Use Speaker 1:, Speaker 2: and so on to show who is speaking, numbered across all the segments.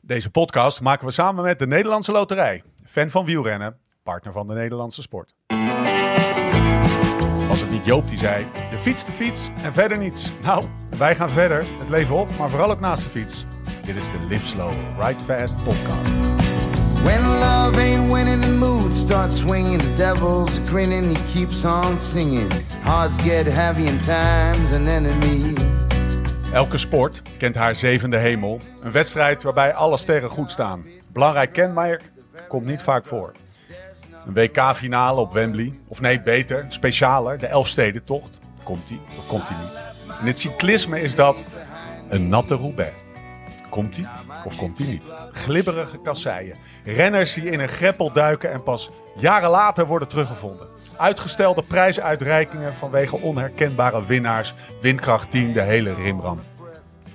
Speaker 1: Deze podcast maken we samen met de Nederlandse Loterij. Fan van wielrennen, partner van de Nederlandse sport. Was het niet Joop die zei, de fiets, de fiets en verder niets. Nou, wij gaan verder, het leven op, maar vooral ook naast de fiets. Dit is de Live Slow, Ride Fast podcast.
Speaker 2: When love ain't winning, the mood starts swinging. The devil's grinning, he keeps on singing. Hearts get heavy, and time's an enemy.
Speaker 1: Elke sport kent haar zevende hemel. Een wedstrijd waarbij alle sterren goed staan. Belangrijk kenmerk komt niet vaak voor. Een WK-finale op Wembley. Of nee, beter, specialer, de Elfstedentocht. Komt die of komt die niet? In het cyclisme is dat een natte Roubaix. Komt die of komt die niet? Glibberige kasseien. Renners die in een greppel duiken en pas jaren later worden teruggevonden. Uitgestelde prijsuitreikingen vanwege onherkenbare winnaars. Windkracht 10, de hele rimram.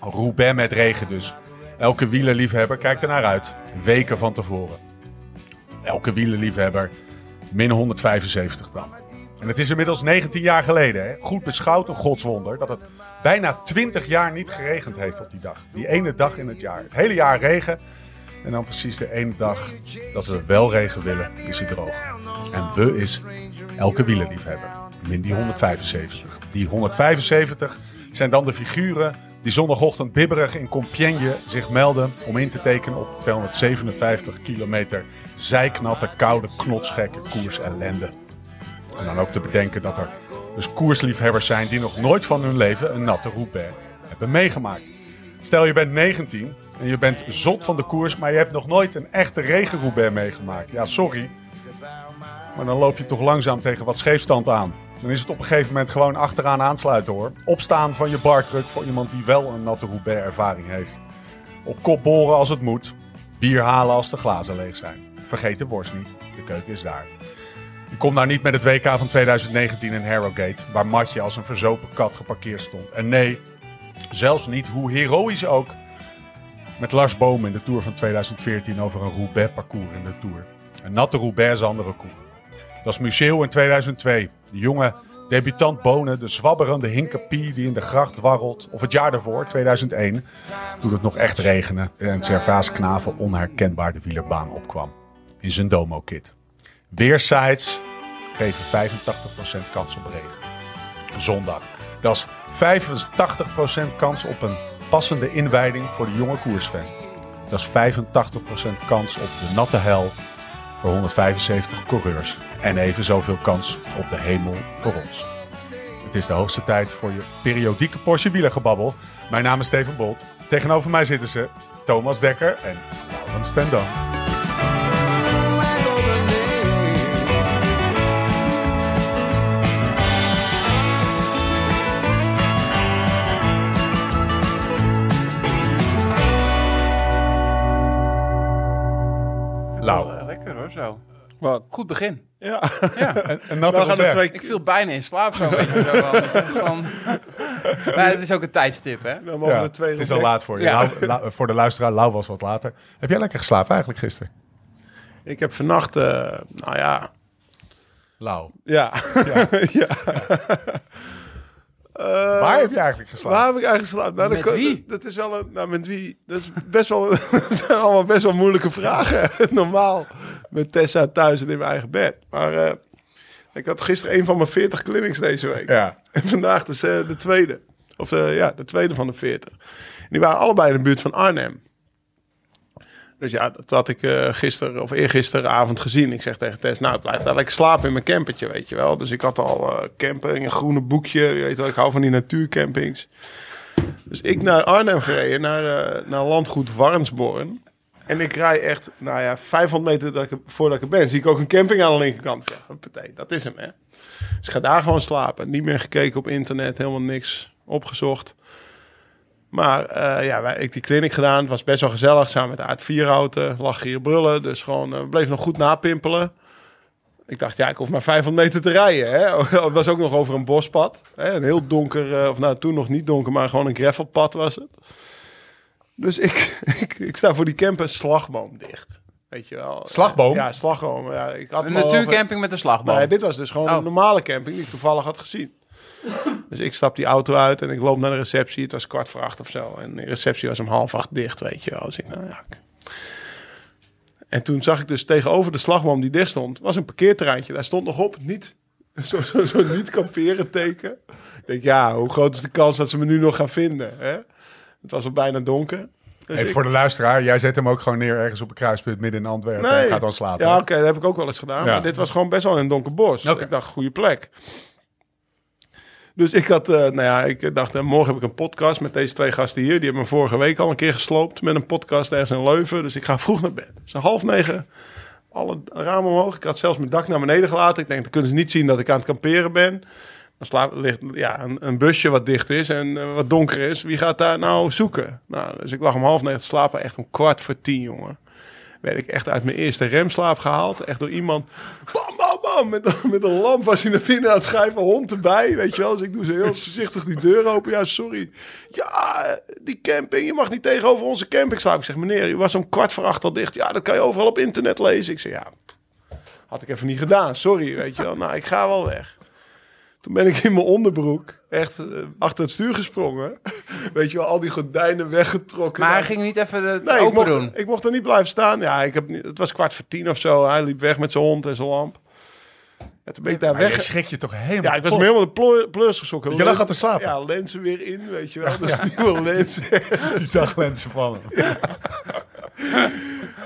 Speaker 1: Roubaix met regen dus. Elke wielerliefhebber kijkt er naar uit. Weken van tevoren. Elke wielerliefhebber min 175 dan. En het is inmiddels 19 jaar geleden. Hè? Goed beschouwd een godswonder dat het bijna 20 jaar niet geregend heeft op die dag. Die ene dag in het jaar. Het hele jaar regen. En dan precies de ene dag dat we wel regen willen, is hij droog. En we is elke wielerliefhebber. Min die 175. Die 175 zijn dan de figuren die zondagochtend bibberig in Compiègne zich melden om in te tekenen op 257 kilometer zijknatte, koude, knotsgekke koers ellende. En dan ook te bedenken dat er dus koersliefhebbers zijn die nog nooit van hun leven een natte Roubaix hebben meegemaakt. Stel je bent 19 en je bent zot van de koers, maar je hebt nog nooit een echte regen Roubaix meegemaakt. Ja, sorry. Maar dan loop je toch langzaam tegen wat scheefstand aan. Dan is het op een gegeven moment gewoon achteraan aansluiten hoor. Opstaan van je barkruk voor iemand die wel een natte Roubaix ervaring heeft. Op kop boren als het moet. Bier halen als de glazen leeg zijn. Vergeet de borst niet. De keuken is daar. Ik kom nou niet met het WK van 2019 in Harrogate, waar Matje als een verzopen kat geparkeerd stond. En nee, zelfs niet, hoe heroïs ook, met Lars Boom in de Tour van 2014 over een Roubaix-parcours in de Tour. Een natte Roubaix is andere koe. Dat is Museeuw in 2002. De jonge debutant Bonen, de zwabberende hinkepie die in de gracht dwarrelt. Of het jaar daarvoor, 2001, toen het nog echt regende en Servaas Knavel onherkenbaar de wielerbaan opkwam. In zijn domo-kit. Weersites geven 85% kans op regen. Zondag. Dat is 85% kans op een passende inwijding voor de jonge koersfan. Dat is 85% kans op de natte hel voor 175 coureurs. En even zoveel kans op de hemel voor ons. Het is de hoogste tijd voor je periodieke Porsche wielergebabbel. Mijn naam is Steven Bolt. Tegenover mij zitten ze Thomas Dekker en Laurens ten Dam. Lau.
Speaker 3: Wel, eh, lekker hoor, zo. Wel, goed begin.
Speaker 1: Ja,
Speaker 3: Ja.
Speaker 1: een, een natte
Speaker 4: We gaan de
Speaker 1: Roubaix.
Speaker 4: twee-
Speaker 3: Ik viel bijna in slaap zo. Weet je, zo van, van, maar het is ook een tijdstip, hè?
Speaker 4: Dan mogen
Speaker 1: Ja,
Speaker 4: we twee
Speaker 1: het is
Speaker 4: op
Speaker 1: al
Speaker 4: weg.
Speaker 1: laat voor je.
Speaker 3: Ja.
Speaker 1: Lau- Lau- voor de luisteraar, Lau was wat later. Heb jij lekker geslapen eigenlijk gisteren?
Speaker 4: Ik heb vannacht, eh, nou ja,
Speaker 1: Lau.
Speaker 4: ja, ja. Eh,
Speaker 1: Waar heb je eigenlijk
Speaker 4: waar
Speaker 1: geslapen?
Speaker 4: heb ik eigenlijk geslapen? Nou,
Speaker 3: Met
Speaker 4: dat,
Speaker 3: wie?
Speaker 4: Dat is wel een, nou, met wie? Dat is best wel, dat zijn allemaal best wel moeilijke vragen. Normaal met Tessa thuis en in mijn eigen bed. Maar eh, ik had gisteren een van mijn 40 clinics deze week.
Speaker 1: Ja.
Speaker 4: En vandaag dus eh, de tweede. Of eh, ja, de tweede van de 40. En die waren allebei in de buurt van Arnhem. Dus ja, dat had ik eh gisteren of eergisteravond gezien. Ik zeg tegen Tess, nou, ik blijf daar lekker slapen in mijn campertje, weet je wel. Dus ik had al eh camping, een groene boekje. Je weet wel, ik hou van die natuurcampings. Dus ik naar Arnhem gereden, naar, eh, naar landgoed Warnsborn. En ik rij echt, nou ja, 500 meter dat ik, er- voordat ik er ben, zie ik ook een camping aan de linkerkant. Ik Zeg, huppatee, dat is hem, hè. Dus ik ga daar gewoon slapen. Niet meer gekeken op internet, helemaal niks opgezocht. Maar eh, ja, wij, ik die clinic gedaan. Het was best wel gezellig. Samen met de Aard Vierhouten. Lag hier brullen. Dus gewoon eh, bleef nog goed napimpelen. Ik dacht, ja, ik hoef maar 500 meter te rijden. Hè? Het was ook nog over een bospad. Hè? Een heel donker, eh, of nou toen nog niet donker, maar gewoon een gravelpad was het. Dus ik, ik, ik sta voor die camper slagboom dicht. Weet je wel.
Speaker 1: Slagboom?
Speaker 4: Ja, slagboom. Ja, ik had
Speaker 3: Een
Speaker 4: me al over-
Speaker 3: natuurcamping met een slagboom.
Speaker 4: nou ja, dit was dus gewoon
Speaker 3: Oh.
Speaker 4: een normale camping die ik toevallig had gezien. dus ik stap die auto uit en ik loop naar de receptie. Het was kwart voor acht of zo. En de receptie was om half acht dicht, weet je wel. Dus ik, nou ja, ik- En toen zag ik dus tegenover de slagboom die dicht stond, was een parkeerterreintje. Daar stond nog op, niet, zo, zo, zo niet kamperen teken. Ik denk, ja, hoe groot is de kans dat ze me nu nog gaan vinden? Hè? Het was al bijna donker. Dus
Speaker 1: Even
Speaker 4: ik-
Speaker 1: voor de luisteraar, jij zet hem ook gewoon neer ergens op een kruispunt midden in Antwerpen en eh, gaat dan slapen.
Speaker 4: Ja, oké, dat heb ik ook wel eens gedaan.
Speaker 1: Ja.
Speaker 4: Maar dit was gewoon best wel in een donker bos.
Speaker 1: Oké.
Speaker 4: Ik dacht, goede plek. Dus ik had, eh, nou ja, ik dacht, eh, morgen heb ik een podcast met deze twee gasten hier. Die hebben me vorige week al een keer gesloopt met een podcast ergens in Leuven. Dus ik ga vroeg naar bed. Dus om half negen, alle ramen omhoog. Ik had zelfs mijn dak naar beneden gelaten. Ik denk, dan kunnen ze niet zien dat ik aan het kamperen ben. Dan slaap, ligt ja, een, een busje wat dicht is en eh, wat donker is. Wie gaat daar nou zoeken? Nou, dus ik lag om half negen te slapen. Echt om kwart voor tien, jongen werd ik echt uit mijn eerste remslaap gehaald. Echt door iemand. Bam, bam, bam. Met, met een lamp was hij naar binnen aan het schuiven. Hond erbij, weet je wel. Dus ik doe ze heel voorzichtig die deur open. Ja, sorry. Ja, eh, die camping. Je mag niet tegenover onze camping slapen. Ik zeg, meneer, u was om kwart voor acht al dicht. Ja, dat kan je overal op internet lezen. Ik zeg, ja, had ik even niet gedaan. Sorry, weet je wel. Nou, ik ga wel weg. Toen ben ik in mijn onderbroek echt eh, achter het stuur gesprongen. Weet je wel, al die gordijnen weggetrokken.
Speaker 3: Maar hij
Speaker 4: Nou,
Speaker 3: ging niet even het
Speaker 4: Nee, ik
Speaker 3: open
Speaker 4: mocht,
Speaker 3: doen.
Speaker 4: ik mocht er niet blijven staan. Ja, ik heb niet, het was kwart voor tien of zo. Hij liep weg met zijn hond en zijn lamp. Ja, toen ben ik daar
Speaker 1: Maar jij
Speaker 4: weg.
Speaker 1: schrik je toch helemaal
Speaker 4: Ja, ik was
Speaker 1: kapot?
Speaker 4: me helemaal de plo- pleurs gezokken.
Speaker 1: Je lag
Speaker 4: Lens-
Speaker 1: al te slapen.
Speaker 4: Ja, lenzen weer in, weet je wel. dus nieuwe lenzen.
Speaker 1: die daglensen vallen.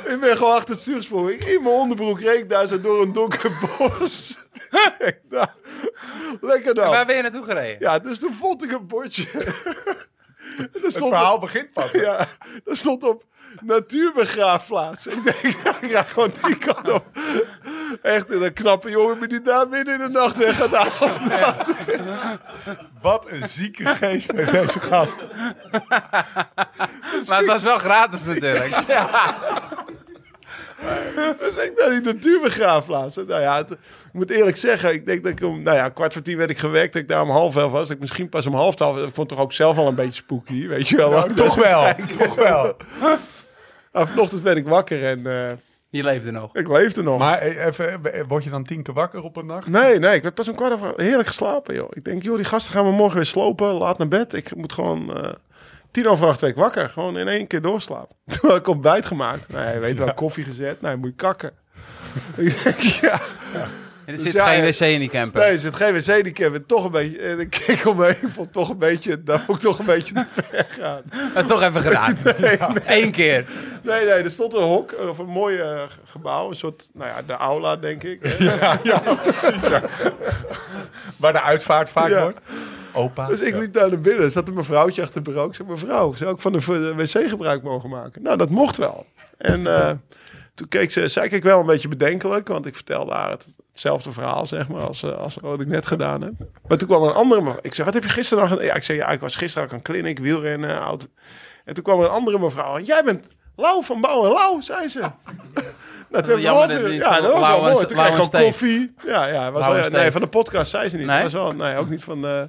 Speaker 4: ik ben gewoon achter het stuur gesprongen. Ik- In mijn onderbroek reed ik daar zo door een donker bos. Ik dacht, Lekker dan.
Speaker 3: Waar ben je naartoe gereden?
Speaker 4: Ja, dus toen vond ik een bordje. het
Speaker 1: Het verhaal begint pas.
Speaker 4: Ja, dat stond op natuurbegraafplaats. Ik denk, ja, ik ga gewoon die kant op. Echt, en een knappe jongen maar die daar midden in de nacht weg gaat halen.
Speaker 1: Wat een zieke geest heeft deze gast.
Speaker 3: maar het was wel gratis natuurlijk. Ja.
Speaker 4: Dus ik naar die natuurbegraafplaats. En Nou ja, het- ik moet eerlijk zeggen, ik denk dat ik om, nou ja, kwart voor tien werd ik gewekt. Dat ik daar om half elf was. Dat ik misschien pas om half twaalf, ik vond het toch ook zelf al een beetje spooky, weet je wel. Dus
Speaker 1: Nou, toch wel, toch wel.
Speaker 4: Maar vanochtend werd ik wakker en eh,
Speaker 3: Die leefde nog.
Speaker 4: ik leefde nog.
Speaker 1: Maar eh, even, eh, word je dan tien keer wakker op een nacht?
Speaker 4: Nee, nee, ik werd pas om kwart over heerlijk geslapen, joh. Ik denk, joh, die gasten gaan me morgen weer slopen, laat naar bed. Ik moet gewoon eh, tien over acht week wakker, gewoon in één keer doorslapen. Toen had ik ontbijt gemaakt. Nee, je weet wel, koffie gezet. Nee, moet je kakken. ik denk, ja.
Speaker 3: Er
Speaker 4: Dus
Speaker 3: zit
Speaker 4: ja,
Speaker 3: geen
Speaker 4: eh,
Speaker 3: wc in die camper.
Speaker 4: Nee, er zit geen wc, die keer toch een beetje... En ik keek om me heen, vond toch een beetje... Daar vond ik toch een beetje te ver gaan.
Speaker 3: Maar toch even gedaan. Eén keer.
Speaker 4: Nee, nee, er stond een hok, of een mooi eh, gebouw. Een soort, nou ja, de aula, denk ik. hè.
Speaker 1: Waar de uitvaart vaak
Speaker 4: Ja.
Speaker 1: wordt? Opa.
Speaker 4: Dus ik
Speaker 1: Ja.
Speaker 4: liep daar naar binnen. Er zat een mevrouwtje achter het bureau. Ik zei, mevrouw, zou ik van de v- de wc gebruik mogen maken? Nou, dat mocht wel. En eh, toen keek ze, zei ik wel een beetje bedenkelijk. Want ik vertelde haar het, hetzelfde verhaal, zeg maar, als, eh, als wat ik net gedaan heb. Maar toen kwam er een andere mevrouw. Ik zei, wat heb je gisteren dan gedaan? Ja, ik zei, ja, ik was gisteren ook aan clinic, wielrennen, oud. En toen kwam er een andere mevrouw. En jij bent Lau van Bouw en Lau, zei ze. Nou, toen heb ik
Speaker 3: Jammer dat
Speaker 4: wel-
Speaker 3: niet
Speaker 4: ja,
Speaker 3: van
Speaker 4: dat was
Speaker 3: Lau
Speaker 4: wel
Speaker 3: en-
Speaker 4: mooi. Toen
Speaker 3: Lau
Speaker 4: kreeg ik
Speaker 3: en
Speaker 4: gewoon
Speaker 3: Steef.
Speaker 4: koffie. Ja, ja was
Speaker 3: Lau en
Speaker 4: wel, nee,
Speaker 3: Steef.
Speaker 4: van de podcast zei ze niet.
Speaker 3: Nee?
Speaker 4: Dat was wel, nee, ook niet van eh,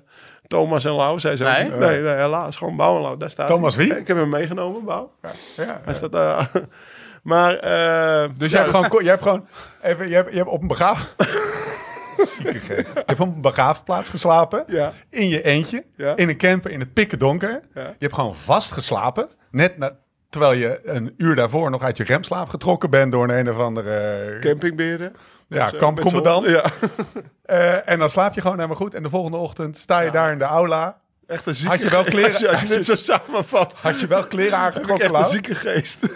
Speaker 4: Thomas en Lau. Zei ze ook
Speaker 3: Nee?
Speaker 4: niet. nee, nee, helaas. Gewoon Bouw en Lau. Daar staat
Speaker 1: Thomas
Speaker 4: hij.
Speaker 1: wie?
Speaker 4: Ik heb hem meegenomen, Bouw.
Speaker 1: Ja.
Speaker 4: Hij staat daar. maar... eh,
Speaker 1: Dus
Speaker 4: ja,
Speaker 1: jij, hebt gewoon, ko- jij hebt gewoon even, jij hebt, jij hebt op een begraaf... Zieke geest. Je hebt op een begraafplaats geslapen.
Speaker 4: Ja.
Speaker 1: In je eentje.
Speaker 4: Ja.
Speaker 1: In een camper in het pikken donker.
Speaker 4: Ja.
Speaker 1: Je hebt gewoon vastgeslapen. Net na, terwijl je een uur daarvoor nog uit je remslaap getrokken bent door een een of andere... eh,
Speaker 4: Campingberen.
Speaker 1: ja,
Speaker 4: Zo,
Speaker 1: kampcommandant.
Speaker 4: met z'n- Ja,
Speaker 1: Eh, en dan slaap je gewoon helemaal goed. En de volgende ochtend sta je daar in de aula.
Speaker 4: echt een zieke
Speaker 1: Had je wel
Speaker 4: geest.
Speaker 1: kleren-
Speaker 4: Als je, als je dit zo samenvat.
Speaker 1: Had je wel kleren
Speaker 4: heb ik
Speaker 1: aangetrokken,
Speaker 4: echt een
Speaker 1: Lau?
Speaker 4: zieke geest.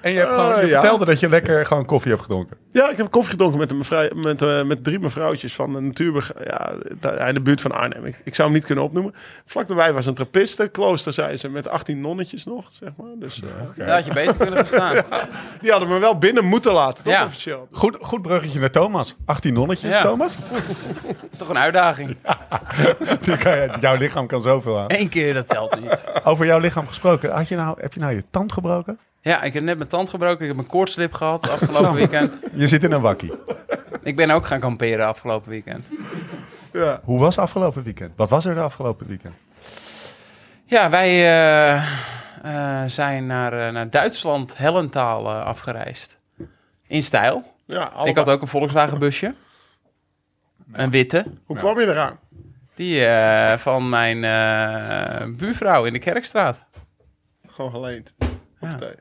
Speaker 1: En je, hebt gewoon,
Speaker 4: Ah,
Speaker 1: je
Speaker 4: ja.
Speaker 1: vertelde dat je lekker gewoon koffie hebt gedronken.
Speaker 4: Ja, ik heb koffie gedronken met, een mevrou- met, eh, met drie mevrouwtjes van de natuurbeg... Ja, da- in de buurt van Arnhem. Ik, ik zou hem niet kunnen opnoemen. Vlak daarbij was een trappiste, klooster, zei ze, met 18 nonnetjes nog, zeg maar. Dus, eh,
Speaker 3: Daar had je beter kunnen gaan staan.
Speaker 4: die hadden me wel binnen moeten laten, toch
Speaker 3: Ja.
Speaker 4: officieel.
Speaker 1: Goed, goed bruggetje naar Thomas. 18 nonnetjes,
Speaker 3: Ja.
Speaker 1: Thomas.
Speaker 3: Toch een uitdaging.
Speaker 1: Die kan je- jouw lichaam kan zoveel aan.
Speaker 3: Eén keer, dat telt niet.
Speaker 1: Over jouw lichaam gesproken. Had je nou, heb je nou je tand gebroken?
Speaker 3: Ja, ik heb net mijn tand gebroken. Ik heb een koortslip gehad afgelopen weekend.
Speaker 1: Je zit in een wakkie.
Speaker 3: Ik ben ook gaan kamperen afgelopen weekend.
Speaker 4: Ja.
Speaker 1: Hoe was afgelopen weekend? Wat was er de afgelopen weekend?
Speaker 3: Ja, wij eh, eh, zijn naar, eh, naar Duitsland, Hellentaal, eh, afgereisd. In stijl.
Speaker 4: Ja,
Speaker 3: Ik had ook een Volkswagen busje. Een witte.
Speaker 4: Hoe kwam je eraan?
Speaker 3: Die eh, van mijn eh, buurvrouw in de Kerkstraat.
Speaker 4: Gewoon geleend.
Speaker 3: Ja.
Speaker 4: Hoppatee.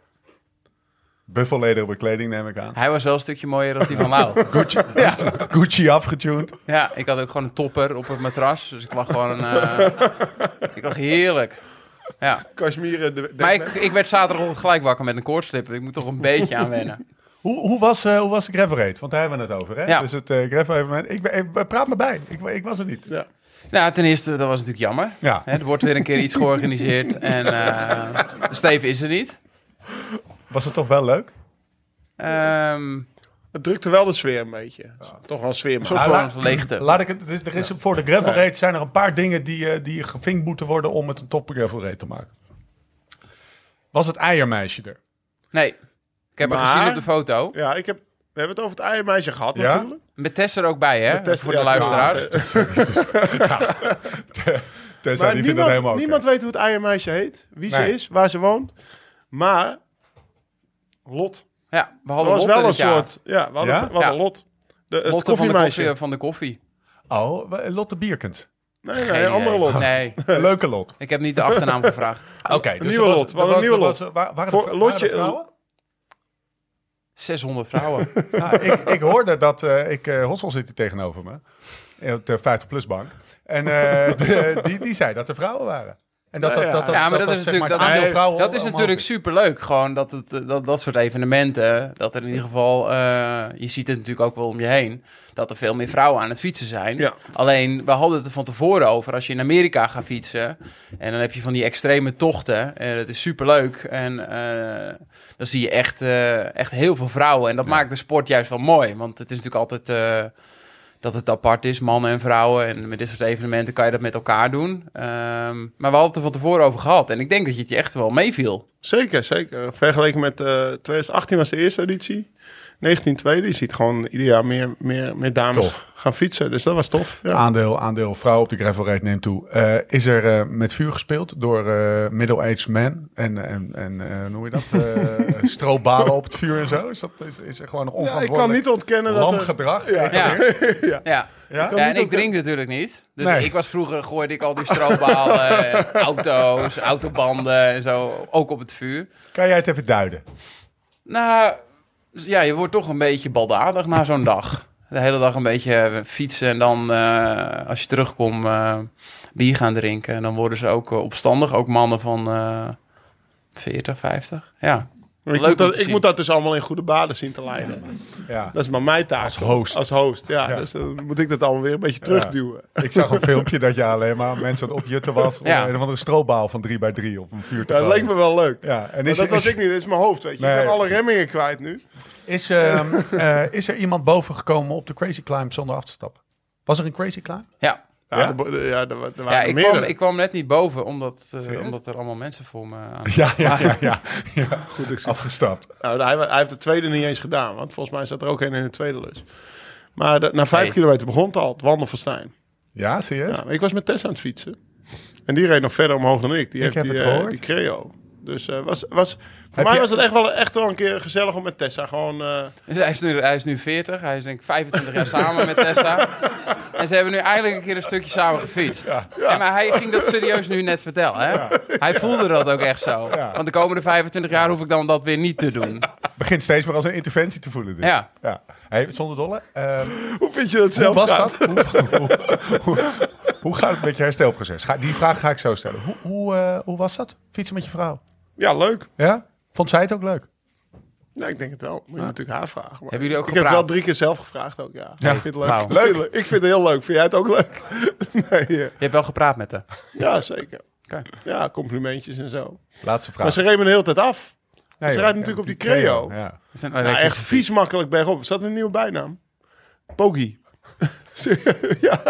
Speaker 1: Buffellederen bekleding neem ik aan.
Speaker 3: Hij was wel een stukje mooier dan die van Lau.
Speaker 1: Gucci, Gucci afgetuned.
Speaker 3: Ja, ik had ook gewoon een topper op het matras. Dus ik lag gewoon... eh, ik lag heerlijk. Ja.
Speaker 4: Kashmir. eh,
Speaker 3: Maar ik, ik werd zaterdagochtend gelijk wakker met een koortslip. Ik moet toch een beetje aan wennen.
Speaker 1: Hoe, hoe, was, eh, hoe was de Gravel Raid? Want daar hebben we het over. Hè?
Speaker 3: Ja.
Speaker 1: Dus het eh Gravel evenement. Ik, ben- ik- praat me bij. Ik, ik was er niet.
Speaker 4: Ja.
Speaker 3: Nou, ten eerste, dat was natuurlijk jammer.
Speaker 1: Ja.
Speaker 3: Hè, er wordt weer een keer iets georganiseerd en eh Steve is er niet.
Speaker 1: Was het toch wel leuk?
Speaker 3: Ehm
Speaker 4: Het drukte wel de sweer een beetje. Toch wel een sfeer. Maar.
Speaker 3: soort
Speaker 1: Nou,
Speaker 3: vorm
Speaker 1: laat-
Speaker 3: van leegte.
Speaker 1: Laat ik het, er is, er is voor de Gravel Raid zijn er een paar dingen die, eh, die gevinkt moeten worden om het een top Gravel Raid te maken. Was het eiermeisje er?
Speaker 3: Nee, ik heb haar
Speaker 4: Maar-
Speaker 3: gezien op de foto.
Speaker 4: Ja, ik heb, we hebben het over het eiermeisje gehad
Speaker 1: Ja?
Speaker 4: natuurlijk.
Speaker 3: Met Tess er ook bij, hè?
Speaker 4: Tess,
Speaker 3: voor de
Speaker 4: ja,
Speaker 3: luisteraars.
Speaker 4: ja,
Speaker 1: Tessa,
Speaker 4: Maar
Speaker 1: die vindt het
Speaker 4: niemand,
Speaker 1: helemaal oké.
Speaker 4: niemand weet hoe het eiermeisje heet, wie ze
Speaker 1: Nee.
Speaker 4: is, waar ze woont. Maar Lot.
Speaker 3: Ja, we
Speaker 4: Er
Speaker 3: hadden
Speaker 4: was
Speaker 3: Lotte
Speaker 4: wel een
Speaker 3: dit jaar.
Speaker 4: soort... Ja, we hadden,
Speaker 1: Ja?
Speaker 4: we hadden
Speaker 3: Ja.
Speaker 4: Lot. De, het
Speaker 3: Lotte van de,
Speaker 4: koffiemeisje.
Speaker 3: koffie, van de koffie.
Speaker 1: Oh, we- Lotte Bierkens.
Speaker 4: Nee, nee,
Speaker 3: Geen
Speaker 4: een andere
Speaker 3: idee.
Speaker 4: Lot.
Speaker 3: Nee,
Speaker 1: Leuke Lot.
Speaker 3: ik heb niet de achternaam gevraagd.
Speaker 1: Oké. dus
Speaker 4: nieuwe
Speaker 1: er was-
Speaker 4: Lot,
Speaker 1: er
Speaker 4: wat een
Speaker 1: was-
Speaker 4: nieuwe
Speaker 1: er was-
Speaker 4: Lot.
Speaker 1: Waar, waren
Speaker 4: Voor
Speaker 1: de,
Speaker 4: Lotje-
Speaker 1: waren er vrouwen?
Speaker 3: 600 vrouwen.
Speaker 1: Nou, ik, ik hoorde dat eh, ik eh Hossel zit hier tegenover me eh, op de 50 plus bank en eh, de- die, die zei dat er vrouwen waren en dat dat
Speaker 4: Ja,
Speaker 1: dat, dat,
Speaker 3: ja, maar
Speaker 1: dat,
Speaker 3: dat, is
Speaker 1: zeg
Speaker 3: natuurlijk,
Speaker 1: het
Speaker 3: dat,
Speaker 1: aandeel
Speaker 3: is,
Speaker 1: vrouwen
Speaker 3: dat is
Speaker 1: omhoog
Speaker 3: natuurlijk superleuk. Gewoon dat, het, eh, dat, dat soort evenementen, dat er in ieder geval, eh, je ziet het natuurlijk ook wel om je heen, dat er veel meer vrouwen aan het fietsen zijn.
Speaker 4: Ja.
Speaker 3: Alleen, we hadden het er van tevoren over, als je in Amerika gaat fietsen en dan heb je van die extreme tochten, en dat is superleuk. En eh, dan zie je echt, eh, echt heel veel vrouwen en dat maakt de sport juist wel mooi, want het is natuurlijk altijd... eh, dat het apart is, mannen en vrouwen. En met dit soort evenementen kan je dat met elkaar doen. Ehm, maar we hadden het er van tevoren over gehad. En ik denk dat je het je echt wel meeviel.
Speaker 4: Zeker, zeker. Vergeleken met eh 2018 was de eerste editie. 19 tweede. Je ziet gewoon ieder jaar meer, meer, meer dames
Speaker 1: Tof. Ah,
Speaker 4: gaan fietsen. Dus dat was tof. Ja.
Speaker 1: aandeel aandeel vrouwen op de gravel rate neemt toe Eh, is er eh, met vuur gespeeld door eh, middle-aged men en en en eh, hoe noem je dat Eh stroopbalen op het vuur en zo is dat is, is er gewoon nog
Speaker 4: Ja, ik
Speaker 1: onverantwoordelijk
Speaker 4: kan niet ontkennen dat...
Speaker 1: lam
Speaker 4: er-
Speaker 1: gedrag
Speaker 4: Ja.
Speaker 1: Heet dat
Speaker 3: Ja.
Speaker 1: weer?
Speaker 3: ja. ja.
Speaker 4: kan
Speaker 3: en
Speaker 4: niet
Speaker 3: ik
Speaker 4: ontkennen.
Speaker 3: drink natuurlijk niet. Dus
Speaker 1: Nee.
Speaker 3: ik was vroeger, gooide ik al die stroopbalen, eh, auto's, autobanden en zo, ook op het vuur.
Speaker 1: kan jij het even duiden
Speaker 3: Nou, ja, je wordt toch een beetje baldadig na zo'n dag. De hele dag een beetje eh, fietsen en dan eh, als je terugkomt eh, bier gaan drinken. En dan worden ze ook eh, opstandig, ook mannen van eh 40, 50. Ja,
Speaker 4: Ik,
Speaker 3: Leuk
Speaker 4: moet
Speaker 3: om
Speaker 4: dat,
Speaker 3: te
Speaker 4: ik
Speaker 3: zien.
Speaker 4: moet dat dus allemaal in goede baden zien te leiden.
Speaker 1: ja
Speaker 4: Dat is maar mijn taak. Als
Speaker 1: host.
Speaker 4: Als host, ja.
Speaker 1: Ja.
Speaker 4: Dus dan moet ik dat allemaal weer een beetje terugduwen.
Speaker 1: ik zag een filmpje dat je alleen maar mensen aan het opjutten was. om
Speaker 3: Ja.
Speaker 1: Een of andere stroopbaal van 3 bij 3 op een vuur te
Speaker 4: Ja, dat leek me wel leuk.
Speaker 1: Ja, en
Speaker 4: Maar
Speaker 1: is,
Speaker 4: dat
Speaker 1: is,
Speaker 4: was ik niet, dat is mijn hoofd, weet je.
Speaker 1: Nee,
Speaker 4: ik ben alle
Speaker 1: precies.
Speaker 4: remmingen kwijt nu.
Speaker 1: Is, ehm, eh, is er iemand boven gekomen op de Crazy Climb zonder af te stappen? Was er een Crazy Climb?
Speaker 3: ja.
Speaker 4: Ja,
Speaker 1: Ja?
Speaker 4: Er, er- ja, er, wa- er waren
Speaker 3: ja
Speaker 4: er
Speaker 3: ik,
Speaker 4: meerdere.
Speaker 3: kwam, ik kwam net niet boven, omdat, eh,
Speaker 1: Serieus?
Speaker 3: omdat er allemaal mensen voor me aan...
Speaker 1: Ja, ja, ja. ja,
Speaker 4: Goed, ik zie-
Speaker 1: Afgestapt.
Speaker 4: Nou, hij, hij heeft de tweede niet eens gedaan, want volgens mij zat er ook een in de tweede lus. Maar de- na vijf
Speaker 3: Nee.
Speaker 4: kilometer begon het al, het wandelfestijn.
Speaker 1: Ja, serieus?
Speaker 4: Ja, maar ik was met Tess aan het fietsen. En die reed nog verder omhoog dan ik. Die heeft
Speaker 1: heb
Speaker 4: die,
Speaker 1: het
Speaker 4: eh,
Speaker 1: gehoord.
Speaker 4: die Creo. Dus eh, was, was, voor
Speaker 1: Heb
Speaker 4: mij
Speaker 1: je-
Speaker 4: was het echt wel, echt wel een keer gezellig om met Tessa gewoon... eh,
Speaker 3: Dus hij, is nu, hij is nu 40, hij is denk ik 25 jaar samen met Tessa. En ze hebben nu eindelijk een keer een stukje samen gefietst. En maar hij ging dat serieus nu net vertellen. Hè? Hij voelde dat ook echt zo.
Speaker 1: Ja.
Speaker 3: Want de komende 25 jaar hoef ik dan dat weer niet te doen.
Speaker 1: Begint steeds meer als een interventie te voelen. Dus.
Speaker 3: Ja.
Speaker 1: ja. Hey, zonder dolle. ehm,
Speaker 4: hoe vind je dat
Speaker 1: hoe
Speaker 4: zelf
Speaker 1: was
Speaker 4: gaat?
Speaker 1: dat? Hoe, hoe, hoe- hoe gaat het met je herstelproces? Ga, die vraag ga ik zo stellen. Hoe, hoe, eh, hoe was dat? Fietsen met je vrouw?
Speaker 4: Ja, leuk.
Speaker 1: Ja? Vond zij het ook leuk?
Speaker 4: Nee, ik denk het wel. Moet je natuurlijk haar vragen. maar-
Speaker 3: Hebben jullie ook
Speaker 4: ik
Speaker 3: gepraat? Nou.
Speaker 4: heb wel drie keer zelf gevraagd ook, ja.
Speaker 1: Ja.
Speaker 4: Ik vind het leuk.
Speaker 3: Wauw.
Speaker 4: Ik vind het leuk. Ik vind het heel leuk. Vind jij het ook leuk? nee, eh,
Speaker 3: Je hebt wel gepraat met haar.
Speaker 4: ja, zeker.
Speaker 3: Oké.
Speaker 4: Ja, complimentjes en zo.
Speaker 1: Laatste vraag.
Speaker 4: Maar ze reed me de hele tijd af.
Speaker 1: Nee,
Speaker 4: ze
Speaker 1: joh.
Speaker 4: rijdt natuurlijk op die Creo.
Speaker 1: Ja.
Speaker 3: Dat zijn
Speaker 4: Nou, echt vies makkelijk bergop. Is dat een nieuwe bijnaam? Pogi. Serieus? ja,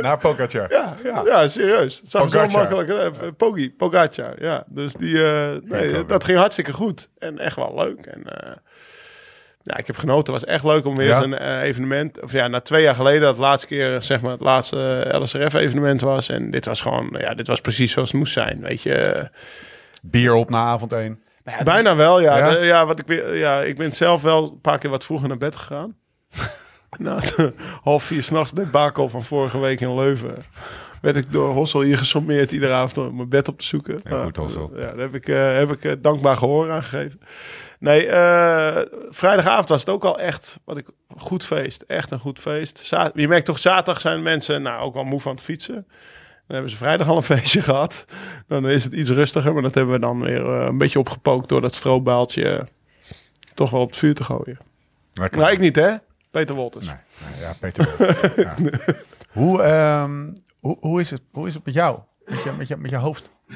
Speaker 1: Naar Pogacar.
Speaker 4: ja, ja, serieus. Het zag er zo
Speaker 1: Pogacar.
Speaker 4: makkelijk. eh, Pogi, Pogacar. Ja, dus die, eh, nee,
Speaker 1: Geen
Speaker 4: dat ging hartstikke goed. En echt wel leuk. En, eh, ja, ik heb genoten. Het was echt leuk om weer
Speaker 1: Ja?
Speaker 4: eens een eh, evenement... Of ja, na twee jaar geleden, dat laatste keer, eh, zeg maar, het laatste eh, LSRF-evenement was. En dit was gewoon, ja, dit was precies zoals het moest zijn. Weet je,
Speaker 1: Bier op na avond 1.
Speaker 4: bijna wel. Ja,
Speaker 1: Ja?
Speaker 4: De- ja, wat ik, weer- ja, ik ben zelf wel een paar keer wat vroeger naar bed gegaan. Na het eh, half vier s'nachts debakel van vorige week in Leuven... werd ik door Hossel hier gesommeerd iedere avond om mijn bed op te zoeken.
Speaker 1: Ja, goed, Hossel.
Speaker 4: Ja, daar heb ik, eh, heb ik eh, dankbaar gehoor aan gegeven. Nee, eh, vrijdagavond was het ook al echt wat ik, goed feest. Echt een goed feest. Za- je merkt toch, zaterdag zijn mensen nou, ook wel moe van het fietsen. Dan hebben ze vrijdag al een feestje gehad. Dan is het iets rustiger, maar dat hebben we dan weer eh, een beetje opgepookt... door dat stroobaaltje eh, toch wel op het vuur te gooien.
Speaker 1: Lekker.
Speaker 4: Nou, ik niet, hè? Peter Wolters.
Speaker 1: Nee, nee, ja, Peter. wel. Ja. Hoe, ehm, hoe, hoe, is het, hoe is het met jou? Met je, met je, met je hoofd? We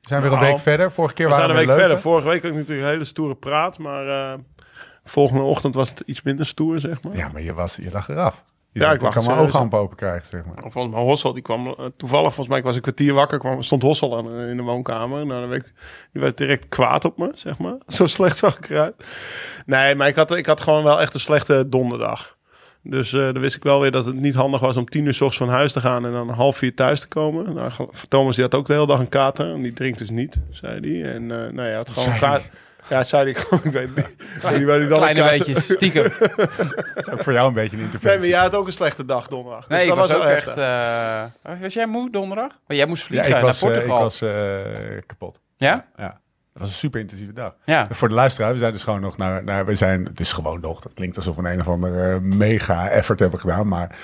Speaker 1: zijn weer een
Speaker 4: Nou,
Speaker 1: week verder. Vorige keer
Speaker 4: we zijn
Speaker 1: waren
Speaker 4: een
Speaker 1: we
Speaker 4: week
Speaker 1: in Leuven.
Speaker 4: verder. Vorige week had ik natuurlijk een hele stoere praat, maar eh, volgende ochtend was het iets minder stoer, zeg maar.
Speaker 1: Ja, maar je, was, je lag eraf. Je
Speaker 4: Ja,
Speaker 1: zegt,
Speaker 4: ik lag
Speaker 1: kan mijn
Speaker 4: serieus
Speaker 1: ooghamp open krijgen, zeg maar.
Speaker 4: Of volgens mij Hossel, die kwam eh, toevallig, volgens mij ik was een kwartier wakker, kwam, stond Hossel aan, eh, in de woonkamer. Nou, dan werd ik, die werd direct kwaad op me, zeg maar. Zo slecht zag ik eruit. Nee, maar ik had, ik had gewoon wel echt een slechte donderdag. Dus eh dan wist ik wel weer dat het niet handig was om tien uur 's ochtends van huis te gaan en dan half vier thuis te komen. Nou, ge- Thomas die had ook de hele dag een kater en die drinkt dus niet, zei hij. En eh nou ja, hij had gewoon
Speaker 1: Zei
Speaker 4: kaart. Ja, zei ik gewoon, ik weet niet. Ik weet niet waar hij dan een
Speaker 3: Kleine
Speaker 4: kater-
Speaker 3: weetjes, stiekem.
Speaker 1: Dat is ook voor jou een beetje een
Speaker 4: Nee,
Speaker 1: interventie.
Speaker 4: maar jij had ook een slechte dag donderdag. Dus
Speaker 3: Nee, ik
Speaker 4: dat
Speaker 3: was, ook
Speaker 4: wel
Speaker 3: echt...
Speaker 4: heftig.
Speaker 3: eh, was jij moe donderdag? Maar jij moest
Speaker 1: ja,
Speaker 3: vliegen
Speaker 1: ik was,
Speaker 3: naar
Speaker 1: eh, ik
Speaker 3: Portugal.
Speaker 1: was eh, kapot.
Speaker 3: Ja?
Speaker 1: Ja. Dat was een super intensieve dag.
Speaker 3: Ja.
Speaker 1: En Voor de luisteraar, we zijn dus gewoon nog naar, naar we zijn dus gewoon nog, dat klinkt alsof we een een of andere eh, mega effort hebben gedaan, maar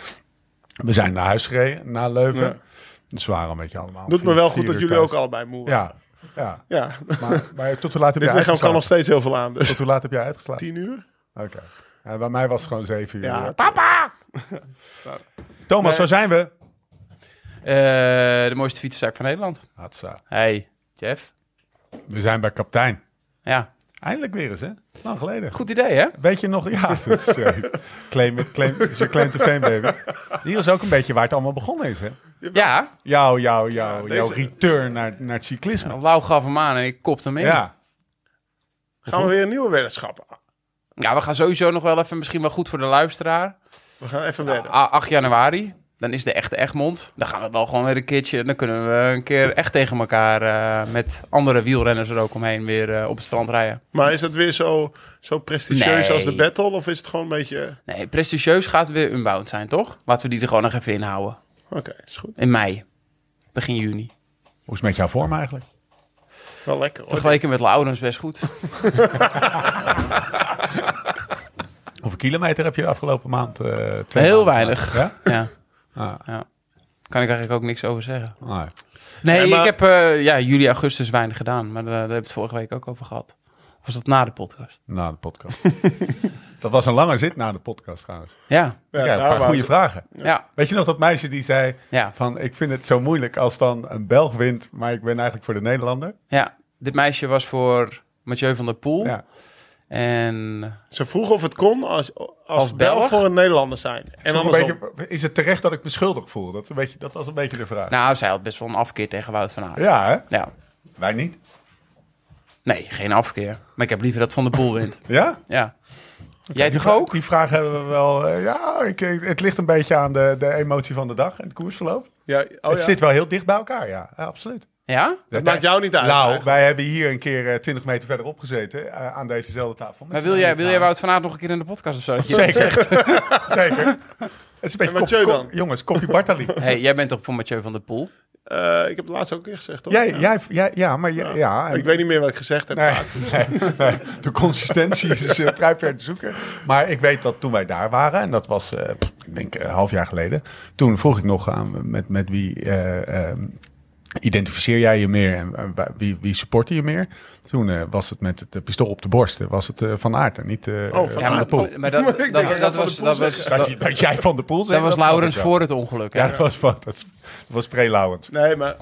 Speaker 1: we zijn naar huis gereden, naar Leuven.
Speaker 4: Ja.
Speaker 1: Dus we waren een beetje allemaal.
Speaker 4: Doet me
Speaker 1: vier-
Speaker 4: wel
Speaker 1: vier
Speaker 4: goed dat
Speaker 1: uur
Speaker 4: jullie
Speaker 1: thuis.
Speaker 4: ook allebei moe waren.
Speaker 1: Ja, ja.
Speaker 4: Ja,
Speaker 1: Maar, maar tot hoe laat heb
Speaker 4: dit
Speaker 1: jij
Speaker 4: lichaam kan
Speaker 1: uitgeslapen?
Speaker 4: nog steeds heel veel aan. Dus
Speaker 1: Tot hoe laat heb jij uitgeslapen?
Speaker 4: tien uur?
Speaker 1: Oké. Ja, bij mij was het gewoon zeven uur.
Speaker 4: Ja,
Speaker 1: Thomas, waar
Speaker 4: Nee.
Speaker 1: zijn we?
Speaker 3: Eh, de mooiste fietsenzaak van Nederland.
Speaker 1: Hatsa.
Speaker 3: Hey, Jeff.
Speaker 1: We zijn bij kaptein.
Speaker 3: Ja,
Speaker 1: Eindelijk weer eens, hè? Lang geleden.
Speaker 3: goed idee hè?
Speaker 1: Weet je nog? Ja, dat is, eh, claim, it, claim, is je claim to fame, baby. Hier is ook een beetje waar het allemaal begonnen is, hè?
Speaker 3: Ja,
Speaker 1: Jouw, jouw, jouw,
Speaker 4: deze-
Speaker 1: jouw return naar, naar het cyclisme.
Speaker 3: Lau gaf hem aan en ik kopte hem in. Ja.
Speaker 1: Ja,
Speaker 4: Gaan we weer een nieuwe weddenschap aan?
Speaker 3: we gaan sowieso nog wel even, misschien wel goed voor de luisteraar.
Speaker 4: We gaan even wedden.
Speaker 1: Ah.
Speaker 3: A- 8 januari, dan is de echte Egmond. Dan gaan we wel gewoon weer een keertje, dan kunnen we een keer echt tegen elkaar eh, met andere wielrenners er ook omheen weer eh, op het strand rijden.
Speaker 4: Maar is dat weer zo, zo prestigieus
Speaker 3: Nee.
Speaker 4: als de battle? Of is het gewoon een beetje...
Speaker 3: Nee, prestigieus gaat weer unbound zijn toch? Laten we die er gewoon nog even inhouden.
Speaker 4: Oké, is goed.
Speaker 3: In mei, begin juni.
Speaker 1: hoe is het met jouw vorm eigenlijk?
Speaker 4: Wel lekker hoor.
Speaker 3: Vergeleken met Laurens best goed.
Speaker 1: Hoeveel kilometer heb je de afgelopen maand? eh, twee
Speaker 3: Heel
Speaker 1: maanden
Speaker 3: weinig.
Speaker 1: gemaakt? Ja?
Speaker 3: Ja.
Speaker 1: Ah.
Speaker 3: ja. Kan ik eigenlijk ook niks over zeggen.
Speaker 1: Nou,
Speaker 3: Nee,
Speaker 4: Nee, maar-
Speaker 3: ik heb eh, ja, juli, augustus weinig gedaan. Maar eh, daar hebben we het vorige week ook over gehad. Of was dat na de podcast?
Speaker 1: na de podcast. dat was een lange zit na de podcast trouwens.
Speaker 3: Ja,
Speaker 1: Ja,
Speaker 4: nou,
Speaker 1: een paar
Speaker 4: maar-
Speaker 1: goede vragen.
Speaker 3: ja,
Speaker 1: Weet je nog dat meisje die zei
Speaker 3: ja,
Speaker 1: van ik vind het zo moeilijk als dan een Belg wint, maar ik ben eigenlijk voor de Nederlander?
Speaker 3: ja. Dit meisje was voor Mathieu van der Poel.
Speaker 1: Ja.
Speaker 3: En
Speaker 4: Ze vroeg of het kon als, als,
Speaker 3: Als
Speaker 4: Belg
Speaker 3: Belg?
Speaker 4: voor een Nederlander zijn. En
Speaker 1: En een
Speaker 4: andersom.
Speaker 1: beetje, is het terecht dat ik me schuldig voel? Dat, een beetje, dat was een beetje de vraag.
Speaker 3: nou, zij had best wel een afkeer tegen Wout van Aert. Ja.
Speaker 1: ja, hè? Wij niet.
Speaker 3: Nee, geen afkeer. Maar ik heb liever dat Van der Poel wint.
Speaker 1: Ja?
Speaker 3: Ja. Jij
Speaker 1: die
Speaker 3: toch
Speaker 1: vra-
Speaker 3: ook?
Speaker 1: Die vraag hebben we wel. eh, ja, ik, ik- het ligt een beetje aan de, de emotie van de dag en het koersverloop.
Speaker 4: Ja, oh
Speaker 1: het
Speaker 4: ja.
Speaker 1: zit wel heel dicht bij elkaar, ja, Ja, absoluut.
Speaker 3: Ja?
Speaker 4: Dat maakt jou niet uit.
Speaker 1: Nou,
Speaker 4: eigenlijk.
Speaker 1: wij hebben hier een keer eh, 20 meter verderop gezeten eh, aan dezezelfde tafel. Met
Speaker 3: Maar
Speaker 1: z'n
Speaker 3: wil jij,
Speaker 1: allen
Speaker 3: wil jij
Speaker 1: trouwens.
Speaker 3: Wout van Aert nog een keer in de podcast of zo?
Speaker 1: Zeker. Zeker. Het is een beetje
Speaker 4: En Mathieu
Speaker 1: kop-
Speaker 4: dan?
Speaker 1: kop- jongens, kopje Bartali.
Speaker 3: hey, jij bent toch voor Mathieu van der Poel?
Speaker 4: Eh, ik heb het laatst ook een keer gezegd, toch?
Speaker 1: jij, jij, jij, ja, maar ja, ja, en-
Speaker 4: Ik weet niet meer wat ik gezegd heb.
Speaker 1: Nee,
Speaker 4: vaak.
Speaker 1: nee, nee. de consistentie is eh, vrij ver te zoeken. Maar ik weet dat toen wij daar waren, en dat was, eh, pff, ik denk een half jaar geleden, toen vroeg ik nog aan met, met wie eh, eh, identificeer jij je meer en eh, bij- wie, wie supporte je meer. Toen eh, was het met het eh, pistool op de borst, eh, was het eh, Van Aert en niet eh,
Speaker 4: Oh, Van
Speaker 1: Van,
Speaker 4: Aert.
Speaker 1: de Poel.
Speaker 3: maar dat, dat,
Speaker 4: denk
Speaker 3: dat,
Speaker 4: dat Van der
Speaker 3: was,
Speaker 4: Poel
Speaker 3: dat,
Speaker 4: zegt.
Speaker 3: was,
Speaker 1: Dat,
Speaker 3: dat,
Speaker 1: je- dat jij Van de Poel zei,
Speaker 3: dat was
Speaker 1: snap ik
Speaker 3: Laurens
Speaker 1: wel.
Speaker 3: voor het ongeluk.
Speaker 1: Ja,
Speaker 3: hè?
Speaker 1: dat was, van- dat is- dat was pre-Laurens.
Speaker 4: Nee, maar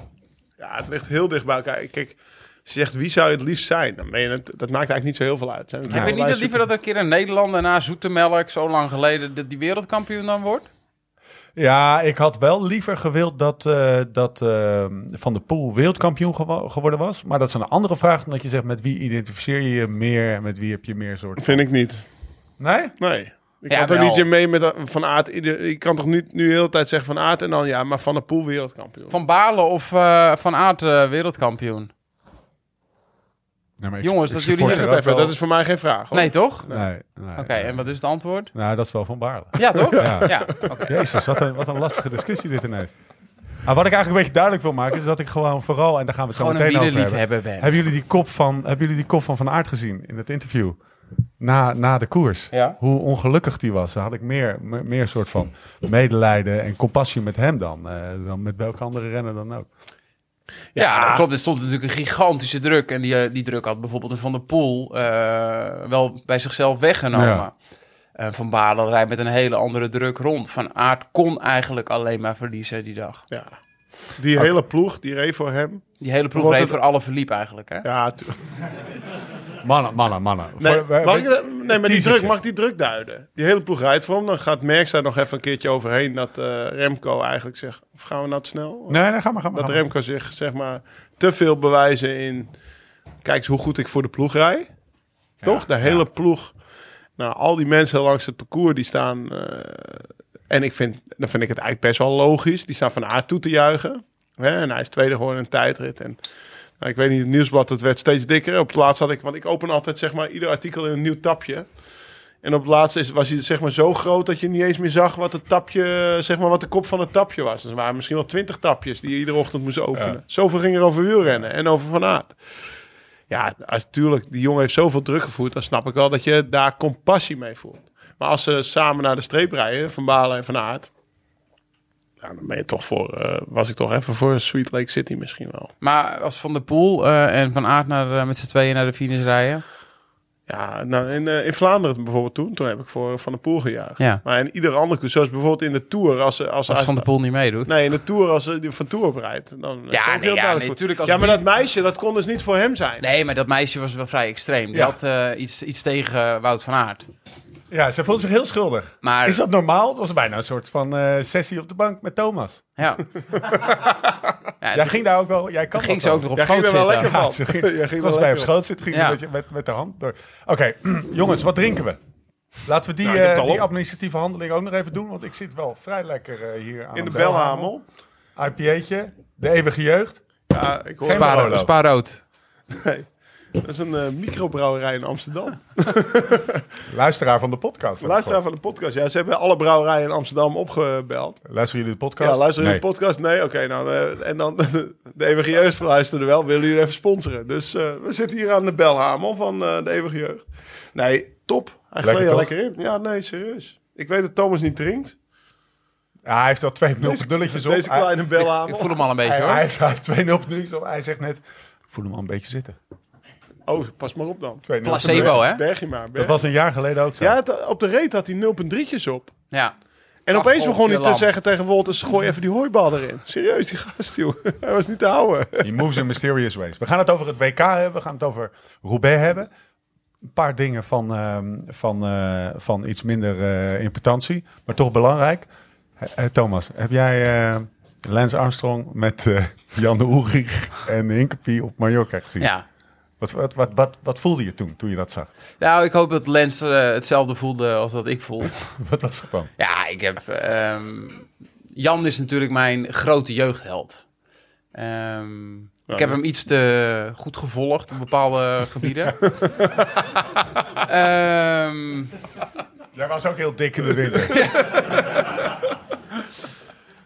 Speaker 4: ja, het ligt heel dicht bij elkaar. Kijk, als je zegt wie zou je het liefst zijn, dan ben je het, dat maakt eigenlijk niet zo heel veel uit. Zijn
Speaker 3: Heb je niet dat liever dat er een keer een Nederlander na Zoetemelk, zo lang geleden, dat die wereldkampioen dan wordt?
Speaker 1: Ja, ik had wel liever gewild dat, eh, dat eh, Van der Poel wereldkampioen gewo- geworden was. Maar dat is een andere vraag dan dat je zegt met wie identificeer je je meer en met wie heb je meer soort...
Speaker 4: Vind ik niet.
Speaker 1: Nee?
Speaker 4: Nee. Ik
Speaker 3: Ja,
Speaker 4: kan toch
Speaker 3: wel.
Speaker 4: niet je mee met eh, Van Aert. ieder- Ik kan toch niet nu de hele tijd zeggen Van Aert en dan ja, maar Van der Poel wereldkampioen.
Speaker 3: Van Balen of eh, Van Aert eh, wereldkampioen?
Speaker 1: Nee, maar ik-
Speaker 3: Jongens,
Speaker 1: ik
Speaker 3: dat
Speaker 1: support
Speaker 4: Hier
Speaker 3: jullie
Speaker 1: er
Speaker 4: zit
Speaker 1: ook
Speaker 4: even,
Speaker 1: wel-
Speaker 4: dat is voor mij geen vraag. hoor.
Speaker 3: Nee, toch? Oké,
Speaker 1: Nee, nee, nee.
Speaker 3: en wat is het antwoord?
Speaker 1: Nou, dat is wel van Baarle.
Speaker 3: Ja, toch?
Speaker 1: Ja.
Speaker 3: Ja, oké.
Speaker 1: Jezus, wat een, wat een lastige discussie dit ineens. Maar wat ik eigenlijk een beetje duidelijk wil maken, is dat ik gewoon vooral, en daar gaan we het zo
Speaker 3: Gewoon een
Speaker 1: meteen over hebben.
Speaker 3: wielerliefhebber ben.
Speaker 1: Hebben jullie die kop van, hebben jullie die kop van Van Aert gezien in het interview? Na, na de koers.
Speaker 3: Ja.
Speaker 1: Hoe ongelukkig die was. Daar had ik meer, me- meer soort van medelijden en compassie met hem dan. eh, dan met welke andere renner dan ook.
Speaker 3: Ja, dat klopt. Er stond natuurlijk een gigantische druk. En die, eh, die druk had bijvoorbeeld een Van der Poel eh, wel bij zichzelf weggenomen.
Speaker 1: Ja.
Speaker 3: Eh, van Baarle rijdt met een hele andere druk rond. Van Aert kon eigenlijk alleen maar verliezen die dag.
Speaker 4: Ja. Die hele ploeg, die reed voor hem.
Speaker 3: Die hele ploeg
Speaker 4: Wordt
Speaker 3: reed
Speaker 4: het-
Speaker 3: voor alle verliep eigenlijk. Hè?
Speaker 4: Ja, tu-
Speaker 1: Mannen, mannen, mannen.
Speaker 4: nee,
Speaker 1: Voor- we-
Speaker 4: mag
Speaker 1: we-
Speaker 4: ik dat- nee, maar die
Speaker 1: teasertje.
Speaker 4: druk, mag ik die druk duiden? Die hele ploeg rijdt voor hem. Dan gaat Merckx daar nog even een keertje overheen dat eh, Remco eigenlijk zegt... Of gaan we nou te snel?
Speaker 1: Nee, nee, ga maar, ga maar.
Speaker 4: Dat
Speaker 1: ga maar.
Speaker 4: Remco zich zeg maar te veel bewijzen in. Kijk eens hoe goed ik voor de ploeg rij. Toch? De hele ploeg. Nou, al die mensen langs het parcours die staan. eh, en ik vind, dan vind ik het eigenlijk best wel logisch. Die staan van aard toe te juichen. Hè? En hij is tweede geworden in een tijdrit. En nou, ik weet niet, het nieuwsblad het werd steeds dikker. Op het laatst had ik, want ik open altijd zeg maar ieder artikel in een nieuw tapje. En op het laatst is, was hij zeg maar zo groot dat je niet eens meer zag wat het tapje, zeg maar wat de kop van het tapje was. Dus er waren misschien wel twintig tapjes die je iedere ochtend moest openen.
Speaker 1: Ja.
Speaker 4: Zoveel ging er over wielrennen en over Van Aert. Ja, natuurlijk, die jongen heeft zoveel druk gevoerd. Dan snap ik wel dat je daar compassie mee voelt. Maar als ze samen naar de streep rijden, Van Balen en Van Aert. ja, dan ben je toch voor, eh, was ik toch even voor Sweet Lake City misschien wel.
Speaker 3: Maar als Van der Poel eh, en Van Aert naar, eh, met z'n tweeën naar de finish rijden.
Speaker 4: Ja, nou, in, eh, in Vlaanderen bijvoorbeeld toen, toen heb ik voor Van der Poel gejuicht.
Speaker 3: Ja.
Speaker 4: Maar in ieder ander koers, zoals bijvoorbeeld in de Tour, als, ze- als,
Speaker 3: Als
Speaker 4: als
Speaker 3: Van der Poel niet meedoet.
Speaker 4: Nee, in de Tour, als ze die van Tour oprijdt, dan
Speaker 3: Ja,
Speaker 4: is het ook
Speaker 3: nee, ja,
Speaker 4: heel duidelijk.
Speaker 3: nee,
Speaker 4: voor-
Speaker 3: tuurlijk, als
Speaker 4: ja, maar
Speaker 3: die-
Speaker 4: dat meisje, dat kon dus niet voor hem zijn.
Speaker 3: Nee, maar dat meisje was wel vrij extreem. Die
Speaker 4: Ja.
Speaker 3: had eh, iets, iets tegen eh, Wout van Aert.
Speaker 1: Ja, ze voelde zich heel schuldig.
Speaker 3: Maar-
Speaker 1: Is dat normaal? Het was bijna een soort van eh, sessie op de bank met Thomas.
Speaker 3: Ja. ja,
Speaker 1: Jij
Speaker 3: toen
Speaker 1: ging daar ook wel... Jij kan
Speaker 3: toen ging
Speaker 1: dat
Speaker 3: ze ook
Speaker 1: wel.
Speaker 3: nog op
Speaker 4: Jij ging
Speaker 3: schoot
Speaker 4: er wel
Speaker 3: zitten.
Speaker 4: lekker
Speaker 1: Ja,
Speaker 4: van.
Speaker 1: ze ging,
Speaker 4: Jij ging
Speaker 1: ik
Speaker 4: wel
Speaker 1: was bij
Speaker 4: lekker
Speaker 1: hem
Speaker 4: op.
Speaker 1: schoot zitten, ging ze
Speaker 3: Ja.
Speaker 1: een beetje met, met de hand door. Oké, jongens, wat drinken we? Laten we die,
Speaker 4: Nou, ik heb
Speaker 1: eh,
Speaker 4: het al
Speaker 1: die
Speaker 4: op.
Speaker 1: administratieve handeling ook nog even doen, want ik zit wel vrij lekker eh, hier aan
Speaker 4: In de
Speaker 1: een
Speaker 4: Belhamel.
Speaker 1: IPA'tje, de eeuwige jeugd.
Speaker 4: Ja, ik
Speaker 1: Geen
Speaker 4: hoor
Speaker 1: maar-
Speaker 4: het.
Speaker 3: Spaar,
Speaker 1: Barolo.
Speaker 3: spaar rood.
Speaker 4: Nee. Dat is een eh, microbrouwerij in Amsterdam.
Speaker 1: Luisteraar van de podcast.
Speaker 4: Luisteraar van de podcast. Ja, ze hebben alle brouwerijen in Amsterdam opgebeld.
Speaker 1: Luisteren jullie de podcast?
Speaker 4: Ja, luister
Speaker 1: Nee.
Speaker 4: jullie de podcast? Nee, oké. nou, eh, en dan de Eeuwige Jeugd luisterde wel. Willen jullie even sponsoren? Dus eh, we zitten hier aan de belhamel van eh, de Eeuwige Jeugd. Nee, top. Hij
Speaker 1: Lekker,
Speaker 4: gleed er
Speaker 1: toch?
Speaker 4: lekker in. Ja, nee, serieus. Ik weet dat Thomas niet drinkt.
Speaker 1: Ja, hij heeft al twee nulletjes op.
Speaker 4: Deze
Speaker 1: Hij-
Speaker 4: kleine
Speaker 3: Ah, Ik
Speaker 4: belhamel.
Speaker 3: voel hem al een beetje
Speaker 1: Hij,
Speaker 3: hoor.
Speaker 1: hij heeft, hij heeft twee nulletjes op. Hij zegt net, ik voel hem al een beetje zitten.
Speaker 4: Oh, pas maar op dan.
Speaker 1: Twee nul.
Speaker 3: Placebo, Oh, hè?
Speaker 4: Berg je maar.
Speaker 1: Dat
Speaker 4: Berg.
Speaker 1: was een jaar geleden ook zo.
Speaker 4: Ja, het- op de reet had hij 0,3'tjes op.
Speaker 3: Ja.
Speaker 4: En
Speaker 3: Ach,
Speaker 4: opeens
Speaker 3: God,
Speaker 4: begon hij
Speaker 3: je lam.
Speaker 4: te zeggen tegen Wolters, gooi even die hooibal erin. Serieus, die gast, joh. Hij was niet te houden.
Speaker 1: He moves in mysterious ways. We gaan het over het WK hebben. We gaan het over Roubaix hebben. Een paar dingen van, ehm, van, eh, van iets minder eh, importantie. Maar toch belangrijk. Eh, eh, Thomas, heb jij eh Lance Armstrong met eh, Jan de Oerig en Hinkepie op Mallorca gezien?
Speaker 3: ja.
Speaker 1: Wat, wat, wat, wat, wat voelde je toen, toen je dat zag?
Speaker 3: Nou, ik hoop dat Lens eh, hetzelfde voelde als dat ik voel.
Speaker 1: Wat was het dan?
Speaker 3: Ja, ik heb. ehm, Jan is natuurlijk mijn grote jeugdheld. Ehm, ik heb hem iets te goed gevolgd op bepaalde gebieden. Ehm,
Speaker 1: Jij was ook heel dik in de winter.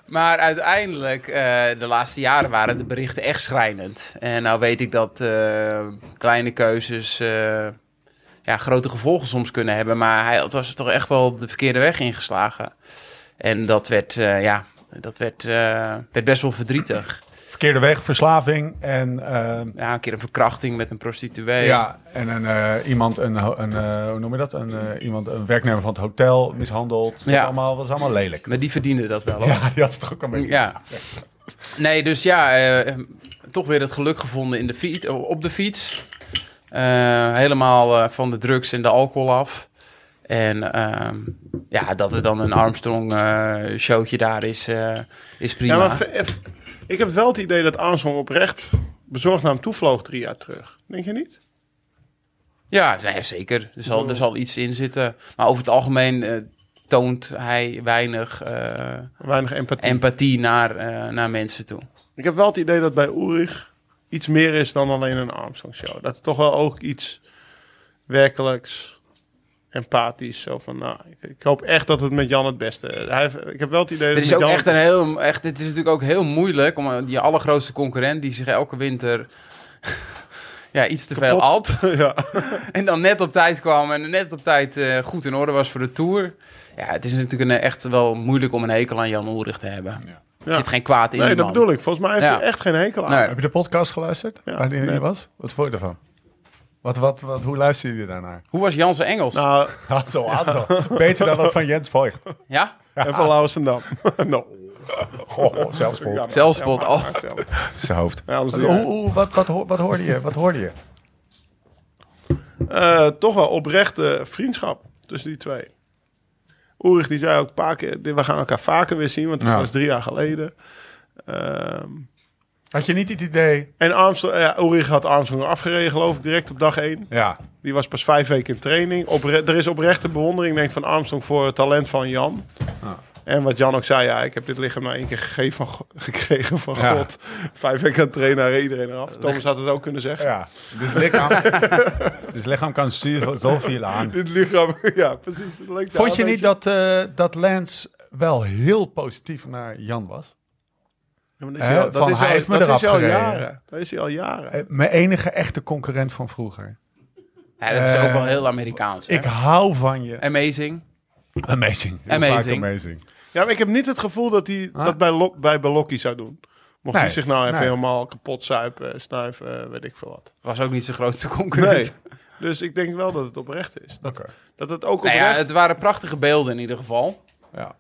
Speaker 3: maar uiteindelijk, eh, de laatste jaren waren de berichten echt schrijnend. En nou weet ik dat eh, kleine keuzes eh, ja, grote gevolgen soms kunnen hebben. Maar hij was toch echt wel de verkeerde weg ingeslagen. En dat werd, eh, ja, dat werd, eh, werd best wel verdrietig.
Speaker 1: Verkeerde weg, verslaving en... ehm,
Speaker 3: ja, een keer een verkrachting met een prostituee.
Speaker 1: Ja, en een, eh, iemand, een, ho- een, eh, hoe noem je dat? Een, eh, iemand, een werknemer van het hotel mishandeld. Dat was
Speaker 3: Ja.
Speaker 1: allemaal, was allemaal lelijk.
Speaker 3: Maar die verdiende dat wel, hoor. Ja.
Speaker 1: Ja, die had het toch ook een beetje.
Speaker 3: Nee, dus ja, eh, toch weer het geluk gevonden in de fiets, op de fiets. Eh, helemaal eh, van de drugs en de alcohol af. En ehm, ja, dat er dan een Armstrong-showtje daar is, eh, is prima.
Speaker 4: Ja, maar v- f- ik heb wel het idee dat Armstrong oprecht bezorgd naar hem toe vloog drie jaar terug. Denk je niet?
Speaker 3: Ja, nee, zeker. Er zal,
Speaker 4: Hmm.
Speaker 3: er zal iets in zitten. Maar over het algemeen eh, toont hij weinig eh,
Speaker 4: Weinig empathie.
Speaker 3: empathie naar, eh, naar mensen toe.
Speaker 4: ik heb wel het idee dat bij Ulrich iets meer is dan alleen een Armstrong show. Dat is toch wel ook iets werkelijks empathisch. Zo van, nou, ik, ik hoop echt dat het met Jan het beste. Hij, heeft- ik heb wel het idee dat
Speaker 3: Dit is
Speaker 4: met
Speaker 3: ook
Speaker 4: Jan
Speaker 3: echt een heel, echt, dit is natuurlijk ook heel moeilijk om eh, die allergrootste concurrent die zich elke winter ja, iets te veel alt.
Speaker 4: ja.
Speaker 3: En dan net op tijd kwam en net op tijd eh, goed in orde was voor de Tour. Ja, het is natuurlijk een, echt wel moeilijk om een hekel aan Jan Ulrich te hebben. Er
Speaker 4: Ja.
Speaker 3: zit geen kwaad in
Speaker 4: Nee,
Speaker 3: die
Speaker 4: dat
Speaker 3: man.
Speaker 4: bedoel ik. Volgens mij heeft
Speaker 3: Ja.
Speaker 4: hij echt geen hekel aan.
Speaker 3: Nee.
Speaker 1: Heb je de podcast geluisterd?
Speaker 4: Ja,
Speaker 1: waar die in
Speaker 4: net.
Speaker 1: was? Wat vond je ervan? Wat, wat, wat, hoe luister je daarnaar?
Speaker 3: Hoe was Jan zijn Engels?
Speaker 4: Nou,
Speaker 1: Aantal, aantal. ah, Beter dan dat van Jens Voigt.
Speaker 3: ja?
Speaker 4: en van Lauwensendam. no.
Speaker 1: Goh, zelfspot.
Speaker 3: Zelfspot Oh. al.
Speaker 1: Zijn hoofd.
Speaker 4: Ja, anders Nou, doe
Speaker 1: Hoe-
Speaker 4: jij.
Speaker 1: hoe- wat, wat, ho- wat hoorde je? Wat hoorde je?
Speaker 4: Eh, toch wel oprechte vriendschap tussen die twee. Ulrich die zei ook een paar keer, dit- we gaan elkaar vaker weer zien, want het
Speaker 1: Ja.
Speaker 4: was drie jaar geleden. Ehm,
Speaker 1: Had je niet het idee?
Speaker 4: en Armstrong, eh, ja, Ulrich had Armstrong afgereden geloof ik direct op dag één.
Speaker 1: Ja.
Speaker 4: Die was pas vijf weken in training. Opre- er is oprechte bewondering denk ik, van Armstrong voor het talent van Jan. En wat Jan ook zei, ja, ik heb dit lichaam maar één keer gegeven van, Go- gekregen van
Speaker 1: Ja.
Speaker 4: God. Vijf weken aan het trainen, reed iedereen eraf. Thomas had het ook kunnen zeggen.
Speaker 1: ja. Dus lichaam, dus lichaam kan sturen zoveel aan.
Speaker 4: Dit lichaam, ja precies. Het leek daar
Speaker 1: Vond je
Speaker 4: een
Speaker 1: niet
Speaker 4: beetje-
Speaker 1: dat, eh, dat Lance wel heel positief naar Jan was?
Speaker 4: Ja, maar
Speaker 1: Hè, van, hij heeft me
Speaker 4: dat
Speaker 1: eraf
Speaker 4: is al
Speaker 1: gereden.
Speaker 4: jaren. Dat is hij al jaren.
Speaker 1: Eh, Mijn enige echte concurrent van vroeger.
Speaker 3: Ja, dat is
Speaker 1: Eh,
Speaker 3: ook wel heel Amerikaans. hè?
Speaker 1: Ik hou van je.
Speaker 3: Amazing.
Speaker 1: Amazing. Heel
Speaker 3: Amazing.
Speaker 1: vaak amazing.
Speaker 4: Ja, maar ik heb niet het gevoel dat hij dat bij, Lo- bij Balocchi zou doen. Mocht
Speaker 1: Ah. Nee,
Speaker 4: hij zich nou even
Speaker 1: nee.
Speaker 4: helemaal kapot zuipen, eh, snuiven, eh, weet ik veel wat.
Speaker 3: Was ook niet zijn grootste concurrent.
Speaker 4: Nee. dus ik denk wel dat het oprecht is. Dat,
Speaker 1: Oké.
Speaker 4: dat het ook
Speaker 3: Nou
Speaker 4: oprecht...
Speaker 3: ja, het waren prachtige beelden in ieder geval.
Speaker 1: Ja.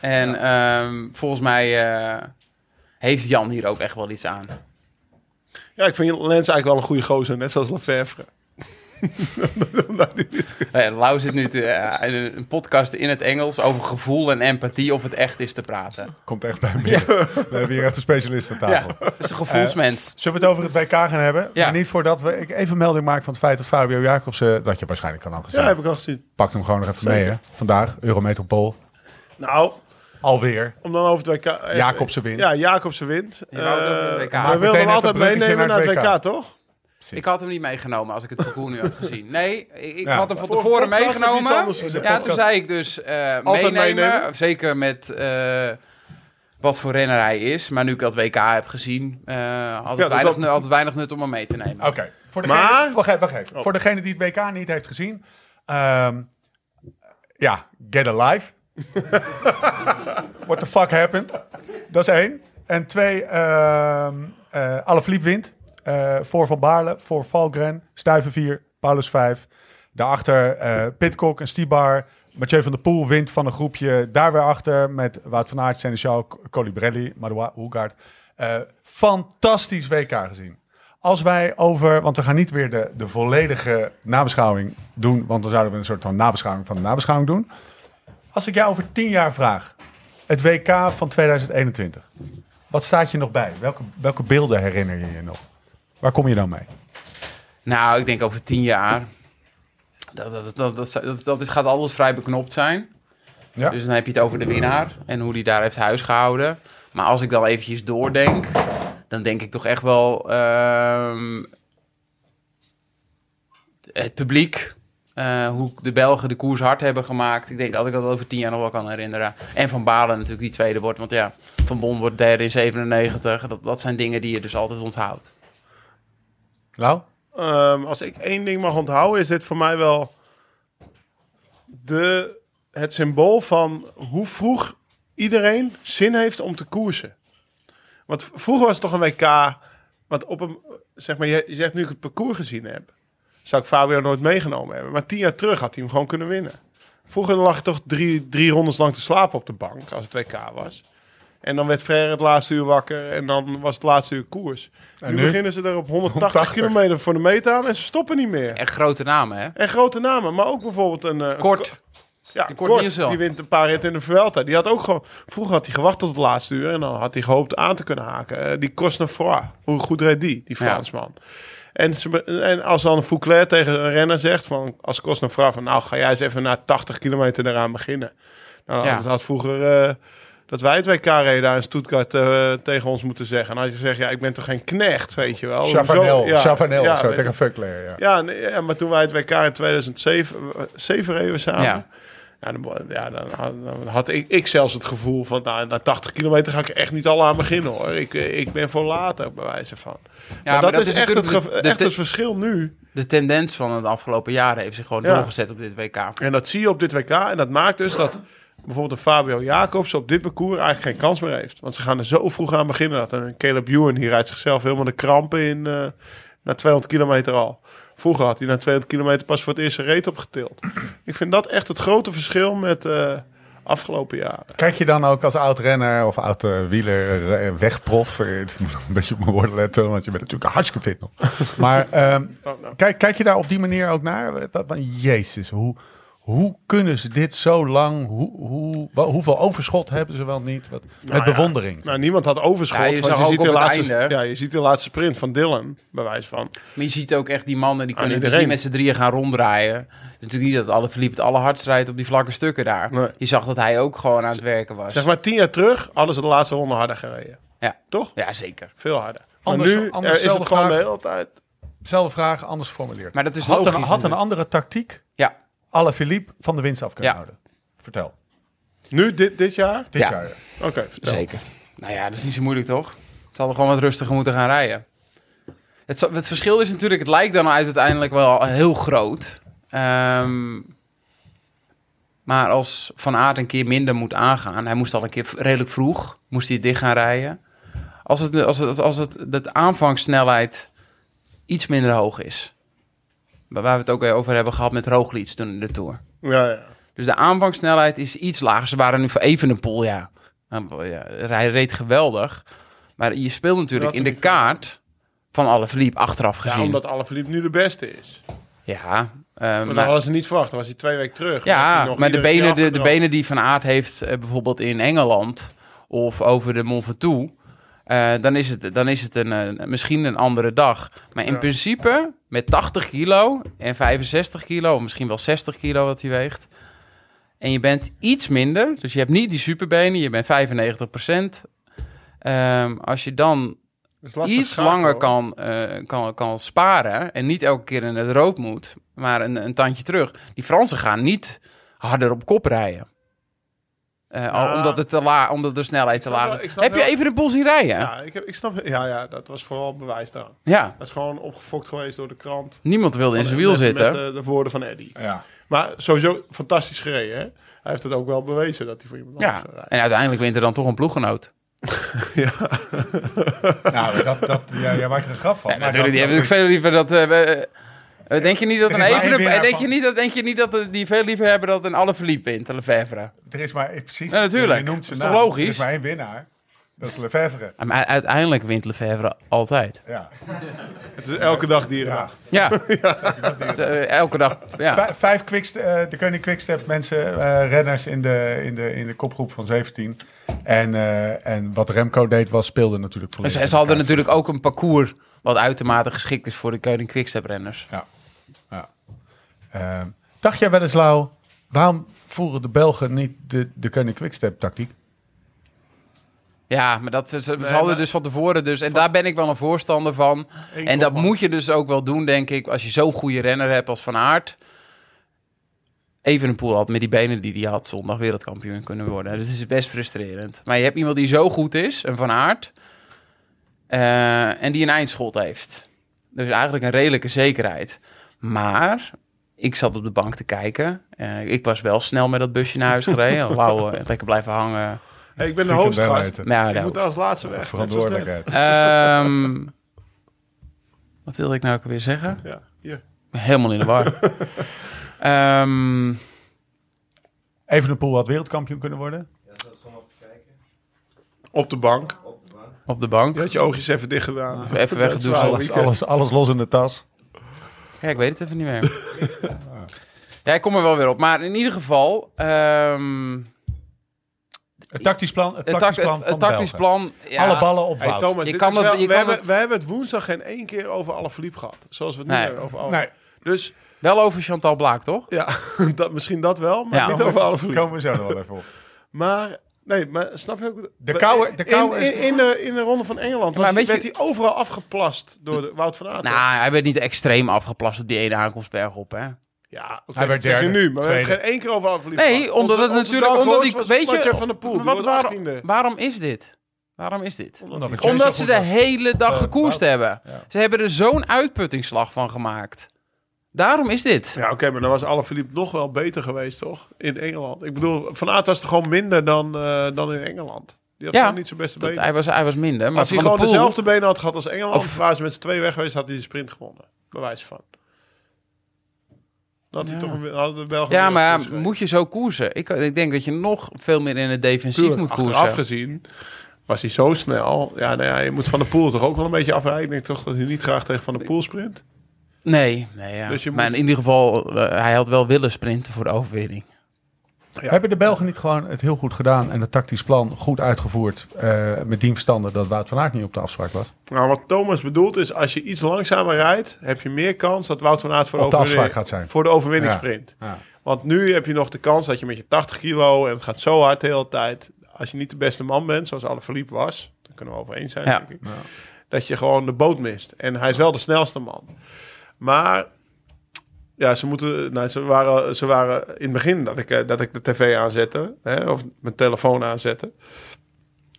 Speaker 3: En ehm, volgens mij eh, heeft Jan hier ook echt wel iets aan.
Speaker 4: Ja, ik vind Lens eigenlijk wel een goede gozer, net zoals Lefevre.
Speaker 3: Eh, Lau zit nu te, eh, in een- een podcast in het Engels over gevoel en empathie, of het echt is te praten.
Speaker 1: Komt echt bij me. We hebben hier echt een specialist aan
Speaker 3: Ja,
Speaker 1: tafel. Eh,
Speaker 3: dat is een gevoelsmens.
Speaker 1: Zullen we het over het WK gaan hebben?
Speaker 3: Ja.
Speaker 1: Maar niet voordat we ik even melding maak van het feit dat Fabio Jacobsen... dat je waarschijnlijk kan al gezien.
Speaker 4: Ja, heb ik al gezien.
Speaker 1: Pak hem gewoon nog even mee, hè.
Speaker 4: Zeker.
Speaker 1: Vandaag, Eurometropool.
Speaker 4: Nou,
Speaker 1: Alweer.
Speaker 4: om dan over het WK... even-
Speaker 1: Jacobsen wint.
Speaker 4: Ja, Jacobsen wint.
Speaker 3: Je wou het over het
Speaker 4: Eh,
Speaker 3: WK.
Speaker 4: we wilden
Speaker 1: Meteen
Speaker 4: hem
Speaker 1: even
Speaker 4: altijd
Speaker 1: een bruggetje
Speaker 4: meenemen
Speaker 1: naar
Speaker 4: naar
Speaker 1: het
Speaker 4: het WK, toch?
Speaker 3: Ik had hem niet meegenomen als ik het parcours nu had gezien. Nee, ik, ik
Speaker 1: Ja.
Speaker 3: had hem van
Speaker 4: Vorige
Speaker 3: tevoren
Speaker 4: podcast heb je iets
Speaker 3: meegenomen.
Speaker 4: anders gezegd.
Speaker 3: Ja, toen zei ik dus eh,
Speaker 4: Altijd
Speaker 3: meenemen,
Speaker 4: meenemen.
Speaker 3: Zeker met eh, wat voor renner hij is. Maar nu ik dat WK heb gezien, eh, had, het
Speaker 4: dat is
Speaker 3: weinig,
Speaker 4: dat-
Speaker 3: nu- had het weinig nut om hem mee te nemen.
Speaker 1: Oké. Voor degene,
Speaker 4: Maar-
Speaker 1: wacht even, wacht even. Voor degene die het WK niet heeft gezien. ehm, ja, get alive. What the fuck happened? Dat is één. En twee, ehm eh Alaphilippe wint. Eh, voor Van Baarle, voor Valgren, Stuiven 4, Paulus 5. Daarachter eh Pitcock en Stibar. Mathieu van der Poel wint van een groepje daar weer achter. Met Wout van Aert, Seneschal, Colibrelli, Marois, Hoegaard. Eh, fantastisch WK gezien. Als wij over, want we gaan niet weer de, de volledige nabeschouwing doen, want dan zouden we een soort van nabeschouwing van de nabeschouwing doen. Als ik jou over tien jaar vraag, het WK van 2021, wat staat je nog bij? Welke, welke beelden herinner je je nog? Waar kom je dan mee?
Speaker 3: Nou, ik denk over tien jaar. Dat, dat, dat, dat, dat, dat is, gaat alles vrij beknopt zijn.
Speaker 1: Ja.
Speaker 3: Dus dan heb je het over de winnaar en hoe die daar heeft huisgehouden. Maar als ik dan eventjes doordenk, dan denk ik toch echt wel ehm, het publiek. eh, hoe de Belgen de koers hard hebben gemaakt. Ik denk dat ik dat over tien jaar nog wel kan herinneren. En Van Balen natuurlijk die tweede wordt. Want ja, Van Bon wordt derde in 97. Dat, dat zijn dingen die je dus altijd onthoudt.
Speaker 1: Nou,
Speaker 4: Ehm, als ik één ding mag onthouden, is dit voor mij wel de, het symbool van hoe vroeg iedereen zin heeft om te koersen. Want v- vroeger was het toch een WK. Want op een, zeg maar, je, je zegt nu ik het parcours gezien heb, zou ik Fabio nooit meegenomen hebben. Maar tien jaar terug had hij hem gewoon kunnen winnen. Vroeger lag je toch drie, drie rondes lang te slapen op de bank als het WK was. En dan werd Frère het laatste uur wakker en dan was het laatste uur koers. nu,
Speaker 1: nu?
Speaker 4: beginnen ze er op 180,
Speaker 1: 180.
Speaker 4: kilometer voor de meet aan en ze stoppen niet meer.
Speaker 3: Echt grote namen, hè?
Speaker 4: En grote namen, maar ook bijvoorbeeld een... eh,
Speaker 3: Kort.
Speaker 4: ja,
Speaker 3: Die
Speaker 4: Kort,
Speaker 3: Kort Nielsen.
Speaker 4: die wint een paar ritten in de Vuelta. Die had ook gewoon... Vroeger had hij gewacht tot het laatste uur en dan had hij gehoopt aan te kunnen haken. Eh, die Cosnefroid, hoe goed reed die, die
Speaker 3: Ja.
Speaker 4: Fransman. En, ze be- en als dan Fouclair tegen een renner zegt, van, als Cosnefroid van nou ga jij eens even na 80 kilometer eraan beginnen. Nou,
Speaker 3: Ja.
Speaker 4: dat had vroeger... eh dat wij het WK reden in Stuttgart eh, tegen ons moeten zeggen. En als je zegt, ja, ik ben toch geen knecht, weet je wel.
Speaker 1: Chavanel,
Speaker 4: Hoezo? ja,
Speaker 1: Chavanel of zo,
Speaker 4: weet
Speaker 1: tegen
Speaker 4: je.
Speaker 1: Fuckler. Ja.
Speaker 4: Ja, nee, ja, maar toen wij het WK in 2007 eh, zeven reden samen.
Speaker 3: Ja.
Speaker 4: Ja. dan, ja, dan had, dan had ik, ik zelfs het gevoel van, nou, na 80 kilometer ga ik echt niet al aan beginnen hoor. Ik, eh, ik ben voor later, bij wijze van. maar dat, is, echt, het,
Speaker 3: natuurlijk
Speaker 4: ge-
Speaker 3: de- de-
Speaker 4: echt het verschil nu.
Speaker 3: De tendens van het afgelopen jaren heeft zich gewoon
Speaker 4: Ja.
Speaker 3: doorgezet op dit WK.
Speaker 4: En dat zie je op dit WK. En dat maakt dus dat bijvoorbeeld een Fabio Jacobs op dit parcours eigenlijk geen kans meer heeft. Want ze gaan er zo vroeg aan beginnen. Dat een Caleb Ewan hier uit zichzelf helemaal de krampen in eh, na 200 kilometer al. Vroeger had hij na 200 kilometer pas voor het eerst zijn reet opgetild. Ik vind dat echt het grote verschil met eh afgelopen jaren.
Speaker 1: Kijk je dan ook als oud-renner of oud-wieler, wegprof, eh, het moet een beetje op mijn woorden letten, want je bent natuurlijk hartstikke fit nog. Maar ehm,
Speaker 4: Oh, nou.
Speaker 1: kijk, kijk je daar op die manier ook naar? Dat, van, jezus, hoe, hoe kunnen ze dit zo lang, hoe, hoe, wa- hoeveel overschot hebben ze wel niet? Wat, met
Speaker 4: ja,
Speaker 1: bewondering.
Speaker 4: Nou, niemand had overschot.
Speaker 3: Ja, je
Speaker 4: want
Speaker 3: zag
Speaker 4: je,
Speaker 3: ook
Speaker 4: ziet
Speaker 3: op
Speaker 4: de
Speaker 3: het
Speaker 4: laatste,
Speaker 3: einde.
Speaker 4: ja, je ziet de laatste sprint van Dylan, bij wijze van.
Speaker 3: Maar je ziet ook echt die mannen, die
Speaker 4: Aan
Speaker 3: kunnen dus
Speaker 4: iedereen.
Speaker 3: niet met z'n drieën gaan ronddraaien. Het is Natuurlijk niet dat alle verliep het allerhardst rijdt op die vlakke stukken daar.
Speaker 4: Nee.
Speaker 3: Je zag dat hij ook gewoon aan het werken was.
Speaker 4: Zeg maar tien jaar terug hadden ze de laatste ronde harder gereden.
Speaker 3: ja.
Speaker 4: Toch?
Speaker 3: ja, zeker.
Speaker 4: Veel harder.
Speaker 1: Anders-
Speaker 4: maar nu
Speaker 1: anders
Speaker 4: eh, is
Speaker 1: zelfde
Speaker 4: het gewoon de
Speaker 1: vraag.
Speaker 4: hele tijd...
Speaker 1: Zelfde vraag, anders formuleerd.
Speaker 3: Maar dat is
Speaker 1: had, een,
Speaker 3: logisch
Speaker 1: had een
Speaker 3: natuurlijk.
Speaker 1: andere tactiek
Speaker 3: Ja.
Speaker 1: alle Philippe van de winst af kunnen
Speaker 3: Ja.
Speaker 1: houden? Vertel.
Speaker 4: Nu, dit, dit jaar?
Speaker 1: Dit
Speaker 3: Ja.
Speaker 1: jaar.
Speaker 4: Oké, vertel.
Speaker 3: Zeker. Nou ja, dat is niet zo moeilijk, toch? Het hadden gewoon wat rustiger moeten gaan rijden. Het, zo- het verschil is natuurlijk, het lijkt dan uit uiteindelijk wel heel groot. Ehm, maar als Van Aert een keer minder moet aangaan... Hij moest al een keer v- redelijk vroeg, moest hij dicht gaan rijden. Als het, als het, als het, dat aanvangssnelheid iets minder hoog is. Waar we het ook over hebben gehad met Roglic toen in de Tour.
Speaker 4: Ja, ja.
Speaker 3: Dus de aanvangsnelheid is iets lager. Ze waren nu voor even een pool, ja. Nou, ja, Hij reed geweldig. Maar je speelt natuurlijk in de kaart van alle verliep achteraf gezien.
Speaker 4: ja
Speaker 3: Ja,
Speaker 4: omdat Alaphilippe nu de beste is. Maar,
Speaker 3: eh,
Speaker 4: dan
Speaker 3: maar,
Speaker 4: hadden ze niet verwacht. Dan was hij twee weken terug. Dan had hij
Speaker 3: ja,
Speaker 4: nog
Speaker 3: maar de,
Speaker 4: iedere
Speaker 3: benen,
Speaker 4: keer
Speaker 3: de, de
Speaker 4: afgedroogd.
Speaker 3: benen die Van Aert heeft eh, bijvoorbeeld in Engeland of over de Mont Ventoux... eh, dan is het, dan is het een, eh, misschien een andere dag. Maar in
Speaker 4: Ja.
Speaker 3: principe, met 80 kilo en 65 kilo, of misschien wel 60 kilo wat hij weegt, En je bent iets minder, dus je hebt niet die superbenen, je bent 95 Ehm, als je dan
Speaker 4: Dat is Dus lastig
Speaker 3: iets
Speaker 4: schakelen,
Speaker 3: langer
Speaker 4: hoor.
Speaker 3: kan, eh, kan, kan sparen en niet elke keer in het rood moet, maar een, een tandje terug. Die Fransen gaan niet harder op kop rijden. Eh, al-
Speaker 4: Ja.
Speaker 3: omdat, het te la, omdat de snelheid te
Speaker 4: snap
Speaker 3: laag
Speaker 4: wel- ik
Speaker 3: is.
Speaker 4: snap
Speaker 3: Heb je
Speaker 4: wel-
Speaker 3: even de bol zien rijden? Ja.
Speaker 4: Ja, ik, heb, ik snap. Ja, ja, dat was vooral bewijs daar. Dat is gewoon opgefokt geweest door de krant.
Speaker 3: Niemand wilde in zijn
Speaker 4: Met-
Speaker 3: wiel
Speaker 4: met-
Speaker 3: zitten.
Speaker 4: Met eh, de woorden van Eddy.
Speaker 1: Ja.
Speaker 4: Maar sowieso fantastisch gereden, hè? Hij heeft het ook wel bewezen dat hij voor iemand
Speaker 3: ja.
Speaker 4: anders rijdt.
Speaker 3: En uiteindelijk wint er dan toch een
Speaker 4: Oh,
Speaker 3: ploeggenoot.
Speaker 1: Nou, dat, dat, ja, jij maakt er een grap van.
Speaker 3: Ja,
Speaker 1: Maar
Speaker 3: natuurlijk, die
Speaker 1: dat-
Speaker 3: hebben ik veel liever dat... eh, we- eh, denk je niet dat
Speaker 1: Er
Speaker 3: een
Speaker 1: is maar één
Speaker 3: even...
Speaker 1: winnaar
Speaker 3: Denk je
Speaker 1: van-
Speaker 3: niet dat, denk je niet dat eh, die veel liever hebben dat een alle verliep wint, de Lefevre?
Speaker 1: Er is maar eh, precies.
Speaker 3: Ja, natuurlijk.
Speaker 1: Je noemt zijn
Speaker 3: Dat is
Speaker 1: naam.
Speaker 3: toch logisch?
Speaker 1: Er is maar één winnaar. Dat is Lefevre.
Speaker 3: Ah, Maar u- uiteindelijk wint Lefevre altijd.
Speaker 1: Ja.
Speaker 4: Het is elke dag dierendag.
Speaker 3: Ja. Het, eh, Elke dag. Ja.
Speaker 1: Vijf, vijf quickste- eh, de koning quickstep mensen, eh, renners in de, in, de, in de kopgroep van 17. En, eh, en wat Remco deed was speelde natuurlijk
Speaker 3: Dus
Speaker 1: volledig.
Speaker 3: ze
Speaker 1: in
Speaker 3: hadden
Speaker 1: elkaar.
Speaker 3: natuurlijk ook een parcours wat uitermate geschikt is voor de Koning Quickstep-renners.
Speaker 1: Ja. Ehm, dacht jij wel eens Lau, waarom voeren de Belgen niet de, de koning quickstep tactiek?
Speaker 3: Ja, maar dat is, we
Speaker 4: Nee,
Speaker 3: hadden
Speaker 4: maar-
Speaker 3: dus van tevoren dus. En daar ben ik wel een voorstander van. En dat
Speaker 4: kopman.
Speaker 3: moet je dus ook wel doen, denk ik, als je zo'n goede renner hebt als Van Aert. Even een poel had met die benen die hij had zondag wereldkampioen kunnen worden. Dat is best frustrerend. Maar je hebt iemand die zo goed is, een Van Aert, eh, en die een eindschot heeft. Dus eigenlijk een redelijke zekerheid. Maar ik zat op de bank te kijken. Eh, ik was wel snel met dat busje naar huis gereden. Lauw, eh, lekker blijven hangen.
Speaker 4: Hey, ik ben de hoofdgast.
Speaker 1: Frikandellen eten.
Speaker 3: Nou,
Speaker 4: Ik
Speaker 3: daar
Speaker 4: moet als laatste weg. net zoals net.
Speaker 1: Verantwoordelijkheid.
Speaker 3: Ehm, wat wilde ik nou ook weer zeggen?
Speaker 4: Ja, hier.
Speaker 3: Ik ben Helemaal in de war. Ehm,
Speaker 1: Evenepoel had wereldkampioen kunnen worden.
Speaker 4: Op de bank.
Speaker 3: op de bank.
Speaker 4: Je had je oogjes even dicht gedaan.
Speaker 3: Even weggedoezeld.
Speaker 4: Dat is waar.
Speaker 1: Alles, alles, alles los in de tas.
Speaker 3: Ja, ik weet het even niet meer. Ja, ik kom er wel weer op. Maar in ieder geval... ehm,
Speaker 1: Het tactisch plan, het
Speaker 3: het,
Speaker 1: tactisch
Speaker 3: tac-
Speaker 1: plan
Speaker 3: het-
Speaker 1: van
Speaker 3: het tactisch
Speaker 1: Belgen.
Speaker 3: plan... Ja,
Speaker 1: Alle ballen op
Speaker 4: Hey,
Speaker 1: Wout.
Speaker 4: Thomas,
Speaker 3: Je
Speaker 4: dit
Speaker 3: kan
Speaker 4: is
Speaker 3: het-
Speaker 4: wel-
Speaker 3: je
Speaker 4: we,
Speaker 3: kan
Speaker 4: hebben,
Speaker 3: het-
Speaker 4: we hebben het woensdag geen één keer over alle verliep gehad. Zoals we het nu
Speaker 3: Nee.
Speaker 4: hebben over alle.
Speaker 1: Nee.
Speaker 4: Dus
Speaker 3: Wel over Chantal Blaak, toch?
Speaker 4: ja, dat, misschien dat wel, maar
Speaker 3: Ja.
Speaker 4: niet over alle verliep.
Speaker 1: Komen we zo nog wel even op.
Speaker 4: Maar Nee, maar snap je ook...
Speaker 1: De koude- de koude
Speaker 4: in,
Speaker 1: is-
Speaker 4: in, in, de, in de ronde van Engeland was
Speaker 3: maar
Speaker 4: hij-
Speaker 3: weet
Speaker 4: werd
Speaker 3: je-
Speaker 4: hij overal afgeplast door de, Wout van Aert.
Speaker 3: Nou, hij werd niet extreem afgeplast op die ene aankomstberg op, hè?
Speaker 4: ja, oké,
Speaker 1: Hij werd
Speaker 4: dat zeg je
Speaker 1: derde,
Speaker 4: nu, maar we hebben
Speaker 1: tweede.
Speaker 4: geen één keer over verliefd.
Speaker 3: Nee, omdat het natuurlijk... Omdat ik, weet je,
Speaker 4: van de Poel,
Speaker 3: maar
Speaker 4: die
Speaker 3: wat,
Speaker 4: wordt
Speaker 3: waarom,
Speaker 4: 18e.
Speaker 3: waarom is dit? Waarom is dit?
Speaker 1: Omdat, het
Speaker 3: Omdat
Speaker 1: zo
Speaker 3: ze
Speaker 1: goed was.
Speaker 3: de hele dag
Speaker 4: Oh,
Speaker 1: Eh,
Speaker 3: gekoerst
Speaker 1: Wout.
Speaker 3: hebben.
Speaker 1: Ja.
Speaker 3: Ze hebben er zo'n uitputtingsslag van gemaakt. Daarom is dit.
Speaker 4: Ja, oké, maar dan was Alaphilippe nog wel beter geweest, toch? In Engeland. Ik bedoel, Van Aert was toch gewoon minder dan, eh, dan in Engeland? Die had
Speaker 3: Ja,
Speaker 4: gewoon niet zijn beste
Speaker 3: Dat,
Speaker 4: benen.
Speaker 3: hij, was, hij was minder, maar
Speaker 4: Als hij
Speaker 3: Van der
Speaker 4: gewoon
Speaker 3: Poel-
Speaker 4: dezelfde benen had gehad als Engeland,
Speaker 3: Of-
Speaker 4: waren ze met z'n twee weg geweest, had hij de sprint gewonnen. Bewijs van. Dat hij toch een, hadden de Belgen
Speaker 3: Ja,
Speaker 4: weer
Speaker 3: maar
Speaker 4: een koers
Speaker 3: moet je zo koersen? Ik, ik denk dat je nog veel meer in het defensief
Speaker 4: gereden.
Speaker 3: moet koersen.
Speaker 4: Achteraf gezien was hij zo snel. Ja, nou ja, je moet Van de Poel toch ook wel een beetje afwijken. Ik denk toch dat hij niet graag tegen Van de Poel sprint.
Speaker 3: Nee, nee ja.
Speaker 4: Dus je
Speaker 3: maar
Speaker 4: moet-
Speaker 3: in ieder geval, eh, hij had wel willen sprinten voor de overwinning.
Speaker 1: Ja. Hebben de Belgen niet gewoon het heel goed gedaan en het tactisch plan goed uitgevoerd? eh, met dien verstande dat Wout van Aert niet op de afspraak was.
Speaker 4: Nou, wat Thomas bedoelt is, als je iets langzamer rijdt, heb je meer kans dat Wout van Aert voor, de
Speaker 1: Op de
Speaker 4: overwinning-
Speaker 1: afspraak gaat zijn.
Speaker 4: voor de overwinning
Speaker 1: Ja.
Speaker 4: sprint.
Speaker 1: Ja.
Speaker 4: Want nu heb je nog de kans dat je met je 80 kilo en het gaat zo hard de hele tijd. Als je niet de beste man bent, zoals Alaphilippe was, dan kunnen we over eens zijn,
Speaker 3: Ja.
Speaker 4: denk ik. Dat je gewoon de boot mist. En hij is wel de snelste man. Maar ja, ze, moeten, nou, ze, waren, ze waren in het begin dat ik, eh, dat ik de tv aanzette, hè, of mijn telefoon aanzette.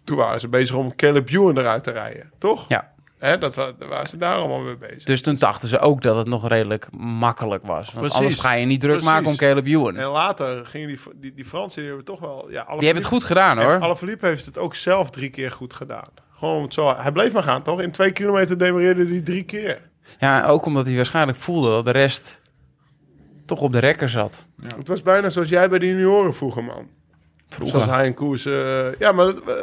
Speaker 4: Toen waren ze bezig om Caleb Ewan eruit te rijden, toch?
Speaker 3: Ja.
Speaker 4: Hè, dat, wa- daar waren ze daar allemaal mee bezig.
Speaker 3: Dus toen dachten ze ook dat het nog redelijk makkelijk was. Want
Speaker 4: Precies.
Speaker 3: anders ga je niet druk
Speaker 4: Precies.
Speaker 3: maken om Caleb Ewan.
Speaker 4: En later gingen die, die, die Fransen, die hebben toch wel... Ja,
Speaker 3: Die hebben het goed gedaan
Speaker 4: Hoor.
Speaker 3: hoor.
Speaker 4: Alaphilippe heeft het ook zelf drie keer goed gedaan. Gewoon het zo, hij bleef maar gaan, toch? In twee kilometer demareerde hij drie keer.
Speaker 3: Ja, ook omdat hij waarschijnlijk voelde dat de rest toch op de rekker zat.
Speaker 4: Het was bijna zoals jij bij de junioren vroeger, man.
Speaker 3: Vroeger.
Speaker 4: Zoals hij een koers... eh, ja, maar, dat, eh,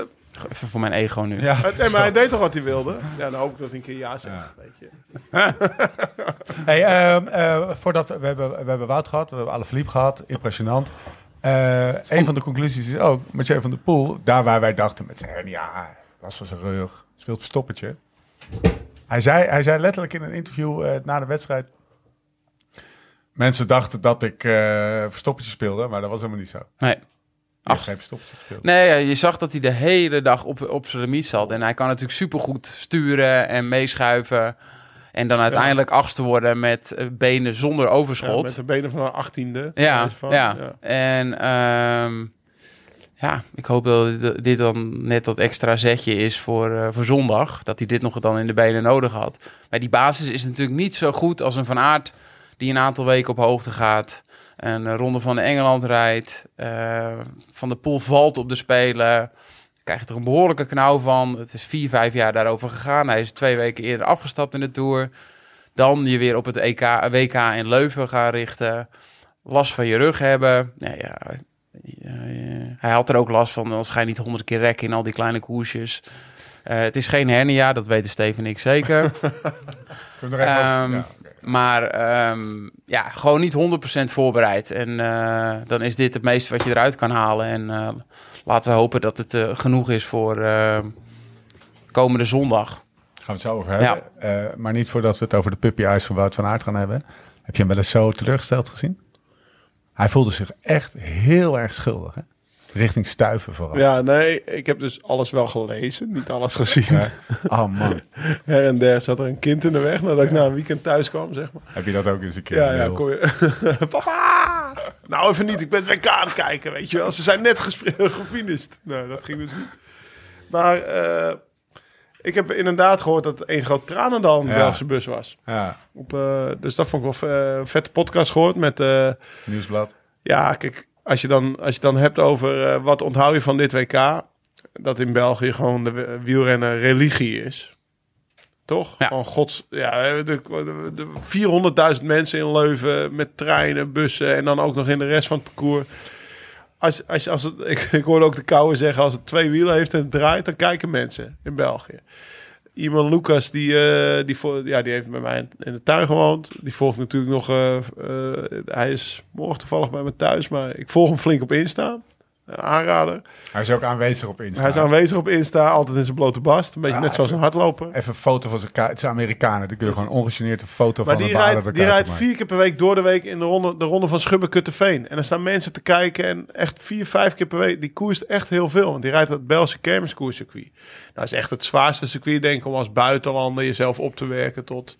Speaker 3: Even voor mijn ego nu.
Speaker 1: Ja,
Speaker 4: het- nee, maar hij deed toch wat hij wilde? Ja, dan hoop ik dat hij een keer ja zegt, weet je.
Speaker 1: Hey, ehm, eh, voordat we, we hebben, we hebben Wout gehad, we hebben Alaphilippe gehad, impressionant. Eh, een van de conclusies is ook, Mathieu van der Poel, daar waar wij dachten met zijn hernia, was van zijn rug, speelt verstoppertje. Hij zei, hij zei letterlijk in een interview eh, na de wedstrijd, mensen dachten dat ik eh, verstoppertje speelde, maar dat was helemaal niet zo. Ik
Speaker 3: Nee.
Speaker 1: heb
Speaker 3: Ach,
Speaker 1: geen verstoppertje gespeeld.
Speaker 3: Nee, ja, je zag dat hij de hele dag op, op zijn limiet zat. En hij kan natuurlijk supergoed sturen en meeschuiven. En dan uiteindelijk achtste worden met eh, benen zonder
Speaker 4: Ja, met
Speaker 3: overschot.
Speaker 4: de benen van een achttiende.
Speaker 3: Ja,
Speaker 4: Dus van,
Speaker 3: ja. En ehm, ja, ik hoop dat dit- dit dan net dat extra zetje is voor, eh, voor zondag. Dat hij dit nog dan in de benen nodig had. Maar die basis is natuurlijk niet zo goed als een Van Aert... die een aantal weken op hoogte gaat. Een eh, ronde van Engeland rijdt. eh, van de Poel valt op de Spelen. Krijg je er een behoorlijke knauw van. Het is vier, vijf jaar daarover gegaan. Hij is twee weken eerder afgestapt in de Tour. Dan je weer op het EK, WK in Leuven gaan richten. Last van je rug hebben. Nou ja, eh, eh, hij had er ook last van. Anders ga je niet honderd keer rekken in al die kleine koersjes. Eh, het is geen hernia, dat weten Steven en ik zeker.
Speaker 1: Kunnen we er even over-
Speaker 3: Ehm,
Speaker 1: ja, oké.
Speaker 3: Maar ehm, ja, gewoon niet 100% voorbereid. En eh, dan is dit het meeste wat je eruit kan halen. En eh, laten we hopen dat het eh, genoeg is voor eh, komende zondag.
Speaker 1: Gaan we het zo over hebben. Eh, maar niet voordat we het over de puppy eyes van Wout van Aert gaan hebben. Heb je hem wel eens zo teleurgesteld gezien? Hij voelde zich echt heel erg schuldig. Hè? Richting stuiven vooral.
Speaker 4: Ja, nee, ik heb dus alles wel gelezen, niet alles gezien.
Speaker 1: Eh, oh man,
Speaker 4: Her en der zat er een kind in de weg nadat ik na een weekend thuis kwam, zeg maar.
Speaker 1: heb je dat ook eens een keer?
Speaker 4: Ja, ja,
Speaker 1: Lul.
Speaker 4: kom je. Papa! Nou, even niet. Ik ben het WK aan het kijken, weet je wel. Ze zijn net gespre- gefinished. Nee, dat ging dus niet. Maar eh, ik heb inderdaad gehoord dat één groot tranendal in de
Speaker 1: Ja.
Speaker 4: Belgische bus was.
Speaker 1: ja,
Speaker 4: Op, eh, dus dat vond ik wel eh, een vette podcast gehoord met... eh,
Speaker 1: nieuwsblad.
Speaker 4: ja, kijk, als je dan, als je dan hebt over eh, wat onthoud je van dit WK, dat in België gewoon de w- wielrennen religie is. Toch?
Speaker 3: Ja.
Speaker 4: Gewoon gods. Ja, de, de- de 400.000 mensen in Leuven met treinen, bussen en dan ook nog in de rest van het parcours. Als, als, als het, ik, ik hoorde ook de kouwe zeggen, als het twee wielen heeft en het draait, dan kijken mensen in België. Iemand Lucas, die, eh, die, vo- ja, die heeft bij mij in de tuin gewoond. Die volgt natuurlijk nog... eh, eh, hij is morgen toevallig bij me thuis, maar ik volg hem flink op Insta. Eh, aanrader.
Speaker 1: Hij is ook aanwezig op Insta.
Speaker 4: Hij is aanwezig op Insta, altijd in zijn blote bast. Een beetje
Speaker 1: Ja,
Speaker 4: net zoals een hardloper.
Speaker 1: Even een foto van zijn ka- Het zijn Amerikanen. Dan kun je gewoon ongegeneerd een foto
Speaker 4: Maar
Speaker 1: van
Speaker 4: die
Speaker 1: een baan
Speaker 4: rijdt, die rijdt vier keer per week door de week in de ronde, de ronde van Schubbekutteveen. En er staan mensen te kijken en echt vier, vijf keer per week. Die koerst echt heel veel. Want die rijdt dat Belgische kermiskoerscircuit. Dat is echt het zwaarste circuit, denk ik, om als buitenlander jezelf op te werken tot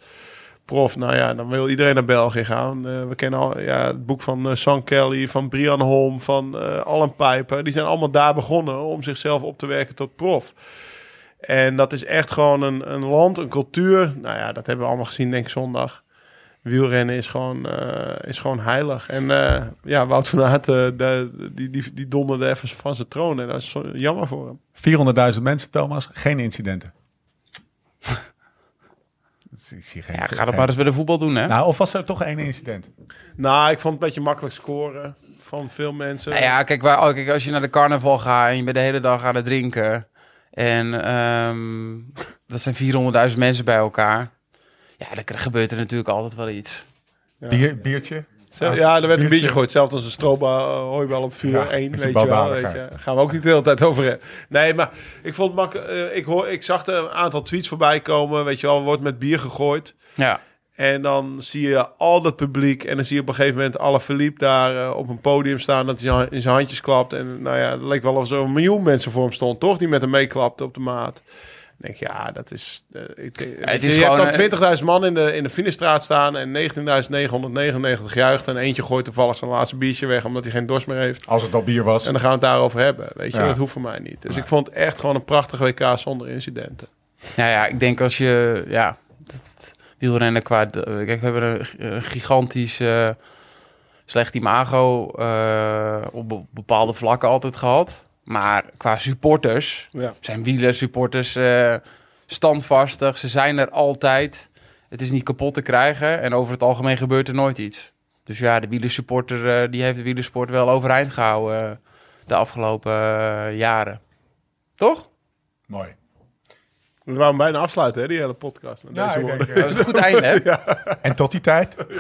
Speaker 4: prof. Nou ja, dan wil iedereen naar België gaan. Eh, we kennen al ja, het boek van eh, Sean Kelly, van Brian Holm, van eh Alan Piper. Die zijn allemaal daar begonnen om zichzelf op te werken tot prof. En dat is echt gewoon een, een land, een cultuur. Nou ja, dat hebben we allemaal gezien, denk ik, zondag. Wielrennen is gewoon, eh, is gewoon heilig. En eh, ja, Wout van Aert, eh, de- die, die, die donderde even van zijn troon. En dat is zo- jammer voor hem.
Speaker 1: 400.000 mensen, Thomas. Geen incidenten. ik zie geen,
Speaker 3: Ja, ga dat maar eens bij de voetbal doen, hè? Nou,
Speaker 1: Nou, of was er toch één incident?
Speaker 4: Nou, ik vond het een beetje makkelijk scoren van veel mensen.
Speaker 3: Nou ja, kijk, waar, oh, kijk, als je naar de carnaval gaat en je bent de hele dag aan het drinken... en ehm, dat zijn 400.000 mensen bij elkaar... ja, dan k- gebeurt er natuurlijk altijd wel iets.
Speaker 1: Bier, biertje?
Speaker 4: Zo- ja, er werd een
Speaker 1: Biertje.
Speaker 4: beetje gegooid. Zelfs als een stroba eh, hooibal op vuur
Speaker 1: Ja,
Speaker 4: 1,
Speaker 1: is
Speaker 4: weet
Speaker 1: een
Speaker 4: je wel. Weet
Speaker 1: barbarigheid.
Speaker 4: je. Gaan we ook niet de hele tijd over hebben. Nee, maar ik vond het makkelijk. eh, ik, hoor, ik zag er een aantal tweets voorbij komen. Weet je wel, wordt met bier gegooid.
Speaker 3: Ja,
Speaker 4: En dan zie je al dat publiek. En dan zie je op een gegeven moment alle verliep daar eh, op een podium staan. Dat hij zijn- in zijn handjes klapt. En nou ja, het leek wel alsof er een miljoen mensen voor hem stond, toch? Die met hem meeklapten op de maat. Dan denk ik, ja, dat is... eh, ik,
Speaker 3: het
Speaker 4: je
Speaker 3: is gewoon, eh,
Speaker 4: hebt dan 20.000 man in de, in de finishstraat staan en 19.999 juicht. En eentje gooit toevallig zijn laatste biertje weg omdat hij geen dorst meer heeft.
Speaker 1: Als het al bier was.
Speaker 4: En dan gaan we het daarover hebben, weet je.
Speaker 1: Ja.
Speaker 4: Dat hoeft voor mij niet. Dus ik vond het echt gewoon een prachtig WK zonder incidenten.
Speaker 3: Nou ja, ik denk als je... Ja, dat wielrennen qua... eh, Kijk, we hebben een, g- een gigantisch eh, slecht imago eh, op be- bepaalde vlakken altijd gehad. Maar qua supporters
Speaker 4: Ja.
Speaker 3: zijn wielersupporters eh standvastig. Ze zijn er altijd. Het is niet kapot te krijgen. En over het algemeen gebeurt er nooit iets. Dus ja, de wielersupporter eh, die heeft de wielersport wel overeind gehouden eh, de afgelopen eh, jaren. Toch?
Speaker 1: Mooi.
Speaker 4: We wouden bijna afsluiten, hè, die hele podcast. Met deze woorden.
Speaker 3: Dat is een goed einde, hè?
Speaker 1: En tot die tijd? eh.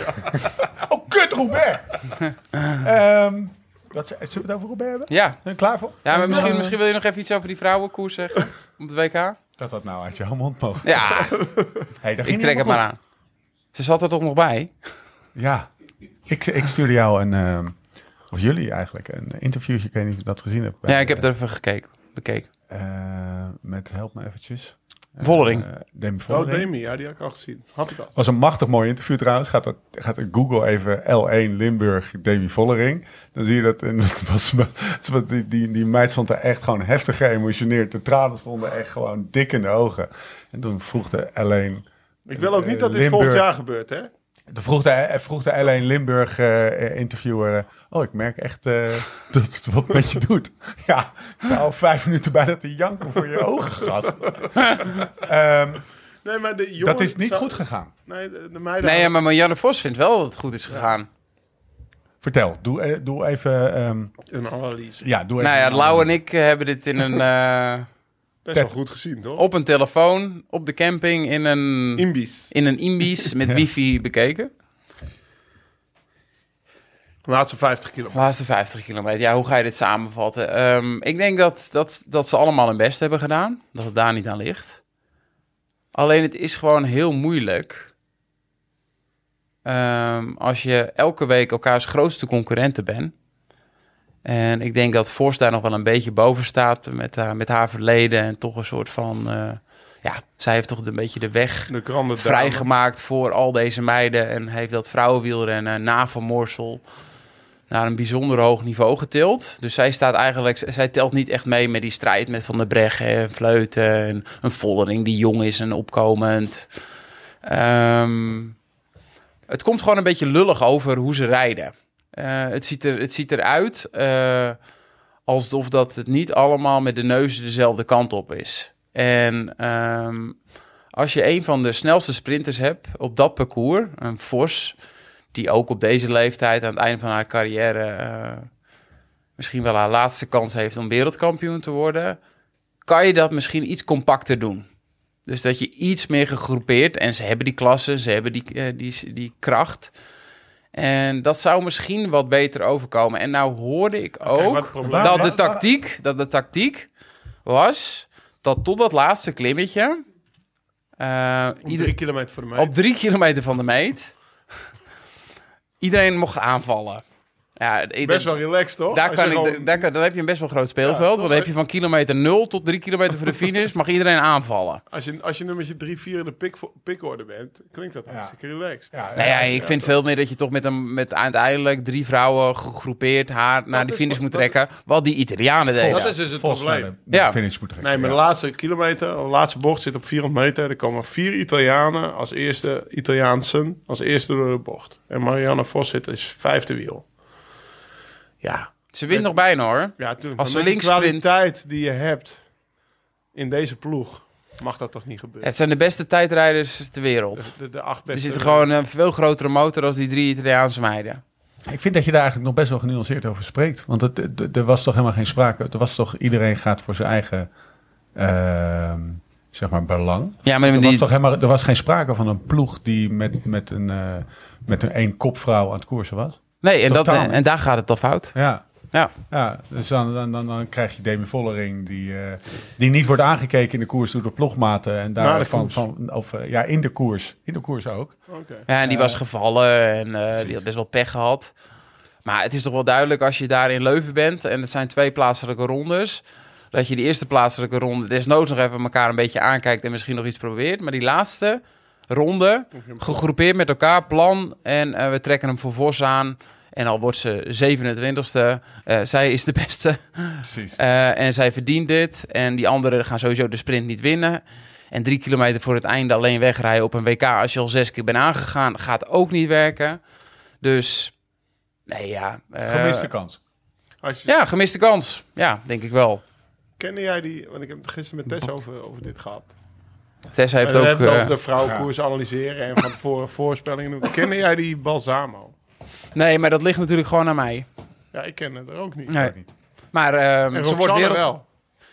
Speaker 1: oh, kut, Robert! Ehm, wat, zullen we het over Robert hebben?
Speaker 3: Ja,
Speaker 1: Zijn we klaar voor?
Speaker 3: Ja, maar misschien, misschien wil je nog even iets over die vrouwenkoers zeggen. Op het WK?
Speaker 1: Dat dat nou uit jouw mond mogen.
Speaker 3: Ja,
Speaker 1: Hey, dat
Speaker 3: ik
Speaker 1: ging
Speaker 3: trek het maar
Speaker 1: helemaal
Speaker 3: aan. Ze zat er toch nog bij?
Speaker 1: goed. Ja. Ik, ik stuurde jou een... ehm, of jullie eigenlijk, een interviewtje. Ik weet niet of je dat gezien hebt.
Speaker 3: Ja, ik heb er even gekeken, bekeken.
Speaker 1: Eh, met help me eventjes.
Speaker 3: Vollering.
Speaker 1: Eh, Demi
Speaker 4: Oh,
Speaker 1: Vollering.
Speaker 4: Demi, ja, die had ik al gezien. Had ik al.
Speaker 1: was een machtig mooi interview trouwens. Gaat, dat, gaat Google even L1 Limburg Demi Vollering. Dan zie je dat. En dat was, het was- die, die, die meid stond daar echt gewoon heftig geëmotioneerd. De tranen stonden echt gewoon dik in de ogen. En toen vroeg de L1...
Speaker 4: Ik wil ook niet dat
Speaker 1: Oh,
Speaker 4: dit
Speaker 1: Limburg.
Speaker 4: volgend jaar gebeurt, hè?
Speaker 1: De vroeg de, vroeg de L1 Limburg eh, interviewer. eh, oh, ik merk echt eh, dat het wat met je doet. Ja, ik sta al vijf minuten bij dat te janken voor je ogen, gast. Ehm,
Speaker 4: Nee, maar de jongen,
Speaker 1: dat is niet
Speaker 4: zou-
Speaker 1: goed gegaan.
Speaker 4: Nee, de, de meiden.
Speaker 3: Eh, Nee, ja, maar Marianne Vos vindt wel dat het goed is gegaan.
Speaker 1: Vertel, doe, eh, doe even. ehm,
Speaker 4: Een analyse.
Speaker 1: ja, doe even
Speaker 3: Nou ja, Lau en ik eh, hebben dit in een, eh,
Speaker 4: Best
Speaker 1: Ted.
Speaker 4: wel goed gezien, toch?
Speaker 3: op een telefoon, op de camping, in een,
Speaker 4: Imbies.
Speaker 3: in een imbies met wifi bekeken.
Speaker 4: Laatste 50 kilo.
Speaker 3: De laatste 50 kilometer. Ja, hoe ga je dit samenvatten? Ehm, ik denk dat, dat, dat ze allemaal hun best hebben gedaan. Dat het daar niet aan ligt. Alleen het is gewoon heel moeilijk. ehm, als je elke week elkaars grootste concurrenten bent. En ik denk dat Vos daar nog wel een beetje boven staat met, haar- met haar verleden. En toch een soort van... eh, ja, zij heeft toch een beetje de weg
Speaker 4: De grande dame.
Speaker 3: vrijgemaakt voor al deze meiden. En heeft dat vrouwenwielrennen na Van Morsel naar een bijzonder hoog niveau getild. Dus zij staat eigenlijk, zij telt niet echt mee met die strijd met Van der Breggen en Vleuten. En een Vollering die jong is en opkomend. Ehm, het komt gewoon een beetje lullig over hoe ze rijden. Eh, het, ziet er, het ziet eruit eh, alsof dat het niet allemaal met de neuzen dezelfde kant op is. En ehm, als je een van de snelste sprinters hebt op dat parcours, een Vos, die ook op deze leeftijd aan het einde van haar carrière eh, misschien wel haar laatste kans heeft om wereldkampioen te worden, kan je dat misschien iets compacter doen. Dus dat je iets meer gegroepeerd en ze hebben die klasse, ze hebben die, eh, die, die kracht. En dat zou misschien wat beter overkomen. En nou hoorde ik
Speaker 4: wat het
Speaker 3: ook
Speaker 4: probleem
Speaker 3: dat,
Speaker 1: was-
Speaker 3: de tactiek, dat de tactiek was dat tot dat laatste klimmetje... eh,
Speaker 4: Om
Speaker 3: ieder-
Speaker 4: drie kilometer voor de meet.
Speaker 3: op drie kilometer van de meet... iedereen mocht aanvallen. Ja, ik-
Speaker 1: Best wel relaxed, toch?
Speaker 3: daar
Speaker 1: Als
Speaker 3: kan
Speaker 1: je
Speaker 3: ik,
Speaker 1: gewoon-
Speaker 3: daar, kan- dan heb je een best wel groot speelveld. want dan heb je van kilometer 0 tot 3 kilometer voor de finish. mag iedereen aanvallen.
Speaker 4: Als je, als je nummertje 3, 4 in de pik, pikorde bent, klinkt dat hartstikke relaxed.
Speaker 1: Ja,
Speaker 3: Nou ja, ik vind veel meer dat je toch met, een, met uiteindelijk drie vrouwen gegroepeerd haar naar
Speaker 4: Dat
Speaker 3: de
Speaker 4: is
Speaker 3: finish
Speaker 4: wat-
Speaker 3: moet
Speaker 4: dat-
Speaker 3: trekken. Wat die Italianen deden.
Speaker 4: Dat is dus het
Speaker 1: Vol
Speaker 4: probleem.
Speaker 1: sneller naar de
Speaker 3: Ja.
Speaker 1: finish moeten
Speaker 4: Nee,
Speaker 1: trekken,
Speaker 4: maar de
Speaker 1: ja.
Speaker 4: laatste kilometer, de laatste bocht zit op 400 meter. Er komen vier Italianen als eerste, Italiaansen, als eerste door de bocht. En Marianne Vos zit is vijfde wiel. Ja,
Speaker 3: Ze wint nog bijna hoor.
Speaker 4: ja natuurlijk.
Speaker 3: Als
Speaker 4: maar
Speaker 3: ze
Speaker 4: met
Speaker 3: links
Speaker 4: die
Speaker 3: sprint.
Speaker 4: kwaliteit die je hebt in deze ploeg, mag dat toch niet gebeuren?
Speaker 3: Het zijn de beste tijdrijders ter wereld.
Speaker 4: De, de acht
Speaker 3: Er
Speaker 4: beste...
Speaker 3: zit gewoon een veel grotere motor als die drie Italiaanse meiden.
Speaker 1: Ik vind dat je daar eigenlijk nog best wel genuanceerd over spreekt. Want het, het- er was toch helemaal geen sprake. Er was toch iedereen gaat voor zijn eigen ehm, zeg maar belang.
Speaker 3: Ja, maar
Speaker 1: Er
Speaker 3: die,
Speaker 1: was, toch helemaal, er was geen sprake van een ploeg die met, met, een, eh, met een één kopvrouw aan het koersen was.
Speaker 3: nee, en, dat,
Speaker 1: totaal niet.
Speaker 3: en daar gaat het al fout.
Speaker 1: Ja,
Speaker 3: Ja.
Speaker 1: ja dus dan, dan, dan, dan krijg je Demi Vollering die, eh, die niet wordt aangekeken in de koers door de ploegmaten. En
Speaker 4: Na de
Speaker 1: daar van,
Speaker 4: koers.
Speaker 1: van, of, eh, ja, in de koers. In de koers ook.
Speaker 4: Oké.
Speaker 3: Ja, en die was gevallen en eh, die had best wel pech gehad. Maar het is toch wel duidelijk als je daar in Leuven bent en het zijn twee plaatselijke rondes. Dat je die eerste plaatselijke ronde desnoods nog even elkaar een beetje aankijkt en misschien nog iets probeert. Maar die laatste ronde, gegroepeerd met elkaar, plan. En eh, we trekken hem voor Vos aan. En al wordt ze 27ste, eh, zij is de beste.
Speaker 1: Precies.
Speaker 3: Eh, en zij verdient dit. En die anderen gaan sowieso de sprint niet winnen. En drie kilometer voor het einde alleen wegrijden op een WK als je al zes keer bent aangegaan, gaat ook niet werken. Dus, nee ja. eh,
Speaker 1: Gemiste kans.
Speaker 4: Als je,
Speaker 3: Ja, gemiste kans. Ja, denk ik wel.
Speaker 4: Kende jij die... Want ik heb het gisteren met Tess over, over dit gehad.
Speaker 3: Tess heeft
Speaker 4: En we
Speaker 3: ook...
Speaker 4: hebben het
Speaker 3: eh,
Speaker 4: over de vrouwenkoers analyseren en van tevoren voorspellingen doen. Kende jij die Balsamo?
Speaker 3: nee, maar dat ligt natuurlijk gewoon aan mij.
Speaker 4: Ja, ik ken het er ook niet.
Speaker 3: Nee.
Speaker 1: niet.
Speaker 3: Maar ehm,
Speaker 4: En
Speaker 3: ze wordt
Speaker 4: Roxanne
Speaker 3: wereld...
Speaker 4: wel.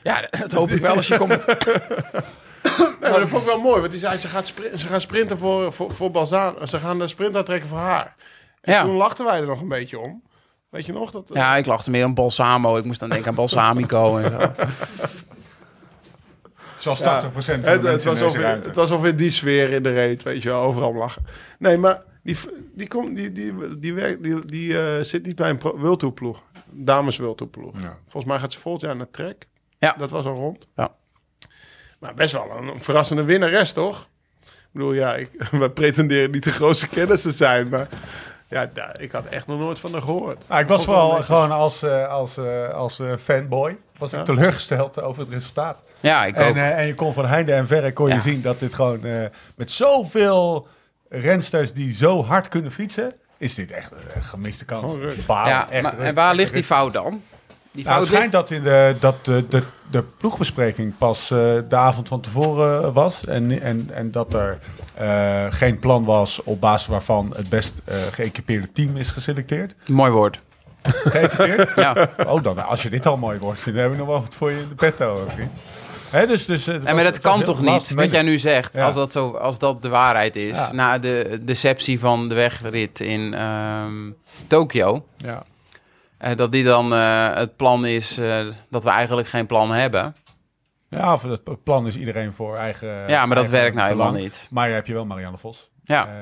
Speaker 3: Ja, dat hoop ik wel als je komt.
Speaker 4: Nee, maar dat vond ik wel mooi, want die zei, ze, gaat sprin- ze gaan sprinten voor, voor, voor Balzano. Ze gaan de sprint aantrekken voor haar. En
Speaker 3: Ja.
Speaker 4: toen lachten wij er nog een beetje om. Weet je nog? Dat,
Speaker 3: Ja, ik lachte meer aan Balsamo. Ik moest dan denken aan Balsamico en zo.
Speaker 1: Zoals 80% van de
Speaker 4: het,
Speaker 1: mensen
Speaker 4: het, was
Speaker 1: in deze
Speaker 4: alweer,
Speaker 1: ruimte.
Speaker 4: het was alweer die sfeer in de reet, weet je wel, overal lachen. Nee, maar die, v- die, komt die, die, die, werkt- die, die eh, zit niet bij een pro- World Tour ploeg. Dames World Tour ploeg.
Speaker 1: Ja.
Speaker 4: Volgens mij gaat ze volgend jaar naar Trek.
Speaker 3: Ja.
Speaker 4: Dat was al rond.
Speaker 3: Ja.
Speaker 4: Maar best wel een, een verrassende winnares, toch? Ik bedoel, ja, ik, wij pretenderen niet de grootste kennis te zijn, maar ja, daar- ik had echt nog nooit van haar gehoord.
Speaker 1: Ah, ik was
Speaker 4: Vond wel
Speaker 1: vooral
Speaker 4: netjes.
Speaker 1: gewoon als, eh, als, eh, als eh, fanboy was
Speaker 4: Ja.
Speaker 1: ik teleurgesteld over het resultaat.
Speaker 3: Ja, ik ook.
Speaker 1: En, eh, en je kon van heinde en verre kon je
Speaker 3: Ja.
Speaker 1: zien dat dit gewoon eh, met zoveel rensters die zo hard kunnen fietsen, is dit echt een eh, gemiste kans.
Speaker 4: Gewoon ruk.
Speaker 1: Baal,
Speaker 3: ja,
Speaker 1: echt
Speaker 3: maar,
Speaker 1: ruk,
Speaker 3: en waar
Speaker 1: echt
Speaker 3: ligt die
Speaker 1: ruk.
Speaker 3: fout dan? Die
Speaker 1: Nou,
Speaker 3: fout
Speaker 1: het
Speaker 3: ligt
Speaker 1: schijnt dat, in de, dat de, de, de ploegbespreking pas eh, de avond van tevoren eh, was. En, en, en dat er eh, geen plan was op basis waarvan het best eh, geëquipeerde team is geselecteerd.
Speaker 3: Mooi woord.
Speaker 1: Geëquipeerd?
Speaker 3: Ja.
Speaker 1: Oh, dan, als je dit al mooi wordt, vinden hebben we nog wel wat voor je in de petto. hoor, vriend. Hè, dus, dus, eh, het
Speaker 3: En
Speaker 1: was-
Speaker 3: maar dat
Speaker 1: het was
Speaker 3: kan
Speaker 1: heel
Speaker 3: toch
Speaker 1: last
Speaker 3: niet, wat
Speaker 1: minute.
Speaker 3: jij nu zegt,
Speaker 1: Ja.
Speaker 3: als, dat zo, als dat de waarheid is,
Speaker 1: Ja.
Speaker 3: na de deceptie van de wegrit in ehm, Tokio,
Speaker 1: Ja.
Speaker 3: eh, dat die dan eh, het plan is eh, dat we eigenlijk geen plan hebben.
Speaker 1: ja, of het plan is iedereen voor eigen.
Speaker 3: ja, maar dat
Speaker 1: eigen
Speaker 3: werkt nou helemaal
Speaker 1: belang.
Speaker 3: niet.
Speaker 1: Maar daar heb je wel Marianne Vos.
Speaker 3: Ja.
Speaker 1: Eh,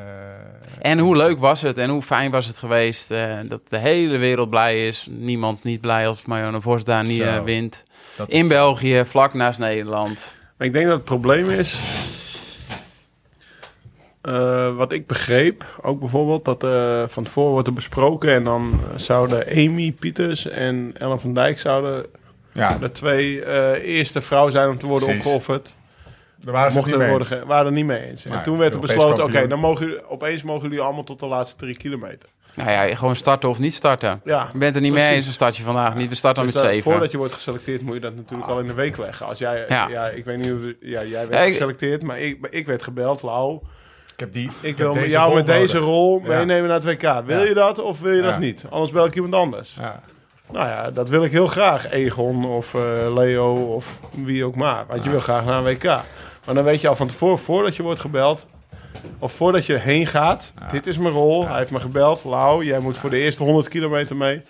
Speaker 3: En hoe leuk was het en hoe fijn was het geweest eh, dat de hele wereld blij is. Niemand niet blij als Marianne Vos daar niet
Speaker 1: Zo.
Speaker 3: eh, wint.
Speaker 1: dat is-
Speaker 3: In België, vlak naast Nederland.
Speaker 4: Maar ik denk dat het probleem is. eh, wat ik begreep, ook bijvoorbeeld, dat eh, van tevoren wordt er besproken. En dan zouden Amy Pieters en Ellen van Dijk zouden
Speaker 1: Ja,
Speaker 4: de twee eh, eerste vrouwen zijn om te worden
Speaker 1: Precies.
Speaker 4: opgeofferd.
Speaker 1: daar waren ze het
Speaker 4: Mochten
Speaker 1: niet
Speaker 4: er
Speaker 1: mee
Speaker 4: worden
Speaker 1: eens.
Speaker 4: ge- waren er niet mee eens. en
Speaker 1: Maar
Speaker 4: toen werd er
Speaker 1: Europees
Speaker 4: besloten, oké,
Speaker 1: kampioen.
Speaker 4: dan mogen jullie- opeens mogen jullie allemaal tot de laatste drie kilometer.
Speaker 3: Nou ja, gewoon starten of niet starten.
Speaker 4: Ja,
Speaker 3: Je bent er niet mee
Speaker 4: precies.
Speaker 3: eens, dan start je vandaag niet. We starten
Speaker 4: Dus
Speaker 3: met
Speaker 4: dat-
Speaker 3: zeven.
Speaker 4: Voordat je wordt geselecteerd moet je dat natuurlijk al in de week leggen. Als jij,
Speaker 3: Ja.
Speaker 4: ja. ik weet niet of ja, jij werd
Speaker 3: Ja, ik-
Speaker 4: geselecteerd, maar ik, ik werd gebeld, Lau.
Speaker 1: Ik heb die. heb
Speaker 4: Ik wil
Speaker 1: deze
Speaker 4: jou
Speaker 1: rol
Speaker 4: met deze
Speaker 1: nodig.
Speaker 4: rol
Speaker 1: Ja.
Speaker 4: meenemen naar het WK. Wil
Speaker 1: Ja.
Speaker 4: je dat of wil je
Speaker 1: Ja.
Speaker 4: dat niet? Anders bel ik iemand anders.
Speaker 1: Ja.
Speaker 4: Nou ja, dat wil ik heel graag. Egon of eh, Leo of wie ook maar. Want je wil graag naar een WK. Maar dan weet je al van tevoren, voordat je wordt gebeld... of voordat je heen gaat, dit is mijn rol. Hij heeft me gebeld. Lau, jij moet voor de eerste 100 kilometer mee.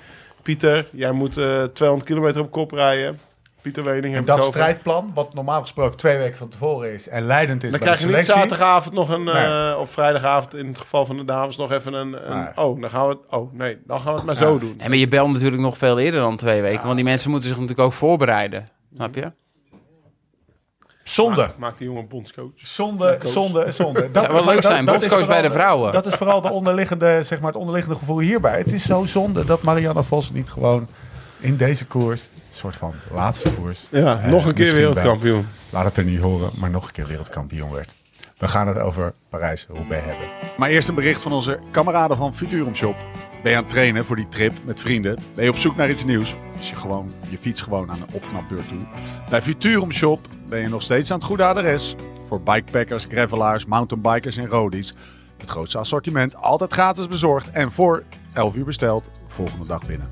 Speaker 4: Pieter, jij moet eh, 200 kilometer op kop rijden. Pieter Wening
Speaker 1: En
Speaker 4: heeft
Speaker 1: dat strijdplan, wat normaal gesproken twee weken van tevoren is en leidend is
Speaker 4: Dan
Speaker 1: bij de
Speaker 4: krijg je niet
Speaker 1: selectie.
Speaker 4: zaterdagavond nog een,
Speaker 1: Nee.
Speaker 4: eh, of vrijdagavond in het geval van de dames nog even een, een
Speaker 1: Nee.
Speaker 4: oh, dan gaan we het, oh nee, dan gaan we het maar zo doen.
Speaker 3: Nee, maar je belt natuurlijk nog veel eerder dan twee weken. Want die mensen moeten zich natuurlijk ook voorbereiden. Snap je?
Speaker 1: Zonde.
Speaker 4: Maakt- Maakt die jongen bondscoach.
Speaker 1: Zonde,
Speaker 4: coach.
Speaker 1: zonde, zonde.
Speaker 3: zou wel leuk zijn,
Speaker 1: is
Speaker 3: bondscoach bij de
Speaker 1: vooral-
Speaker 3: vrouwen.
Speaker 1: Dat is vooral de onderliggende, zeg maar, het onderliggende gevoel hierbij. Het is zo zonde dat Marianne Vos niet gewoon in deze koers, een soort van laatste koers,
Speaker 4: Ja,
Speaker 1: Eh,
Speaker 4: nog een keer
Speaker 1: misschien
Speaker 4: wereldkampioen.
Speaker 1: laat het er niet horen, maar nog een keer wereldkampioen werd. We gaan het over Parijs-Roubaix hebben. Maar eerst een bericht van onze kameraden van Futurum Shop. Ben je aan het trainen voor die trip met vrienden? Ben je op zoek naar iets nieuws? Is je, gewoon, je fiets gewoon aan een opknapbeurt toe? Bij Futurum Shop ben je nog steeds aan het goede adres. Voor bikepackers, gravelaars, mountainbikers en roadies. Het grootste assortiment, altijd gratis bezorgd. En voor 11 uur besteld, volgende dag binnen.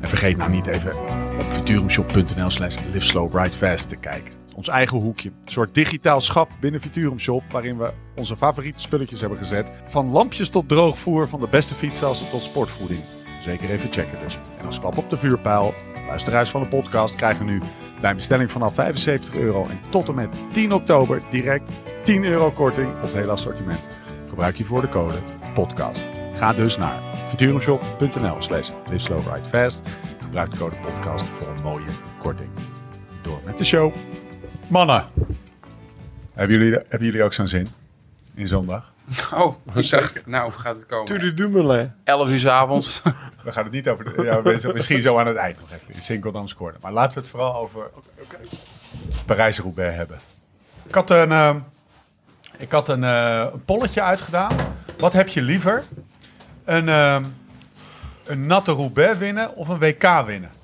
Speaker 1: En vergeet nou niet even op futurumshop.nl slash live slow ride fast te kijken. Ons eigen hoekje. Een soort digitaal schap binnen Futurum Shop, waarin we onze favoriete spulletjes hebben gezet. Van lampjes tot droogvoer, van de beste fietsstelsel tot sportvoeding. Zeker even checken dus. En als klap op de vuurpijl, luisteraars van de podcast krijgen nu bij een bestelling vanaf 75 euro en tot en met 10 oktober direct 10 euro korting op het hele assortiment. Gebruik hiervoor de code podcast. Ga dus naar futurumshop.nl slash live slow ride fast. Gebruik de code podcast voor een mooie korting. Door met de show. Mannen. Hebben jullie, hebben jullie ook zo'n zin in zondag?
Speaker 3: Oh, ik dacht, nou gaat het komen.
Speaker 4: Tudu Dumoulin.
Speaker 3: 11 uur 's avonds.
Speaker 1: We gaan het niet over... De, ja, we zijn misschien zo aan het eind nog even. In Sinkeldam scoorde. Maar laten we het vooral over Parijs-Roubaix hebben. Ik had een, eh, ik had een, eh, een polletje uitgedaan. Wat heb je liever? Een, eh, een natte Roubaix winnen of een WK winnen?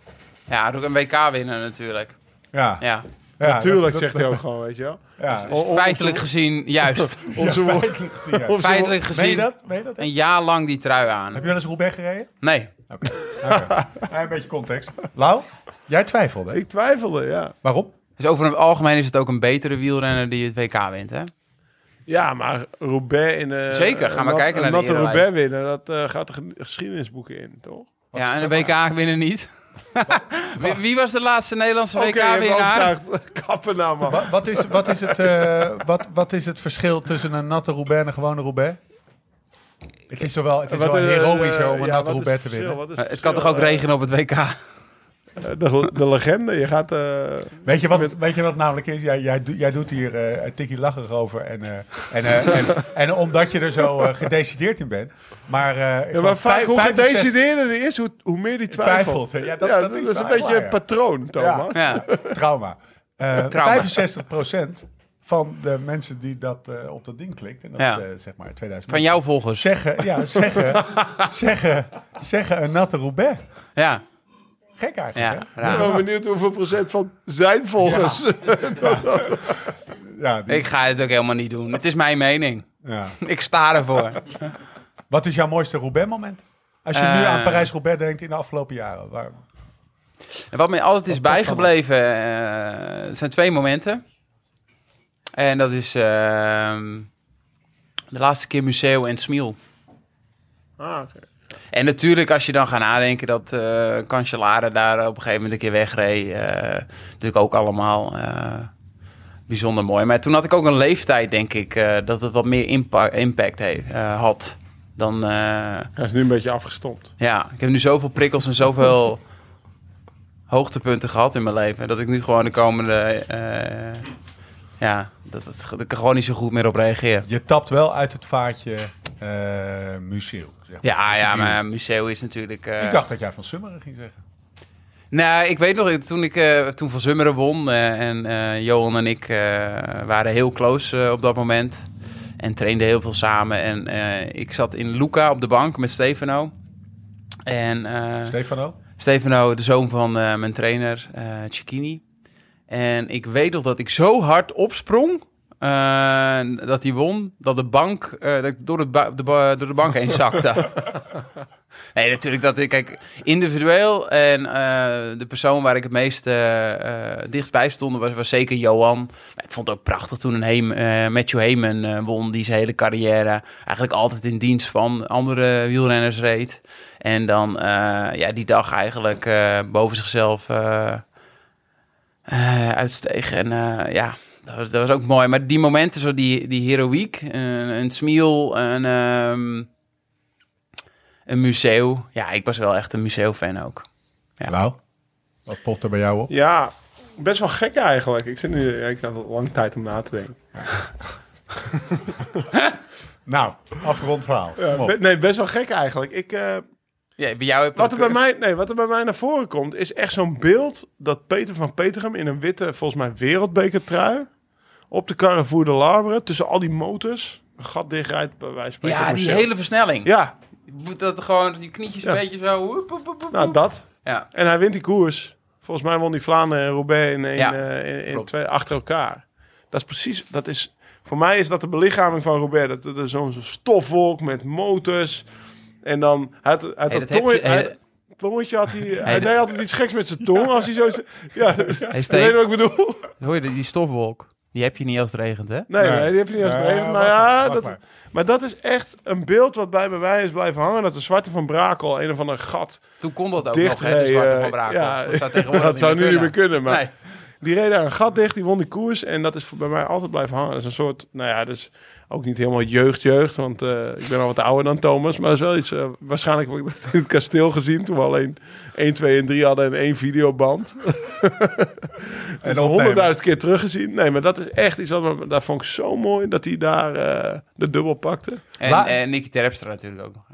Speaker 3: Ja, ook een WK winnen natuurlijk.
Speaker 1: Ja,
Speaker 3: Ja.
Speaker 1: Ja,
Speaker 4: Natuurlijk
Speaker 1: dat-
Speaker 4: zegt hij ook gewoon, weet je wel.
Speaker 1: dat- ja.
Speaker 3: Dus feitelijk gezien, juist.
Speaker 4: Onze
Speaker 1: Ja,
Speaker 4: woorden.
Speaker 1: feitelijk gezien, ja.
Speaker 4: Onze woorden.
Speaker 3: Feitelijk
Speaker 1: Meen je
Speaker 3: gezien
Speaker 1: dat? Meen je dat?
Speaker 3: een jaar lang die trui
Speaker 1: Heb
Speaker 3: aan.
Speaker 1: je wel eens Roubaix gereden?
Speaker 3: Nee.
Speaker 1: Oké. Oké. Ja, een beetje context. Lau, jij twijfelde.
Speaker 4: Ik twijfelde, ja.
Speaker 1: Waarom?
Speaker 3: Dus over het algemeen is het ook een betere wielrenner die het WK wint, hè?
Speaker 4: Ja, maar Roubaix in eh, de...
Speaker 3: Zeker, gaan we kijken naar de
Speaker 4: de
Speaker 3: erenlijst.
Speaker 4: Roubaix winnen, dat eh, gaat de ge- geschiedenisboeken in, toch?
Speaker 3: ja, en de WK winnen niet. wie, wie was de laatste Nederlandse
Speaker 4: Oké, je hebt me
Speaker 3: WK-winnaar?
Speaker 4: overtuigd. Kappen nou, man.
Speaker 1: Wa- Wat is, wat, is het, eh, wat, wat is het verschil tussen een natte Roubaix en een gewone Roubaix? Het is, zowel, het is wel
Speaker 4: eh,
Speaker 1: heroïscher om
Speaker 4: ja,
Speaker 1: een natte
Speaker 4: wat is
Speaker 1: Roubaix te
Speaker 4: verschil?
Speaker 1: winnen.
Speaker 4: Wat is
Speaker 3: het kan toch
Speaker 4: verschil?
Speaker 3: ook regenen op het WK?
Speaker 4: Eh, De, de legende, je gaat... eh,
Speaker 1: Weet je, wat, weet je wat het namelijk is? Jij, jij, doet- jij doet hier eh, een tikkie lacherig over. En, eh, en, eh, en, en omdat je er zo eh, gedecideerd in bent. Maar, eh,
Speaker 4: ja, maar
Speaker 1: gewoon
Speaker 4: vaak
Speaker 1: vijf-
Speaker 4: hoe
Speaker 1: vijf of zes-
Speaker 4: gedecideerder die is, hoe, hoe meer die twijfelt.
Speaker 1: Twijfelt, hè? Ja, dat- dat is
Speaker 4: een
Speaker 1: waar,
Speaker 4: beetje
Speaker 1: ja.
Speaker 4: een patroon, Thomas.
Speaker 3: Ja.
Speaker 1: Trauma. Eh
Speaker 3: Trauma.
Speaker 1: 65% van de mensen die dat eh, op dat ding klikt. En dat
Speaker 3: Ja.
Speaker 1: is eh, zeg maar 2000
Speaker 3: Van jouw volgers.
Speaker 1: Zeggen, ja, zeggen, zeggen, zeggen een natte Roubaix.
Speaker 3: Ja.
Speaker 1: Gek eigenlijk,
Speaker 3: Ja,
Speaker 1: hè?
Speaker 4: Ik
Speaker 3: raar.
Speaker 4: ben wel benieuwd hoeveel procent van zijn volgers.
Speaker 1: Ja, die-
Speaker 3: Ik ga het ook helemaal niet doen. Het is mijn mening.
Speaker 1: ja.
Speaker 3: Ik sta ervoor.
Speaker 1: Wat is jouw mooiste Roubaix-moment? Als je nu
Speaker 3: Eh.
Speaker 1: aan Parijs-Roubaix denkt in de afgelopen jaren. Waar...
Speaker 3: En wat mij altijd is
Speaker 1: Wat dat dan
Speaker 3: bijgebleven, eh, het zijn twee momenten. En dat is ehm, de laatste keer Museo en Smiel.
Speaker 4: Ah, oké.
Speaker 3: En natuurlijk, als je dan gaat nadenken dat eh Cancellara daar op een gegeven moment een keer wegreed. eh, natuurlijk ook allemaal eh, bijzonder mooi. Maar toen had ik ook een leeftijd, denk ik, eh, dat het wat meer impa- impact heeft, eh, had dan... eh,
Speaker 4: Hij is nu een beetje afgestompt.
Speaker 3: Ja, ik heb nu zoveel prikkels en zoveel hoogtepunten gehad in mijn leven. Dat ik nu gewoon de komende. eh, ja, dat, dat, dat ik er gewoon niet zo goed meer op reageer.
Speaker 1: Je tapt wel uit het vaartje eh museum. Zeg maar.
Speaker 3: Ja, ja, maar Museo is natuurlijk. eh,
Speaker 1: Ik dacht dat jij van Summeren ging zeggen.
Speaker 3: Nou, ik weet nog, ik- toen, ik, eh, toen Van Zummeren won eh, en eh, Johan en ik eh, waren heel close eh, op dat moment. En trainden heel veel samen. En eh, ik zat in Luca op de bank met Stefano. En, eh,
Speaker 1: Stefano?
Speaker 3: Stefano, de zoon van eh, mijn trainer, eh Cecchini. En ik weet nog dat ik zo hard opsprong eh, dat hij won, dat de bank eh, dat ik door, het bu- de ba- door de bank heen zakte. Nee, natuurlijk dat ik, kijk, individueel en eh, de persoon waar ik het meest eh, eh, dichtstbij stond was, was zeker Johan. Ik vond het ook prachtig toen een Heem, eh, Matthew Heyman eh, won, die zijn hele carrière eigenlijk altijd in dienst van andere wielrenners reed. En dan eh, ja, die dag eigenlijk eh, boven zichzelf eh, eh, uitsteeg. En eh, ja, dat was, dat was ook mooi. Maar die momenten, zo die, die heroïek, een, een smiel, een, ehm, een museum. Ja, ik was wel echt een museumfan ook. Ja.
Speaker 1: Nou, wat popt er bij jou op?
Speaker 4: Ja, best wel gek eigenlijk. Ik, zit nu, ja, ik had lang tijd om na te denken.
Speaker 1: Nou, afgerond verhaal. Kom op.
Speaker 4: Be- nee, best wel gek eigenlijk. Ik, eh,
Speaker 3: Ja, bij jou hebt
Speaker 4: wat, er bij
Speaker 3: ook- eh,
Speaker 4: mij, nee, wat er bij mij naar voren komt, is echt zo'n beeld dat Peter van Petergem in een witte, volgens mij wereldbekertrui, op de Carrefour de Labre, tussen al die motors, een gat dichtrijdt bij wijze van
Speaker 3: Ja,
Speaker 4: spreken,
Speaker 3: die
Speaker 4: Michel.
Speaker 3: hele versnelling.
Speaker 4: Ja,
Speaker 3: Moet dat gewoon, die knietjes een
Speaker 4: Ja.
Speaker 3: beetje zo. woep, woep, woep, woep.
Speaker 4: nou dat.
Speaker 3: Ja.
Speaker 4: En hij wint die koers. Volgens mij won die Vlaanderen en Roubaix in, één,
Speaker 3: Ja,
Speaker 4: eh, in, in
Speaker 3: klopt.
Speaker 4: twee, achter elkaar. Dat is precies, dat is, voor mij is dat de belichaming van Roubaix. Dat, dat is zo'n zo'n stofwolk met motors. En dan, hij had, hij had
Speaker 3: Hey, dat
Speaker 4: dat
Speaker 3: heb
Speaker 4: tongetje,
Speaker 3: je-
Speaker 4: hij
Speaker 3: hey,
Speaker 4: had- tongetje had hij, hij
Speaker 3: dat-
Speaker 4: deed altijd iets geks met zijn tong als hij zo... Ja, dus- weet
Speaker 3: Steve.
Speaker 4: je wat ik bedoel?
Speaker 3: Hoor je die die stofwolk? Die heb je niet als het regent, hè?
Speaker 4: Nee,
Speaker 1: Nee.
Speaker 4: nee, die heb je niet als het
Speaker 1: Nee,
Speaker 4: regent.
Speaker 1: wacht
Speaker 4: Nou
Speaker 1: maar,
Speaker 4: ja,
Speaker 1: wacht
Speaker 4: dat,
Speaker 1: maar.
Speaker 4: maar. dat is echt een beeld wat bij bij mij is blijven hangen. Dat de Zwarte van Brakel, een of ander gat,
Speaker 3: Toen kon dat ook
Speaker 4: Dicht
Speaker 3: nog, hè? De zwarte
Speaker 4: rijden,
Speaker 3: van Brakel.
Speaker 4: ja.
Speaker 3: dat zou tegenwoordig
Speaker 4: Dat zou nu niet meer kunnen, maar-
Speaker 3: Nee.
Speaker 4: Die reed daar een gat dicht, die won die koers. En dat is voor- bij mij altijd blijven hangen. Dat is een soort, nou ja, dus ook niet helemaal jeugd-jeugd. Want eh, ik ben al wat ouder dan Thomas. Maar dat is wel iets, eh, waarschijnlijk heb ik dat in het kasteel gezien. Toen we alleen 1, 2 en 3 hadden en één videoband.
Speaker 1: En
Speaker 4: En
Speaker 1: opnemen.
Speaker 4: al honderdduizend keer teruggezien. Nee, maar dat is echt iets wat me, dat vond ik zo mooi. Dat hij daar eh, de dubbel pakte.
Speaker 3: En,
Speaker 1: La-
Speaker 3: en Nicky Terpstra natuurlijk ook nog.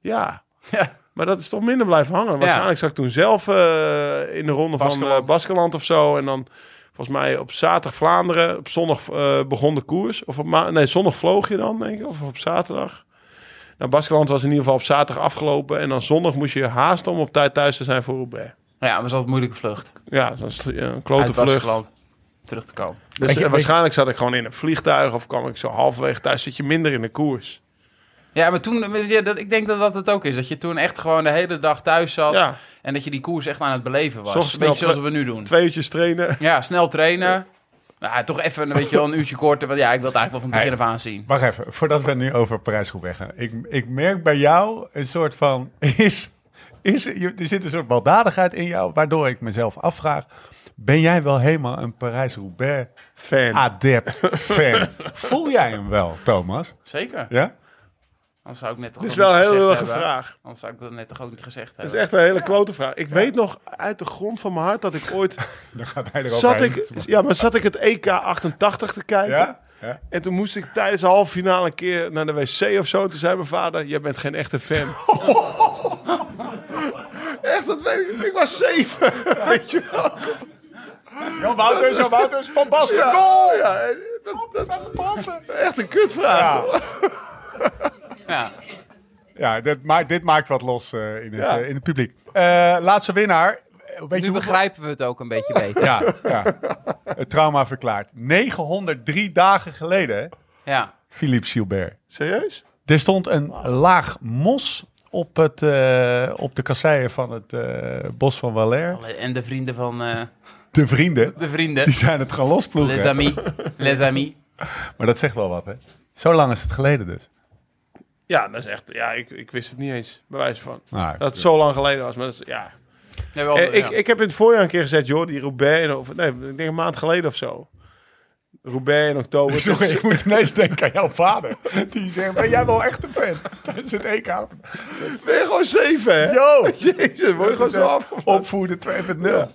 Speaker 4: Ja.
Speaker 3: Ja.
Speaker 4: Maar dat is toch minder blijven hangen. Waarschijnlijk zag ik toen zelf eh, in de ronde van
Speaker 3: Baskeland.
Speaker 4: eh Baskeland of zo. En dan volgens mij op zaterdag Vlaanderen. Op zondag eh, begon de koers. Of op ma- nee, zondag vloog je dan, denk ik. Of op zaterdag. Nou, Baskeland was in ieder geval op zaterdag afgelopen. En dan zondag moest je je haasten om op tijd thuis te zijn voor Roubaix.
Speaker 3: Ja, maar het was altijd een moeilijke vlucht.
Speaker 4: Ja, dat is eh, een
Speaker 3: Uit
Speaker 4: klote vlucht.
Speaker 3: Baskeland terug te komen.
Speaker 4: Dus
Speaker 1: Weet je-
Speaker 4: eh, waarschijnlijk zat ik gewoon in een vliegtuig. Of kwam ik zo halverwege thuis. Zit je minder in de koers.
Speaker 3: Ja, maar toen, ja, dat, ik denk dat dat het ook is. Dat je toen echt gewoon de hele dag thuis zat.
Speaker 4: Ja,
Speaker 3: En dat je die koers echt aan het beleven was.
Speaker 4: Zocht
Speaker 3: Een
Speaker 4: snel
Speaker 3: beetje zoals we nu doen.
Speaker 4: twee uurtjes trainen.
Speaker 3: Ja, snel trainen. Ja, toch even een, beetje wel een uurtje korter. Want ja, ik wil het eigenlijk wel van het begin af aan zien.
Speaker 1: Wacht even, voordat we het nu over prijsgroep gaan. Ik, ik merk bij jou een soort van... Is, is, je- er zit een soort baldadigheid in jou, waardoor ik mezelf afvraag... Ben jij wel helemaal een Parijs-Roubaix-adept,
Speaker 4: Fan.
Speaker 1: fan? Voel jij hem wel, Thomas?
Speaker 3: Zeker.
Speaker 1: Ja?
Speaker 3: Anders zou ik net toch
Speaker 4: Het is
Speaker 3: ook niet
Speaker 4: wel een hele
Speaker 3: gezegd
Speaker 4: lullige
Speaker 3: hebben.
Speaker 4: vraag.
Speaker 3: Anders zou ik dat net toch ook niet gezegd
Speaker 4: Dat
Speaker 3: hebben.
Speaker 4: is echt een hele klote vraag. Ik weet nog uit de grond van mijn hart dat ik ooit...
Speaker 1: Dan gaat hij er ook
Speaker 4: Zat
Speaker 1: heen.
Speaker 4: ik, ja, maar zat ik het EK 88 te kijken.
Speaker 1: Ja? Ja?
Speaker 4: En toen moest ik tijdens de halve finale een keer naar de wc of zo. En toen zei mijn vader, jij bent geen echte fan. echt, dat weet ik. Ik was zeven. Weet je wel.
Speaker 1: Jan Wouters, Jan Wouters, Van Basten,
Speaker 4: Ja,
Speaker 1: goal!
Speaker 4: Ja, dat, dat, echt een kutvraag.
Speaker 1: Ja.
Speaker 3: Ja.
Speaker 1: Ja, dit, maakt, dit maakt wat los eh, in, het,
Speaker 4: Ja.
Speaker 1: eh, in het publiek. Eh, laatste winnaar. Eh, Weet je
Speaker 3: Nu
Speaker 1: hoeveel-
Speaker 3: begrijpen we het ook een beetje beter.
Speaker 1: Ja, ja. Het trauma verklaard. 903 dagen geleden, hè,
Speaker 3: Ja.
Speaker 1: Philippe Gilbert.
Speaker 4: Serieus?
Speaker 1: Er stond een laag mos op, het, eh, op de kasseien van het eh, bos van Waller.
Speaker 3: En de vrienden van... eh,
Speaker 1: De vrienden,
Speaker 3: de vrienden.
Speaker 1: die zijn het gaan
Speaker 3: Les
Speaker 1: losploegen.
Speaker 3: amis. Les amis.
Speaker 1: Maar dat zegt wel wat, hè? Zo lang is het geleden dus.
Speaker 4: Ja, dat is echt... Ja, ik, ik wist het niet eens. Bij wijze van.
Speaker 1: Nou,
Speaker 4: Dat het zo lang geleden was. Maar dat is, ja...
Speaker 3: Ja, wel,
Speaker 4: Eh, ik,
Speaker 3: ja.
Speaker 4: ik heb in het voorjaar een keer gezegd, joh, die Roubaix, en of, nee, ik denk een maand geleden of zo. Roubaix in oktober.
Speaker 1: Sorry, ik moet ineens denken aan jouw vader. Die zegt, ben jij wel echt een fan? Tijdens het E EK.
Speaker 4: ben je gewoon zeven, hè?
Speaker 1: Yo!
Speaker 4: Jezus, word je gewoon zo af.
Speaker 1: Opvoeden 2.0.
Speaker 4: Ja.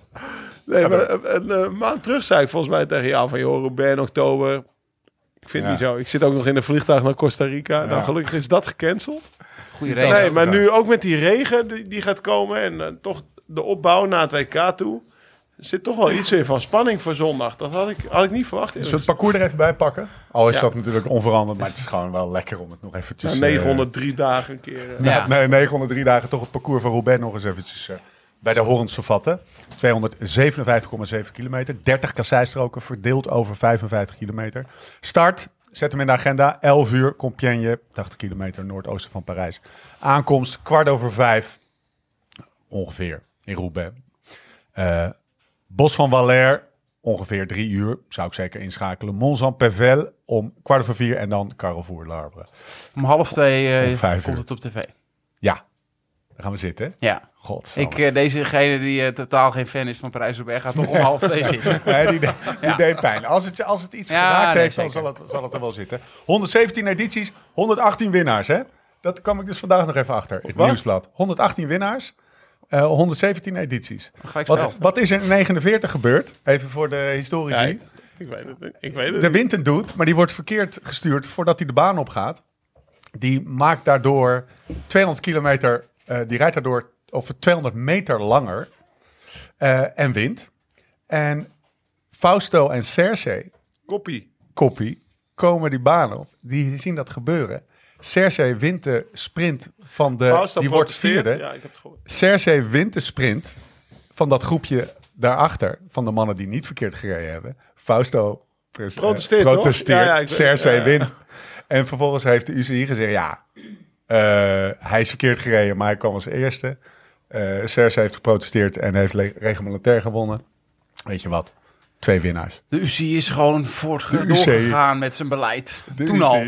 Speaker 4: Nee, maar een, een, een maand terug zei ik volgens mij tegen jou van, joh, Roubaix in oktober. Ik vind
Speaker 1: Ja.
Speaker 4: het niet zo. Ik zit ook nog in een vliegtuig naar Costa Rica. Nou, gelukkig is dat gecanceld.
Speaker 3: Goeie
Speaker 1: Nee,
Speaker 3: reden.
Speaker 4: Nee, maar
Speaker 1: ja.
Speaker 4: nu ook met die regen die, die gaat komen en eh, toch de opbouw naar het WK toe. Er zit toch wel iets in van spanning voor zondag. Dat had ik, had ik niet verwacht. eerlijk
Speaker 1: Zullen we het parcours er even bij pakken? Al is
Speaker 4: Ja. Nou,
Speaker 1: dat natuurlijk onveranderd, maar het is gewoon wel lekker om het nog eventjes...
Speaker 4: Na
Speaker 1: eh,
Speaker 4: 903 dagen een keer. eh.
Speaker 1: na-
Speaker 3: Ja.
Speaker 1: nee, 903 dagen toch het parcours van Roubaix nog eens eventjes eh, bij de horens te vatten. 257,7 kilometer, 30 kasseistroken verdeeld over 55 kilometer. Start Zet hem in de agenda. 11 uur, Compiègne, 80 kilometer noordoosten van Parijs. Aankomst kwart over vijf, ongeveer, in Roubaix. Eh, Bos van Waller, ongeveer drie uur, zou ik zeker inschakelen. Mont-Saint-Pével om kwart over vier en dan Carrefour Larbre.
Speaker 3: Om half twee eh,
Speaker 1: Om vijf
Speaker 3: komt
Speaker 1: uur.
Speaker 3: het op tv.
Speaker 1: Ja, daar gaan we zitten. hè?
Speaker 3: Ja.
Speaker 1: God.
Speaker 3: Ik, eh, dezegene die eh, totaal geen fan is van Parijs-Roubaix gaat toch om half twee zitten.
Speaker 1: Nee, die, de- die deed pijn. Als het, je- als het iets
Speaker 3: Ja,
Speaker 1: geraakt
Speaker 3: nee,
Speaker 1: heeft, dan zal
Speaker 3: zeker.
Speaker 1: het, zal het er wel zitten. 117 edities, 118 winnaars. Hè? Dat kwam ik dus vandaag nog even achter. in Het
Speaker 4: Wat?
Speaker 1: nieuwsblad. 118 winnaars, eh, 117 edities.
Speaker 3: Gelijk spel.
Speaker 1: Wat, wat is er in 49 gebeurd? Even voor de historici.
Speaker 4: ik, ik weet het niet. Ik weet het
Speaker 1: De wind een doet, maar die wordt verkeerd gestuurd voordat hij de baan opgaat. Die maakt daardoor 200 kilometer, eh, die rijdt daardoor over 200 meter langer eh, en wint. En Fausto en Cersei,
Speaker 4: Koppie.
Speaker 1: koppie, komen die baan op. Die zien dat gebeuren. Cersei wint de sprint van de.
Speaker 4: Fausto
Speaker 1: Eh, die wordt
Speaker 4: protesteert.
Speaker 1: vierde.
Speaker 4: Ja, ik heb het gehoord.
Speaker 1: Cersei wint de sprint van dat groepje daarachter. Van de mannen die niet verkeerd gereden hebben. Fausto pres-
Speaker 4: Protesteert,
Speaker 1: eh, protesteert.
Speaker 4: toch? Ja, ja, ik weet-
Speaker 1: Cersei
Speaker 4: ja.
Speaker 1: wint. En vervolgens heeft de UCI gezegd... ja, eh, hij is verkeerd gereden, maar hij kwam als eerste. Eh Cersei heeft geprotesteerd en heeft le- reglementair gewonnen. Weet je wat? Twee winnaars.
Speaker 3: De UCI is gewoon voort
Speaker 1: UCI.
Speaker 3: doorgegaan met zijn beleid. Toen al.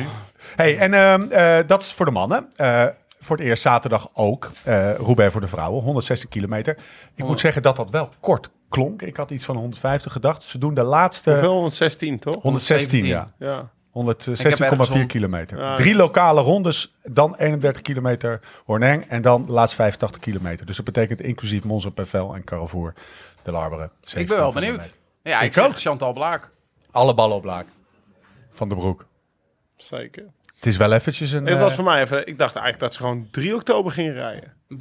Speaker 1: Hey, en ehm, eh, dat is voor de mannen. Eh, voor het eerst zaterdag ook. eh Roubaix voor de vrouwen, 160 kilometer.
Speaker 3: Oh.
Speaker 1: Ik moet zeggen dat dat wel kort klonk. Ik had iets van 150 gedacht. Ze doen de laatste
Speaker 4: Hoeveel? 116, toch?
Speaker 1: 116, ja.
Speaker 4: Ja.
Speaker 3: Ik heb Ah. ergens
Speaker 1: 116,4
Speaker 3: om-
Speaker 1: kilometer. Drie lokale rondes, dan 31 kilometer Horneng en dan laatst 85 kilometer. Dus dat betekent inclusief Monza, Pervel en Carrefour de Larberen.
Speaker 3: Ik ben wel
Speaker 1: 70
Speaker 3: benieuwd.
Speaker 1: kilometer.
Speaker 3: Ja, ik,
Speaker 1: Ik
Speaker 3: zeg
Speaker 1: ook.
Speaker 3: Chantal Blaak.
Speaker 1: Alle ballen op laak. Van de Broek.
Speaker 4: Zeker.
Speaker 1: Het is wel eventjes een...
Speaker 4: Het was
Speaker 1: eh,
Speaker 4: voor mij even... Ik dacht eigenlijk dat ze gewoon 3 oktober ging rijden.
Speaker 1: Ja,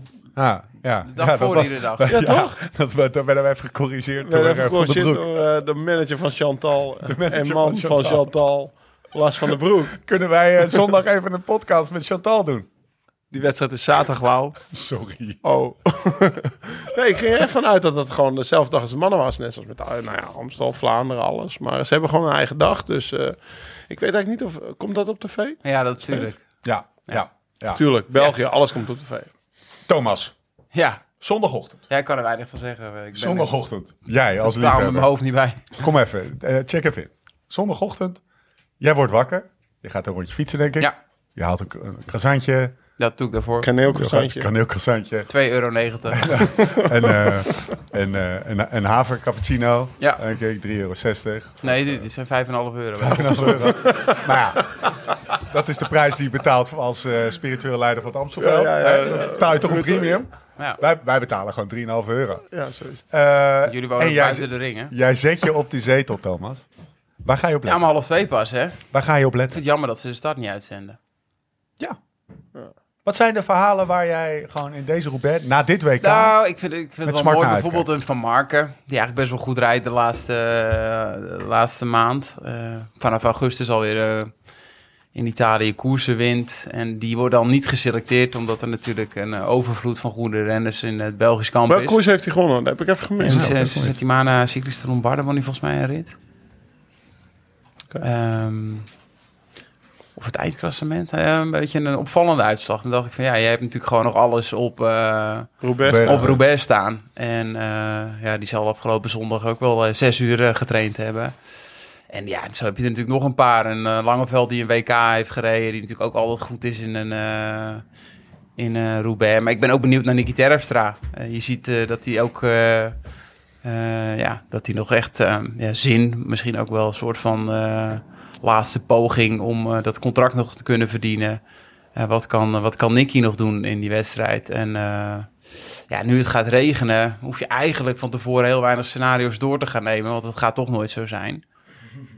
Speaker 1: Ah, ja.
Speaker 3: dag
Speaker 1: ja, dat
Speaker 3: voor
Speaker 1: was-
Speaker 3: iedere dag.
Speaker 4: Ja, toch?
Speaker 1: Dat, we, dat werden we even gecorrigeerd
Speaker 4: We
Speaker 1: door
Speaker 4: hebben even
Speaker 1: eh, Van de
Speaker 4: gecorrigeerd
Speaker 1: Broek.
Speaker 4: door eh, de manager van Chantal.
Speaker 1: manager
Speaker 4: en man
Speaker 1: van
Speaker 4: van
Speaker 1: Chantal.
Speaker 4: Chantal. Lars van der Broek.
Speaker 1: Kunnen wij eh, zondag even een podcast met Chantal doen?
Speaker 4: Die wedstrijd is zaterdag, Lau.
Speaker 1: Sorry.
Speaker 4: Oh. nee, ik ging er echt vanuit dat dat gewoon dezelfde dag als de mannen was. Net zoals met eh, nou ja, Amstel, Vlaanderen, alles. Maar ze hebben gewoon een eigen dag. Dus eh, ik weet eigenlijk niet of... Komt dat op tv?
Speaker 3: Ja, dat natuurlijk.
Speaker 1: Ja, ja, ja.
Speaker 4: Tuurlijk, België, alles komt op tv.
Speaker 1: Thomas,
Speaker 3: Ja,
Speaker 1: zondagochtend.
Speaker 3: jij kan er weinig van zeggen. Ik ben er
Speaker 1: Zondagochtend. Jij als
Speaker 3: totaal met mijn
Speaker 1: liefhebber.
Speaker 3: hoofd niet bij.
Speaker 1: Kom even, eh, check even in. Zondagochtend, jij wordt wakker. Je gaat een rondje fietsen, denk ik.
Speaker 3: Ja.
Speaker 1: Je haalt een, een croissantje.
Speaker 3: Dat doe ik daarvoor. 2,90
Speaker 1: Een
Speaker 4: Kaneelcroissantje.
Speaker 1: kaneelcroissantje.
Speaker 3: euro.
Speaker 1: en eh en, eh een, een haver cappuccino.
Speaker 3: Ja.
Speaker 1: En keek 3,60 euro.
Speaker 3: Nee, dit, dit zijn 5,5 euro.
Speaker 1: maar ja, dat is de prijs die je betaalt voor als eh spiritueel leider van het Amstelveld.
Speaker 4: Ja, ja, ja, ja.
Speaker 1: Eh, betaal je toch een premium?
Speaker 3: Ja.
Speaker 1: Wij, wij betalen gewoon 3,5 euro.
Speaker 4: Ja, zo is het.
Speaker 1: Eh,
Speaker 3: Jullie wonen
Speaker 1: en jij,
Speaker 3: buiten de ring, hè?
Speaker 1: jij zet je op die zetel, Thomas. Waar ga je op
Speaker 3: Ja,
Speaker 1: letten?
Speaker 3: maar half twee pas, hè? Ik vind
Speaker 1: Waar ga je op letten?
Speaker 3: het jammer dat ze de stad niet uitzenden.
Speaker 1: Ja. Wat zijn de verhalen waar jij gewoon in deze Roubaix, na dit WK...
Speaker 3: Nou, ik vind, ik vind het wel
Speaker 1: smart
Speaker 3: mooi.
Speaker 1: naar
Speaker 3: Bijvoorbeeld een Van Marken, die eigenlijk best wel goed rijdt de laatste, eh, de laatste maand. Eh, vanaf augustus alweer eh, in Italië koersen wint. En die wordt dan niet geselecteerd, omdat er natuurlijk een eh, overvloed van goede renners in het Belgisch kamp
Speaker 4: Welke
Speaker 3: is.
Speaker 4: koers heeft hij gewonnen? Dat heb ik even
Speaker 3: En
Speaker 4: gemist.
Speaker 3: ze- ze Settimana Cyclista Lombarda won hij volgens mij een rit.
Speaker 4: Oké.
Speaker 3: Ehm, of het eindklassement. eh, een beetje een opvallende uitslag. Dan dacht ik van ja, jij hebt natuurlijk gewoon nog alles op... eh,
Speaker 4: Roubaix.
Speaker 1: Ben-
Speaker 4: staat.
Speaker 3: op Roubaix staan. En eh, ja, die zal afgelopen zondag ook wel eh, zes uur eh, getraind hebben. En ja, zo heb je er natuurlijk nog een paar. Een eh, Langeveld die een WK heeft gereden, die natuurlijk ook altijd goed is in een... eh, in eh Roubaix. Maar ik ben ook benieuwd naar Nicky Terpstra. Eh, je ziet eh, dat hij ook... eh, eh, ja, dat hij nog echt eh, ja, zin, misschien ook wel een soort van eh, laatste poging om eh, dat contract nog te kunnen verdienen. Eh, wat, kan, wat kan Nicky nog doen in die wedstrijd? En eh, ja, nu het gaat regenen, hoef je eigenlijk van tevoren heel weinig scenario's door te gaan nemen, want het gaat toch nooit zo zijn.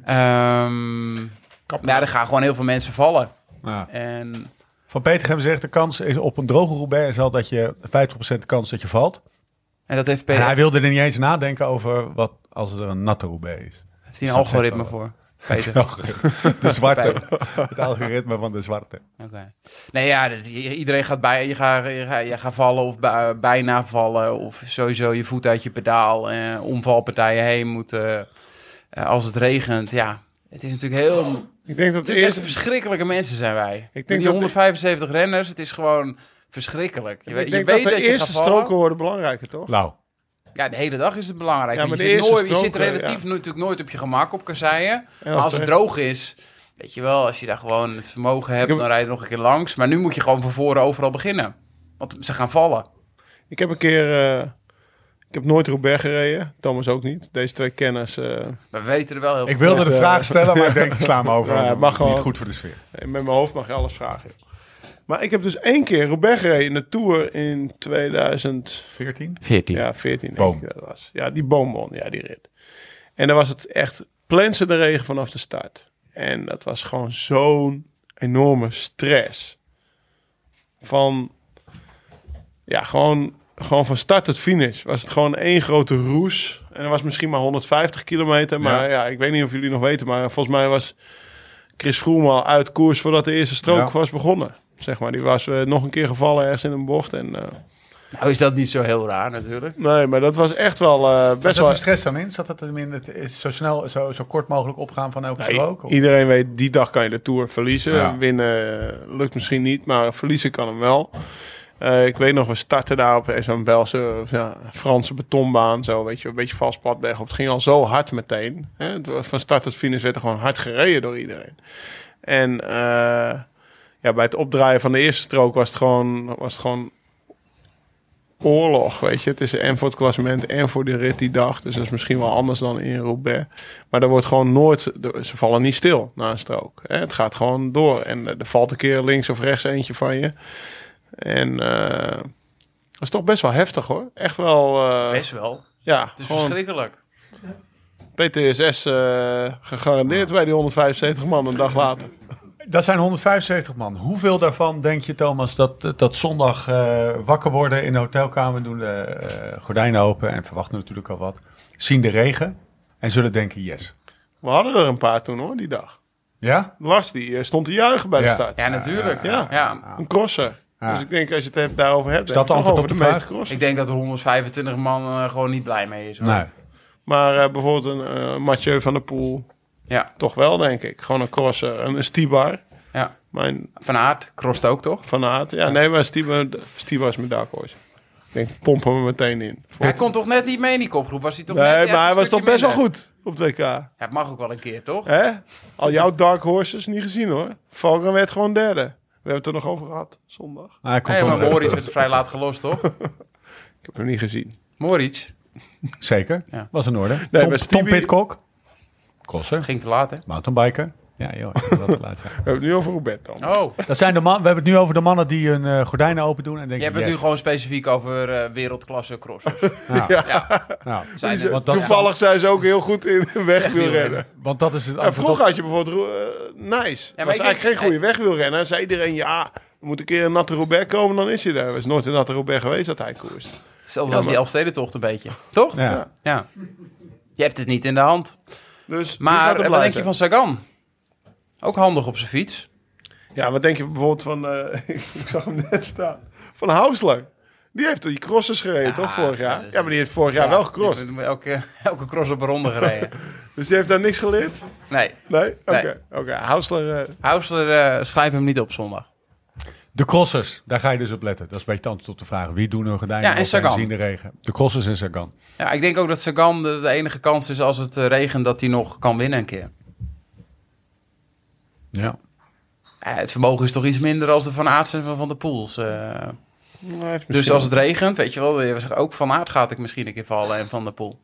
Speaker 3: Ehm, maar ja, er gaan gewoon heel veel mensen vallen.
Speaker 1: Ja.
Speaker 3: En
Speaker 1: Van Petergem zegt, de kans is op een droge Roubaix is al dat je 50% kans dat je valt.
Speaker 3: En dat heeft
Speaker 1: En hij
Speaker 3: PF.
Speaker 1: wilde er niet eens nadenken over wat als er een natte Roubaix is.
Speaker 3: Heeft hij
Speaker 1: Dat zegt
Speaker 3: een algoritme
Speaker 1: wel.
Speaker 3: voor?
Speaker 1: Het
Speaker 3: Peter.
Speaker 1: algoritme. De zwarte. Het algoritme van de zwarte.
Speaker 3: Oké. Nee, ja, dat, i- iedereen gaat bij je gaat, je gaat, je gaat vallen of bij- bijna vallen. Of sowieso je voet uit je pedaal. Eh, omvalpartijen heen moeten. Eh, als het regent, ja. Het is natuurlijk heel...
Speaker 4: Ik denk dat het
Speaker 3: Natuurlijk echt
Speaker 4: eerste...
Speaker 3: verschrikkelijke mensen zijn wij. Met
Speaker 4: denk
Speaker 3: die
Speaker 4: dat-
Speaker 3: 175 renners, het is gewoon verschrikkelijk. Je, weet-
Speaker 4: Ik
Speaker 3: je
Speaker 4: denk
Speaker 3: weet
Speaker 4: dat de
Speaker 3: je
Speaker 4: eerste
Speaker 3: gaat vallen.
Speaker 4: stroken worden belangrijker, toch?
Speaker 1: Lau.
Speaker 3: Ja, de hele dag is het belangrijk.
Speaker 4: Ja,
Speaker 3: want
Speaker 4: maar
Speaker 3: je,
Speaker 4: de
Speaker 3: zit
Speaker 4: eerste
Speaker 3: nooit, je zit
Speaker 4: stroken,
Speaker 3: relatief
Speaker 4: ja.
Speaker 3: natuurlijk nooit op je gemak op kasseien. Maar
Speaker 4: als
Speaker 3: als het
Speaker 4: het-
Speaker 3: droog is, weet je wel, als je daar gewoon het vermogen hebt,
Speaker 4: heb-
Speaker 3: dan rij je er nog een keer langs. Maar nu moet je gewoon van voren overal beginnen. Want ze gaan vallen.
Speaker 4: Ik heb een keer... eh, ik heb nooit Roubaix gereden. Thomas ook niet. Deze twee kenners... eh,
Speaker 3: We weten er wel heel
Speaker 1: Ik wilde de
Speaker 4: eh,
Speaker 1: vraag stellen, maar ik denk, ik sla hem over.
Speaker 4: Ja,
Speaker 1: want
Speaker 4: het
Speaker 1: het
Speaker 4: mag
Speaker 1: is
Speaker 4: gewoon.
Speaker 1: niet goed voor de sfeer.
Speaker 4: Hey, Met mijn hoofd mag je alles vragen. joh. Maar ik heb dus één keer Roubaix gereden in de Tour in 2014.
Speaker 1: 14?
Speaker 5: 14.
Speaker 4: Ja, 14
Speaker 1: Boom.
Speaker 4: denk ik dat het was. Ja, die boomwon, ja, die rit. En dan was het echt plensen de regen vanaf de start. En dat was gewoon zo'n enorme stress. Van, ja, gewoon, gewoon van start tot finish was het gewoon één grote roes. En er was misschien maar 150 kilometer. Maar ja, ik weet niet of jullie nog weten, maar volgens mij was Chris Froome al uit koers voordat de eerste strook
Speaker 3: Ja.
Speaker 4: was begonnen. Zeg maar, die was eh, nog een keer gevallen ergens in een bocht. En, eh,
Speaker 3: Nou is dat niet zo heel raar natuurlijk.
Speaker 4: Nee, maar dat was echt wel eh,
Speaker 1: Best
Speaker 4: best
Speaker 1: zat
Speaker 4: wel.
Speaker 1: de stress dan in? Zat dat hem in het is zo snel, zo, zo kort mogelijk opgaan van elke strook? Of-
Speaker 4: Iedereen weet, die dag kan je de Tour verliezen.
Speaker 1: Ja.
Speaker 4: Winnen eh, lukt misschien niet, maar verliezen kan hem wel. Eh, ik weet nog, we starten daar op zo'n Belse, of ja, Franse betonbaan. Zo, weet je, een beetje vast platweg op. Het ging al zo hard meteen. Hè? Het was Van start tot finish werd er gewoon hard gereden door iedereen. En eh, ja, bij het opdraaien van de eerste strook was het gewoon, was het gewoon oorlog, weet je. Het is en voor het klassement en voor de rit die dag. Dus dat is misschien wel anders dan in Roubaix. Maar er wordt gewoon nooit... de- Ze vallen niet stil na een strook. Hè? Het gaat gewoon door. En eh, er valt een keer links of rechts eentje van je. En eh, dat is toch best wel heftig, hoor. Echt wel... eh,
Speaker 3: Best wel.
Speaker 4: ja,
Speaker 3: Het is
Speaker 4: gewoon
Speaker 3: verschrikkelijk.
Speaker 4: PTSS eh, gegarandeerd bij die 175 man een dag later.
Speaker 1: Dat zijn 175 man. Hoeveel daarvan denk je, Thomas, dat, dat zondag eh, wakker worden in de hotelkamer, doen de eh, gordijnen open en verwachten natuurlijk al wat, zien de regen en zullen denken yes.
Speaker 4: We hadden er een paar toen, hoor, die dag.
Speaker 1: Ja?
Speaker 4: Lars, die eh, stond te juichen bij de
Speaker 1: Ja.
Speaker 4: start.
Speaker 3: Ja, natuurlijk.
Speaker 4: ja.
Speaker 3: Ja.
Speaker 4: Een crosser.
Speaker 1: Ja.
Speaker 4: Dus ik denk, als je het hebt, daarover hebt,
Speaker 1: Is
Speaker 4: denk
Speaker 1: dat
Speaker 4: ik toch
Speaker 1: antwoord
Speaker 4: over
Speaker 1: op
Speaker 4: de,
Speaker 1: de
Speaker 4: meeste
Speaker 1: vraag?
Speaker 4: crossen.
Speaker 3: Ik denk dat er 125 man eh, gewoon niet blij mee is. hoor.
Speaker 1: Nee.
Speaker 4: Maar eh, bijvoorbeeld een eh, Mathieu van der Poel,
Speaker 3: Ja,
Speaker 4: toch wel, denk ik. Gewoon een crosser, een, een Stibar.
Speaker 3: ja.
Speaker 4: Mijn
Speaker 3: Van Aert crost ook, toch?
Speaker 4: Van Aert. Ja, nee, maar Stibar, Stibar is mijn dark horse. Ik denk, pompen we meteen in. Voor-
Speaker 3: Hij kon toch net niet mee in die kopgroep? Was hij toch net
Speaker 4: nee,
Speaker 3: even
Speaker 4: maar hij
Speaker 3: een
Speaker 4: was toch
Speaker 3: stukje
Speaker 4: best wel
Speaker 3: minder?
Speaker 4: goed op het WK.
Speaker 3: Ja, het mag ook wel een keer, toch?
Speaker 4: Hè? Al jouw dark horses niet gezien, hoor. Valken werd gewoon derde. We hebben het er nog over gehad, zondag.
Speaker 1: Maar hij komt
Speaker 3: Nee,
Speaker 1: toch
Speaker 3: maar
Speaker 1: nog-
Speaker 3: Moritz werd vrij laat gelost, toch?
Speaker 4: Ik heb hem niet gezien.
Speaker 3: Moritz
Speaker 1: Zeker,
Speaker 3: Ja.
Speaker 1: was in orde.
Speaker 4: maar
Speaker 1: Tom, Tom
Speaker 4: Stevie-
Speaker 1: Pitcock, crosser,
Speaker 3: ging te laat, hè?
Speaker 1: mountainbiker. Ja, joh, ik wil dat geluid
Speaker 4: We
Speaker 1: zeggen.
Speaker 4: hebben het nu over Robert dan.
Speaker 3: Oh,
Speaker 1: dat zijn de man, we hebben het nu over de mannen die hun eh, gordijnen open doen en
Speaker 3: je
Speaker 1: denken
Speaker 3: hebt het nu
Speaker 1: yes.
Speaker 3: gewoon specifiek over eh, wereldklasse crossers.
Speaker 1: Nou,
Speaker 3: ja,
Speaker 1: nou,
Speaker 3: zijn
Speaker 4: Ze-
Speaker 3: er.
Speaker 1: want dat-
Speaker 4: Toevallig zijn ze ook heel goed in wegwielrennen.
Speaker 3: Wegwielrennen.
Speaker 1: want dat is het
Speaker 4: En
Speaker 1: antwoord op-
Speaker 4: vroeger had je bijvoorbeeld eh, Nice.
Speaker 3: maar
Speaker 4: was
Speaker 3: ik
Speaker 4: eigenlijk
Speaker 3: denk-
Speaker 4: geen goede wegwielrenner. Dan zei iedereen, ja, er moet een keer een natte Robert komen, dan is hij daar. Er is nooit een natte Robert geweest dat hij koerst.
Speaker 3: Zelfs als die Elfstedentocht een beetje. Toch?
Speaker 1: Ja.
Speaker 4: Ja.
Speaker 3: Ja. Je hebt het niet in de hand.
Speaker 4: Dus wie gaat
Speaker 3: Maar
Speaker 4: er
Speaker 3: eh, wat
Speaker 4: blij
Speaker 3: denk je
Speaker 4: zijn?
Speaker 3: van Sagan? Ook handig op zijn fiets.
Speaker 4: Ja, wat denk je bijvoorbeeld van... eh, ik zag hem net staan. Van Hausler. Die heeft die crossers gereden, toch, vorig jaar?
Speaker 3: dat is-
Speaker 4: Ja, maar die heeft vorig jaar wel gecrossed.
Speaker 3: Je hebt Elke, elke cross op een ronde gereden.
Speaker 4: Dus die heeft daar niks geleerd?
Speaker 3: Nee,
Speaker 4: Nee? Oké,
Speaker 3: Nee.
Speaker 4: oké. Hausler... eh,
Speaker 3: Housler eh, schrijft hem niet op zondag.
Speaker 1: De crossers, daar ga je dus op letten. Dat is een beetje het antwoord op de vraag. Wie doen hun gordijnen
Speaker 3: Ja, en
Speaker 1: open
Speaker 3: Sagan.
Speaker 1: zien de regen? De crossers en Sagan.
Speaker 3: Ja, ik denk ook dat Sagan de, de enige kans is als het eh, regent dat hij nog kan winnen een keer.
Speaker 1: Ja.
Speaker 3: Ja, Eh, het vermogen is toch iets minder als de Van Aerts en van Van der Poels. eh.
Speaker 4: hij Nou, heeft
Speaker 3: dus
Speaker 4: misschien-
Speaker 3: als het regent, weet je wel, je zegt ook Van Aert gaat ik misschien een keer vallen en Van der Poel.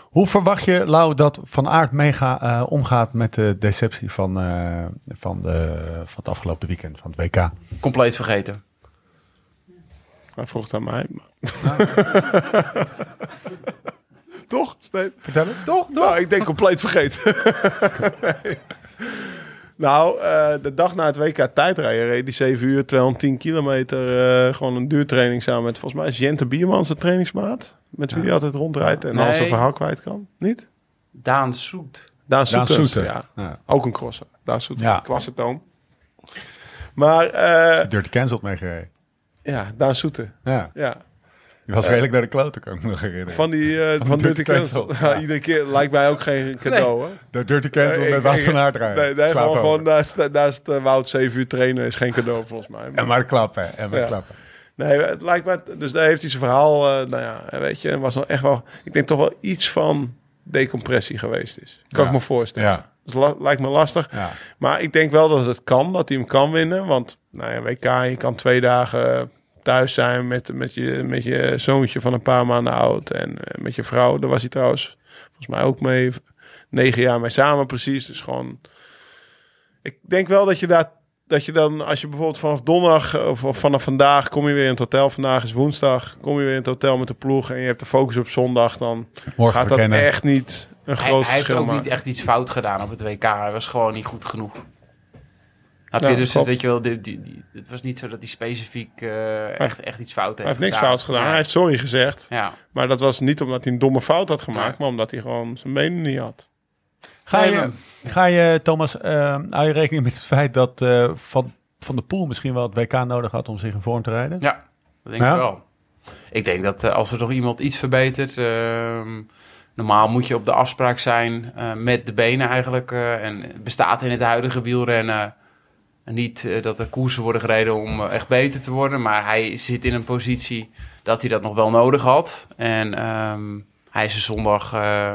Speaker 1: Hoe verwacht je, Lau, dat Van Aert mega eh, omgaat met de deceptie van, eh, van, de, van het afgelopen weekend, van het WK?
Speaker 3: Compleet vergeten.
Speaker 4: Hij vroeg het aan mij. maar-
Speaker 3: Ah,
Speaker 4: Toch, Steve?
Speaker 1: Vertel eens.
Speaker 4: Toch? Nou, ik denk compleet vergeten. Nee. Nou, eh, de dag na het WK tijdrijden reed die 7 uur, 210 kilometer. eh, gewoon een duurtraining samen met, volgens mij is Jente Bierman zijn trainingsmaat. Met wie hij altijd rondrijdt en
Speaker 3: Nee.
Speaker 4: al zijn verhaal kwijt kan. Niet?
Speaker 3: Daan Soet.
Speaker 4: Daan
Speaker 1: Daan
Speaker 4: Soeters.
Speaker 1: Soeter.
Speaker 4: Ja,
Speaker 1: Ja.
Speaker 4: ook een crosser. Daan Soeters,
Speaker 1: Ja.
Speaker 4: klassetoom. Maar eh,
Speaker 1: Dirty Cancelled meegereden.
Speaker 4: ja, Daan Soeter.
Speaker 1: Ja.
Speaker 4: Ja.
Speaker 1: Je was redelijk naar de klote, kan ik me nog herinneren.
Speaker 4: Van die eh, van, Dirty Cancel. Ja, iedere keer lijkt mij ook geen cadeau, hoor.
Speaker 1: de Dirty Cancel
Speaker 4: Eh,
Speaker 1: met
Speaker 4: ik-
Speaker 1: Wout
Speaker 4: ik-
Speaker 1: van Aert rijden.
Speaker 4: Nee, nee
Speaker 1: Slaap
Speaker 4: gewoon,
Speaker 1: over.
Speaker 4: gewoon naast, naast eh, Wout 7 uur trainen is geen cadeau, volgens mij.
Speaker 1: En maar klappen, en maar
Speaker 4: Ja.
Speaker 1: klappen.
Speaker 4: Nee, het lijkt mij... Dus daar heeft hij zijn verhaal... eh, nou ja, weet je, er was nog echt wel... Ik denk toch wel iets van decompressie geweest is. Kan
Speaker 1: Ja.
Speaker 4: ik me voorstellen.
Speaker 1: Ja.
Speaker 4: Dus la- lijkt me lastig.
Speaker 1: Ja.
Speaker 4: Maar ik denk wel dat het kan, dat hij hem kan winnen. Want nou ja, WK, je kan twee dagen thuis zijn met, met, je, met je zoontje van een paar maanden oud. En eh, met je vrouw, daar was hij trouwens volgens mij ook mee. Negen jaar mee samen precies. Dus gewoon... Ik denk wel dat je daar... Dat je dan, als je bijvoorbeeld vanaf donderdag eh, of, of vanaf vandaag kom je weer in het hotel. Vandaag is woensdag. Kom je weer in het hotel met de ploeg en je hebt de focus op zondag. Dan
Speaker 1: Morgen
Speaker 4: gaat dat
Speaker 1: verkennen.
Speaker 4: echt niet een
Speaker 3: Hij,
Speaker 4: groot
Speaker 3: hij heeft
Speaker 4: verschil
Speaker 3: ook
Speaker 4: maken.
Speaker 3: niet echt iets fout gedaan op het WK. Hij was gewoon niet goed genoeg. Heb
Speaker 4: Ja,
Speaker 3: je dus,
Speaker 4: klopt.
Speaker 3: weet je wel, die- die- die- het was niet zo dat hij specifiek eh, echt, echt iets fout heeft
Speaker 4: Hij heeft niks fout gedaan. Hij heeft sorry gezegd.
Speaker 3: Ja.
Speaker 4: Maar dat was niet omdat hij een domme fout had gemaakt,
Speaker 3: Nee.
Speaker 4: maar omdat hij gewoon zijn mening niet had.
Speaker 1: Ga
Speaker 3: Nee,
Speaker 1: je, ga je Thomas, eh, hou je rekening met het feit dat eh, Van, van de Poel misschien wel het WK nodig had om zich in vorm te rijden?
Speaker 3: Ja, dat denk
Speaker 1: Ja?
Speaker 3: ik wel. Ik denk dat eh, als er nog iemand iets verbetert. ehm, normaal moet je op de afspraak zijn eh, met de benen eigenlijk. eh, en het bestaat in het huidige wielrennen. Niet eh, dat er koersen worden gereden om eh, echt beter te worden. Maar hij zit in een positie dat hij dat nog wel nodig had. En ehm, hij is er zondag eh,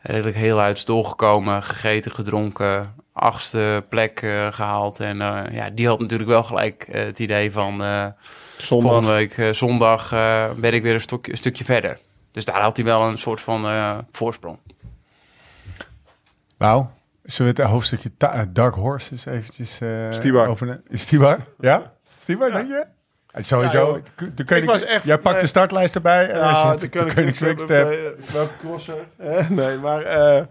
Speaker 3: redelijk heel uit doorgekomen. Gegeten, gedronken. Achtste plek eh, gehaald. En eh, ja, die had natuurlijk wel gelijk eh, het idee van... eh,
Speaker 4: Zondag.
Speaker 3: Volgende week eh, zondag eh, ben ik weer een, stokje- een stukje verder. Dus daar had hij wel een soort van eh, voorsprong.
Speaker 1: Nou, zullen we het hoofdstukje ta- eh, Dark Horses eventjes eh
Speaker 4: Stibar.
Speaker 1: overne- Is Stibar? Ja? Stibar, denk je? Eh, Sowieso.
Speaker 4: Ja, joh.
Speaker 1: de koning-
Speaker 4: was echt- eh,
Speaker 1: jij pakt
Speaker 4: nee.
Speaker 1: de startlijst erbij. en daar zit de Koningswinst heb.
Speaker 4: Welke crosser? Eh, nee, maar eh,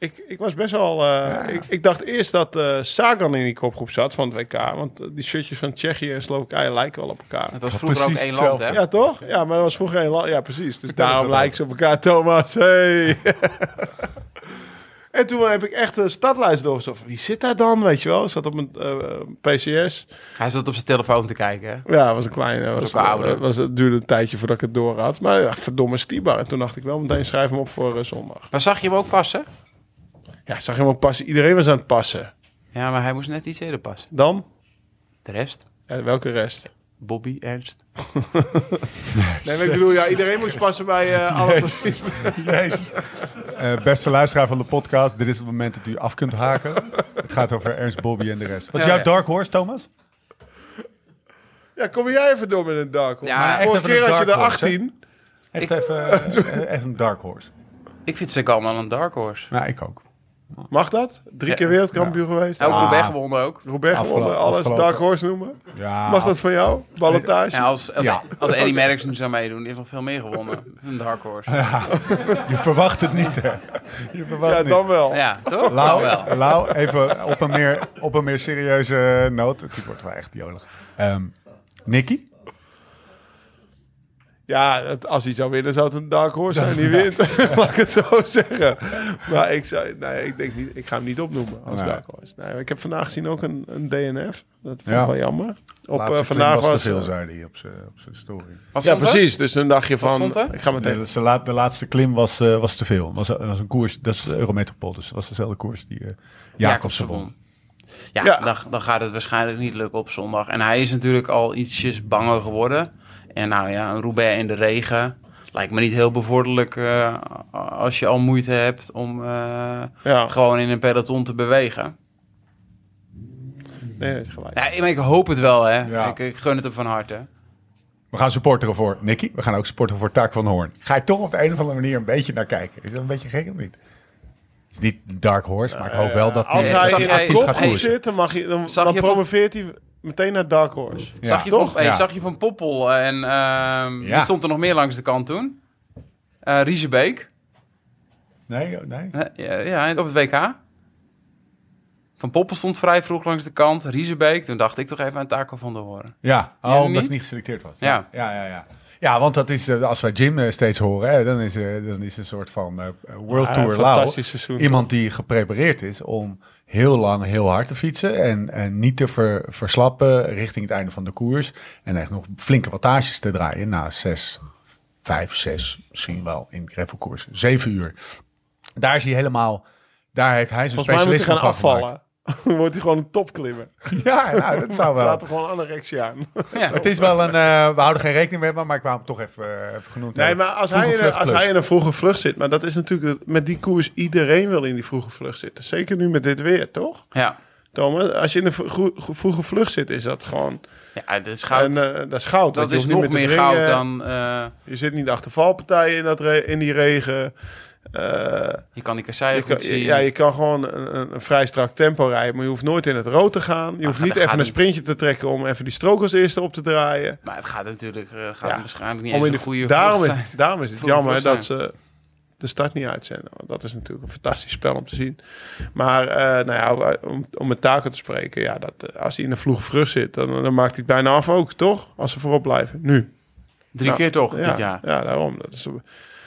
Speaker 4: ik, ik was best wel... eh, ik, ik dacht eerst dat eh, Sagan in die kopgroep zat van het WK. Want eh, die shirtjes van Tsjechië en Slowakije lijken wel op elkaar.
Speaker 3: Het was
Speaker 1: Ja,
Speaker 3: vroeger ook
Speaker 1: precies
Speaker 3: één land, hè?
Speaker 1: hetzelfde.
Speaker 4: Ja, toch? Ja, maar dat was vroeger heel lang. Ja, precies. Dus
Speaker 1: dat
Speaker 4: daarom
Speaker 1: wel.
Speaker 4: lijken ze op elkaar, Thomas. Hey. en toen heb ik echt de stadlijst doorgezocht. Wie zit daar dan, weet je wel? Ik Zat op een eh, PCS.
Speaker 3: Hij zat op zijn telefoon te kijken. hè?
Speaker 4: Ja, was een kleine. Was, eh,
Speaker 3: ook wel ouder.
Speaker 4: was, het duurde een tijdje voordat ik het door had. Maar ja, verdomme Stibar. En toen dacht ik wel meteen schrijf hem op voor eh, zondag.
Speaker 3: Maar zag je hem ook passen?
Speaker 4: Ja, zag je hem ook passen. Iedereen was aan het passen.
Speaker 3: Ja, maar hij moest net iets eerder passen.
Speaker 4: Dan?
Speaker 3: De rest?
Speaker 4: Ja, welke rest?
Speaker 3: Bobby, Ernst.
Speaker 4: Nee, maar ik bedoel, ja, iedereen moest passen bij eh alle precies.
Speaker 1: Jezus. Eh, beste luisteraar van de podcast, dit is het moment dat u af kunt haken. het gaat over Ernst Bobby en de rest. Wat is
Speaker 3: Ja,
Speaker 1: jouw Dark Horse, Thomas?
Speaker 4: Ja, kom jij even door met een dark horse.
Speaker 3: Ja,
Speaker 4: Ja,
Speaker 3: echt
Speaker 4: Vorige
Speaker 1: even een
Speaker 4: keer had je
Speaker 1: dark
Speaker 4: er
Speaker 1: horse, hè?
Speaker 4: 18.
Speaker 1: Echt even eh, echt een Dark Horse.
Speaker 3: Ik vind ze allemaal een dark horse.
Speaker 1: Nou, ik ook.
Speaker 4: Mag dat? Drie keer wereldkampioen geweest.
Speaker 3: Ook
Speaker 4: Ah,
Speaker 3: Roubaix gewonnen ook.
Speaker 4: Roubaix
Speaker 1: Afgelopen-
Speaker 4: gewonnen, alles
Speaker 1: afgelopen.
Speaker 4: Dark Horse noemen.
Speaker 1: Ja,
Speaker 4: Mag dat van jou? Ballotage?
Speaker 3: Ja, als, als,
Speaker 1: Ja.
Speaker 3: als Eddie Merckx nu zou meedoen, die heeft nog veel meer gewonnen. Een dark horse.
Speaker 1: Je verwacht het niet, hè? Je verwacht
Speaker 4: Ja,
Speaker 1: het
Speaker 4: dan
Speaker 1: niet.
Speaker 4: wel.
Speaker 3: Ja, toch? Nou
Speaker 1: Lau,
Speaker 3: wel.
Speaker 1: Lau, even op een, meer, op een meer serieuze noot. Het wordt wel echt jolig. Ehm Nicky?
Speaker 4: Ja, het- als hij zou winnen, zou het een Dark Horse zijn. Die wint, mag ik het zo zeggen. Maar ik, zou, nee, ik, denk niet, ik ga hem niet opnoemen als
Speaker 1: Nee.
Speaker 4: Dark Horse. Nee, ik heb vandaag gezien ook een, een DNF. Dat vond ik
Speaker 1: Ja.
Speaker 4: wel jammer. Op, eh,
Speaker 1: Laatste
Speaker 4: vandaag
Speaker 1: klim
Speaker 4: was,
Speaker 1: te veel,
Speaker 4: eh,
Speaker 1: zei hij op zijn op zijn story.
Speaker 3: Wat
Speaker 4: Ja,
Speaker 3: stond er?
Speaker 4: precies. Dus een dagje van...
Speaker 3: stond er?
Speaker 4: Ik ga meteen...
Speaker 1: De, de laat- de laatste klim was, eh, was te veel. Was, was een koers, dat is de Eurometropol, dus dat was dezelfde koers die eh Jacobsen won.
Speaker 3: Ja,
Speaker 4: Ja.
Speaker 3: Dan, dan gaat het waarschijnlijk niet lukken op zondag. En hij is natuurlijk al ietsjes banger geworden. En nou ja, een Roubaix in de regen lijkt me niet heel bevorderlijk eh, als je al moeite hebt om eh,
Speaker 4: Ja,
Speaker 3: gewoon in een peloton te bewegen.
Speaker 4: nee, dat is gelijk.
Speaker 3: Ja, ik- maar ik hoop het wel, hè.
Speaker 1: Ja.
Speaker 3: Ik, ik gun het hem van harte.
Speaker 1: We gaan supporteren voor Nicky. We gaan ook supporteren voor Taak van Hoorn. Ga ik toch op de een of andere manier een beetje naar kijken. Is dat een beetje gek of niet? Het is niet Dark Horse, maar ik hoop wel dat
Speaker 4: Als
Speaker 3: Nee,
Speaker 4: hij
Speaker 3: zag
Speaker 4: in
Speaker 3: jij-
Speaker 4: een kop
Speaker 3: zag je-
Speaker 4: zit, dan, mag je, dan,
Speaker 3: Zag
Speaker 4: dan
Speaker 3: je van-
Speaker 4: promoveert hij meteen naar Dark Horse.
Speaker 1: Ja.
Speaker 3: zag, je
Speaker 4: Toch?
Speaker 3: van, hey,
Speaker 1: Ja.
Speaker 3: zag je van Poppel en ehm,
Speaker 1: Ja.
Speaker 3: wie stond er nog meer langs de kant toen? Eh Riesebeek.
Speaker 1: Nee, nee.
Speaker 3: Eh, Ja, ja, op het WK. Van Poppel stond vrij vroeg langs de kant. Riesebeek. Toen dacht ik toch even aan Taco van de Horen.
Speaker 1: Ja,
Speaker 3: Ja,
Speaker 1: oh, omdat
Speaker 3: niet?
Speaker 1: het niet geselecteerd was.
Speaker 3: Ja.
Speaker 1: ja, ja. ja. Ja, want dat is, eh, als wij Jim eh, steeds horen, hè, dan, is, eh, dan is een soort van eh, World
Speaker 4: Ja,
Speaker 1: Tour
Speaker 4: een
Speaker 1: Lau.
Speaker 4: Ah, fantastisch seizoen.
Speaker 1: Iemand die geprepareerd is om heel lang heel hard te fietsen en, en niet te ver- verslappen richting het einde van de koers. En echt nog flinke wattages te draaien na zes, vijf, zes, misschien wel in gravelkoers. Zeven uur. Daar is hij helemaal, daar heeft hij zijn
Speaker 4: Volgens mij moet hij
Speaker 1: specialisme
Speaker 4: gaan
Speaker 1: van gemaakt.
Speaker 4: afvallen. Dan wordt hij gewoon een topklimmer.
Speaker 1: Ja, nou, dat zou wel.
Speaker 4: Laat hem gewoon anorexia aan.
Speaker 3: Ja.
Speaker 1: Het is wel een, eh, we houden geen rekening mee, maar ik wou hem toch even, eh, even genoemd
Speaker 4: Nee,
Speaker 1: hebben.
Speaker 4: maar als
Speaker 1: Vroege
Speaker 4: hij, in, een- als
Speaker 1: vluchtplus.
Speaker 4: hij in een vroege vlucht zit, maar dat is natuurlijk met die koers iedereen wil in die vroege vlucht zitten. Zeker nu met dit weer, toch?
Speaker 3: Ja.
Speaker 4: Thomas, als je in een vro- vroege vlucht zit, is dat gewoon.
Speaker 3: ja, dat is goud.
Speaker 4: En, eh, dat is goud.
Speaker 3: dat
Speaker 4: want je
Speaker 3: is
Speaker 4: hoeft niet
Speaker 3: nog
Speaker 4: te
Speaker 3: meer goud
Speaker 4: wringen.
Speaker 3: dan... eh,
Speaker 4: Je zit niet achter valpartijen in, dat re- in die regen. Eh,
Speaker 3: je kan die kasseien
Speaker 4: je
Speaker 3: goed
Speaker 4: kan,
Speaker 3: zien.
Speaker 4: ja, je kan gewoon een, een- een vrij strak tempo rijden, maar je hoeft nooit in het rood te gaan. Je hoeft
Speaker 3: dat
Speaker 4: niet
Speaker 3: Ah, gaat
Speaker 4: even een
Speaker 3: niet.
Speaker 4: sprintje te trekken om even die strook als eerste op te draaien.
Speaker 3: Maar het gaat natuurlijk eh, gaat
Speaker 4: Ja,
Speaker 3: waarschijnlijk niet
Speaker 4: Om
Speaker 3: eens
Speaker 4: in
Speaker 3: een
Speaker 4: de,
Speaker 3: goede
Speaker 4: daarom,
Speaker 3: vlucht
Speaker 4: is,
Speaker 3: zijn.
Speaker 4: daarom is het
Speaker 3: Vroege
Speaker 4: jammer
Speaker 3: vlucht
Speaker 4: dat ze de start niet uitzenden. Want dat is natuurlijk een fantastisch spel om te zien. Maar eh, nou ja, om, om met Taco te spreken, ja, dat, eh, als hij in de vroege vrucht zit, dan, dan maakt hij het bijna af ook, toch? Als ze voorop blijven, nu.
Speaker 3: Drie
Speaker 4: Nou,
Speaker 3: keer toch,
Speaker 4: ja,
Speaker 3: dit jaar.
Speaker 4: Ja, daarom. Dat is,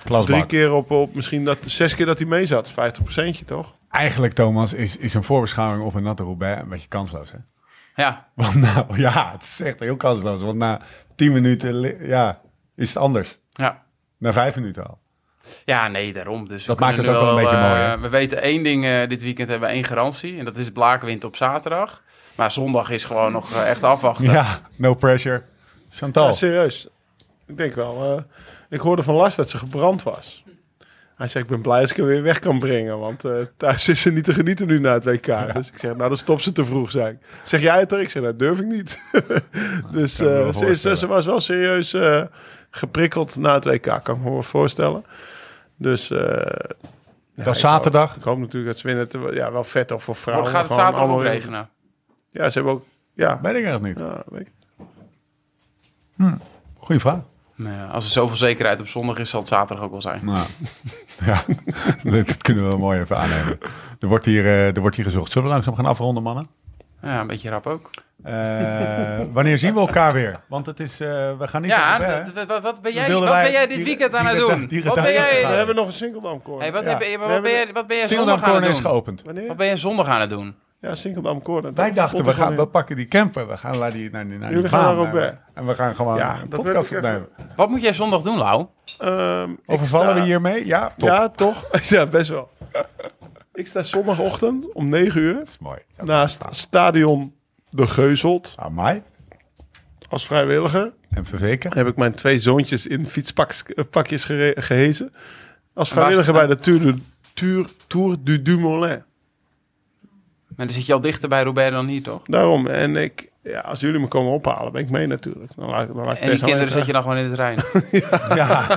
Speaker 1: Glasbak.
Speaker 4: drie keer op, op misschien dat, zes keer dat hij mee zat, 50 toch?
Speaker 1: Eigenlijk, Thomas, is, is een voorbeschouwing op een natte Roubaix een beetje kansloos, hè?
Speaker 3: Ja,
Speaker 1: Want nou, ja, het is echt heel kansloos. Want na tien minuten, li- ja, is het anders.
Speaker 3: ja.
Speaker 1: Na vijf minuten al.
Speaker 3: Ja, nee, daarom. Dus we
Speaker 1: Dat maakt
Speaker 3: kunnen
Speaker 1: het ook
Speaker 3: nu
Speaker 1: wel een beetje
Speaker 3: eh,
Speaker 1: mooi, hè?
Speaker 3: We weten één ding, eh, dit weekend hebben we één garantie. En dat is blaakwind op zaterdag. Maar zondag is gewoon nog eh, echt afwachten.
Speaker 1: Ja, no pressure. Chantal.
Speaker 4: Ja, serieus. Ik denk wel. eh, ik hoorde van Lars dat ze gebrand was. Hij zei, ik ben blij als ik hem weer weg kan brengen. Want eh, thuis is ze niet te genieten nu na het WK. Dus ik zeg, nou dan stopt ze te vroeg, zei ik. Zeg jij het er? Ik zeg, "Nou, dat durf ik niet. dus
Speaker 1: kan ik me wel
Speaker 4: eh, ze, is-
Speaker 1: voorstellen.
Speaker 4: ze was wel serieus eh, geprikkeld na het WK, kan ik me wel voorstellen. Dus... eh, ja, ik hoop-
Speaker 1: zaterdag.
Speaker 4: Ik hoop natuurlijk dat ze winnen. Het wordt- Ja, wel vet of voor vrouwen.
Speaker 3: Morgen gaat het
Speaker 4: gewoon
Speaker 3: zaterdag ook
Speaker 4: allemaal-
Speaker 3: regenen.
Speaker 4: Ja, ze hebben ook... Ja,
Speaker 1: Weet ik echt niet.
Speaker 4: ja, weet ik.
Speaker 1: Goeie vraag.
Speaker 3: Nou ja, als er zoveel zekerheid op zondag is, zal het zaterdag ook wel zijn.
Speaker 1: Nou, ja, dat kunnen we wel mooi even aannemen. Er wordt hier, eh, er wordt hier gezocht. Zullen we langzaam gaan afronden, mannen?
Speaker 3: Ja, een beetje rap ook.
Speaker 1: Eh, wanneer zien we elkaar weer? Want het is, eh, we gaan niet...
Speaker 3: Ja,
Speaker 1: op de-
Speaker 3: dat- wat- wat, wat ben jij,
Speaker 1: wilden
Speaker 3: wat
Speaker 1: wij-
Speaker 3: ben jij dit
Speaker 1: die-
Speaker 3: weekend aan
Speaker 1: die
Speaker 3: het
Speaker 1: reda-
Speaker 3: doen?
Speaker 1: die
Speaker 3: Wat ben
Speaker 1: redactie
Speaker 3: jij...
Speaker 1: gaan.
Speaker 4: We hebben nog een singeldam, Cor.
Speaker 3: Hey, wat,
Speaker 1: Ja.
Speaker 3: heb je- wat,
Speaker 4: We
Speaker 3: ben
Speaker 4: hebben-
Speaker 3: jij, wat ben jij
Speaker 1: Singeldam
Speaker 3: zondag aan
Speaker 1: Corner
Speaker 3: het
Speaker 1: is
Speaker 3: doen?
Speaker 1: geopend.
Speaker 4: Wanneer?
Speaker 3: Wat ben jij zondag aan het doen?
Speaker 4: Ja, Sinkeldam Koorden.
Speaker 1: Wij dachten, we, gaan, we pakken die camper, we gaan naar die, naar die, naar die
Speaker 4: Jullie gaan
Speaker 1: baan,
Speaker 4: naar Roubaix.
Speaker 1: eh, En we gaan gewoon
Speaker 4: Ja,
Speaker 1: een
Speaker 4: dat
Speaker 1: podcast
Speaker 4: wil ik even-
Speaker 1: opnemen.
Speaker 3: Wat moet jij zondag doen, Lau?
Speaker 1: Overvallen we hiermee? Ja, top.
Speaker 4: Ehm, Ja, toch? ja, best wel. ik sta zondagochtend om 9 uur
Speaker 1: Dat is mooi. Dat is
Speaker 4: naast Stadion De Geuzelt
Speaker 1: Aan mij
Speaker 4: als vrijwilliger.
Speaker 1: en verzeker.
Speaker 4: Heb ik mijn twee zoontjes in fietspakjes gere- gehezen. Als
Speaker 3: En waar
Speaker 4: vrijwilliger
Speaker 3: sta-
Speaker 4: bij de Tour, du- Tour, Tour du Dumoulin.
Speaker 3: Maar dan zit je al dichter bij Robert dan hier, toch?
Speaker 4: Daarom. En ik, ja, als jullie me komen ophalen, ben ik mee natuurlijk. Dan laat, dan laat ik
Speaker 3: En die
Speaker 4: Tess alleen
Speaker 3: kinderen zet
Speaker 4: thuis.
Speaker 3: je dan gewoon in de trein.
Speaker 1: Ja.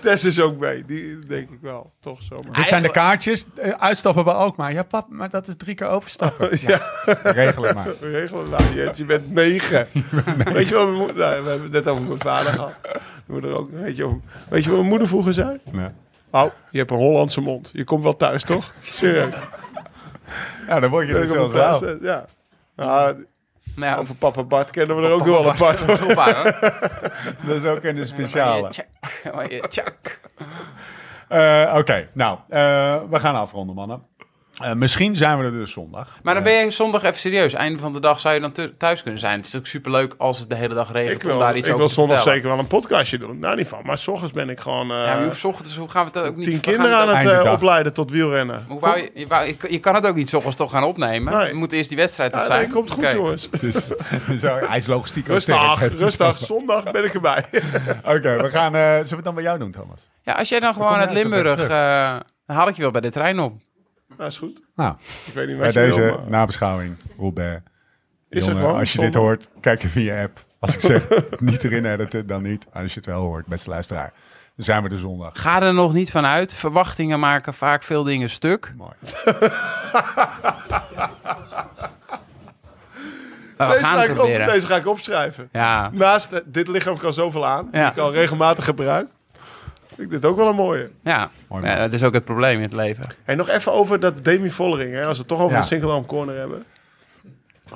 Speaker 4: Tess is ook mee. Die denk ik wel. Toch zomaar.
Speaker 1: Dit zijn de kaartjes. Eh, Uitstappen bij Alkmaar. Ja, pap, maar dat is drie keer overstappen. Ja. Regel het maar.
Speaker 4: We regelen het nou, Jens. Je bent negen. Weet je wat mijn moeder... Nou, we hebben het net over mijn vader gehad. Mijn Moeder ook, weet, je, wat- weet je wat mijn moeder vroeger zei?
Speaker 1: Ja.
Speaker 4: Nou, je hebt een Hollandse mond. Je komt wel thuis, toch? Serieus.
Speaker 1: ja, dan word je
Speaker 4: Je
Speaker 1: er
Speaker 4: komt wel
Speaker 1: zelfs
Speaker 4: thuis,
Speaker 1: wel.
Speaker 4: hè? Ja. Nou,
Speaker 3: Nou ja,
Speaker 4: over papa Bart kennen we er ook wel apart. hoor.
Speaker 3: Op aan, hoor.
Speaker 1: Dat is ook in de speciale.
Speaker 3: Tjak, tjak, tjak.
Speaker 1: Eh, Oké, nou, eh, we gaan afronden, mannen. Eh, misschien zijn we er dus zondag.
Speaker 3: Maar dan ben je zondag even serieus. Einde van de dag zou je dan thu- thuis kunnen zijn. Het is ook superleuk als het de hele dag regent
Speaker 4: Ik
Speaker 3: om
Speaker 4: wil,
Speaker 3: daar iets
Speaker 4: ik
Speaker 3: over
Speaker 4: wil
Speaker 3: te
Speaker 4: zondag
Speaker 3: vertellen.
Speaker 4: zeker wel een podcastje doen. Nou, niet van. Maar s ochtends ben ik gewoon... eh,
Speaker 3: Ja, maar je hoeft 's ochtends, hoe gaan we dat ook niet...
Speaker 4: tien
Speaker 3: we gaan
Speaker 4: kinderen aan
Speaker 3: dat-
Speaker 4: het eh,
Speaker 1: Einde dag.
Speaker 4: opleiden tot wielrennen.
Speaker 3: Hoe wou je, je, wou- je- je kan het ook niet 's ochtends toch gaan opnemen.
Speaker 4: Nee.
Speaker 3: Je moet eerst die wedstrijd
Speaker 4: Ja,
Speaker 3: opzij.
Speaker 4: nee, komt goed,
Speaker 3: Oké.
Speaker 4: jongens.
Speaker 1: Dus, zo, hij is logistiek ook
Speaker 4: Rustig,
Speaker 1: sterk.
Speaker 4: rustig. Zondag ben ik erbij.
Speaker 1: Oké, we gaan. eh, zullen we het dan bij jou doen, Thomas?
Speaker 3: Ja, als jij dan gewoon
Speaker 1: kom je
Speaker 3: uit
Speaker 1: uit, dan ben je
Speaker 3: Limburg... eh, dan haal ik je wel bij de trein op.
Speaker 4: Nou, is goed.
Speaker 1: Nou,
Speaker 4: Ik weet niet
Speaker 1: bij
Speaker 4: wat je
Speaker 1: deze
Speaker 4: wil, maar-
Speaker 1: nabeschouwing, Roubaix.
Speaker 4: Is er
Speaker 1: Jongen,
Speaker 4: gewoon
Speaker 1: als je
Speaker 4: zondag?
Speaker 1: dit hoort, kijk even in je app. Als ik zeg niet erin editen, dan niet. Als je het wel hoort, beste luisteraar. Dan zijn we er zondag.
Speaker 3: Ga er nog niet van uit. Verwachtingen maken vaak veel dingen stuk. Nou,
Speaker 1: Mooi.
Speaker 3: Maar Oh, we
Speaker 4: Deze
Speaker 3: gaan
Speaker 4: ga,
Speaker 3: het
Speaker 4: ik op,
Speaker 3: proberen.
Speaker 4: deze ga ik opschrijven.
Speaker 3: Ja.
Speaker 4: Naast eh, dit lichaam kan zoveel aan.
Speaker 3: Ja.
Speaker 4: Ik al regelmatig gebruik. Vind ik dit ook wel een mooie.
Speaker 3: Ja.
Speaker 1: Mooi,
Speaker 3: ja,
Speaker 1: man.
Speaker 3: dat is ook het probleem in het leven.
Speaker 4: En nog even over dat Demi Vollering. Hè, als we het toch over
Speaker 1: Ja.
Speaker 4: de Singeldam Corner hebben.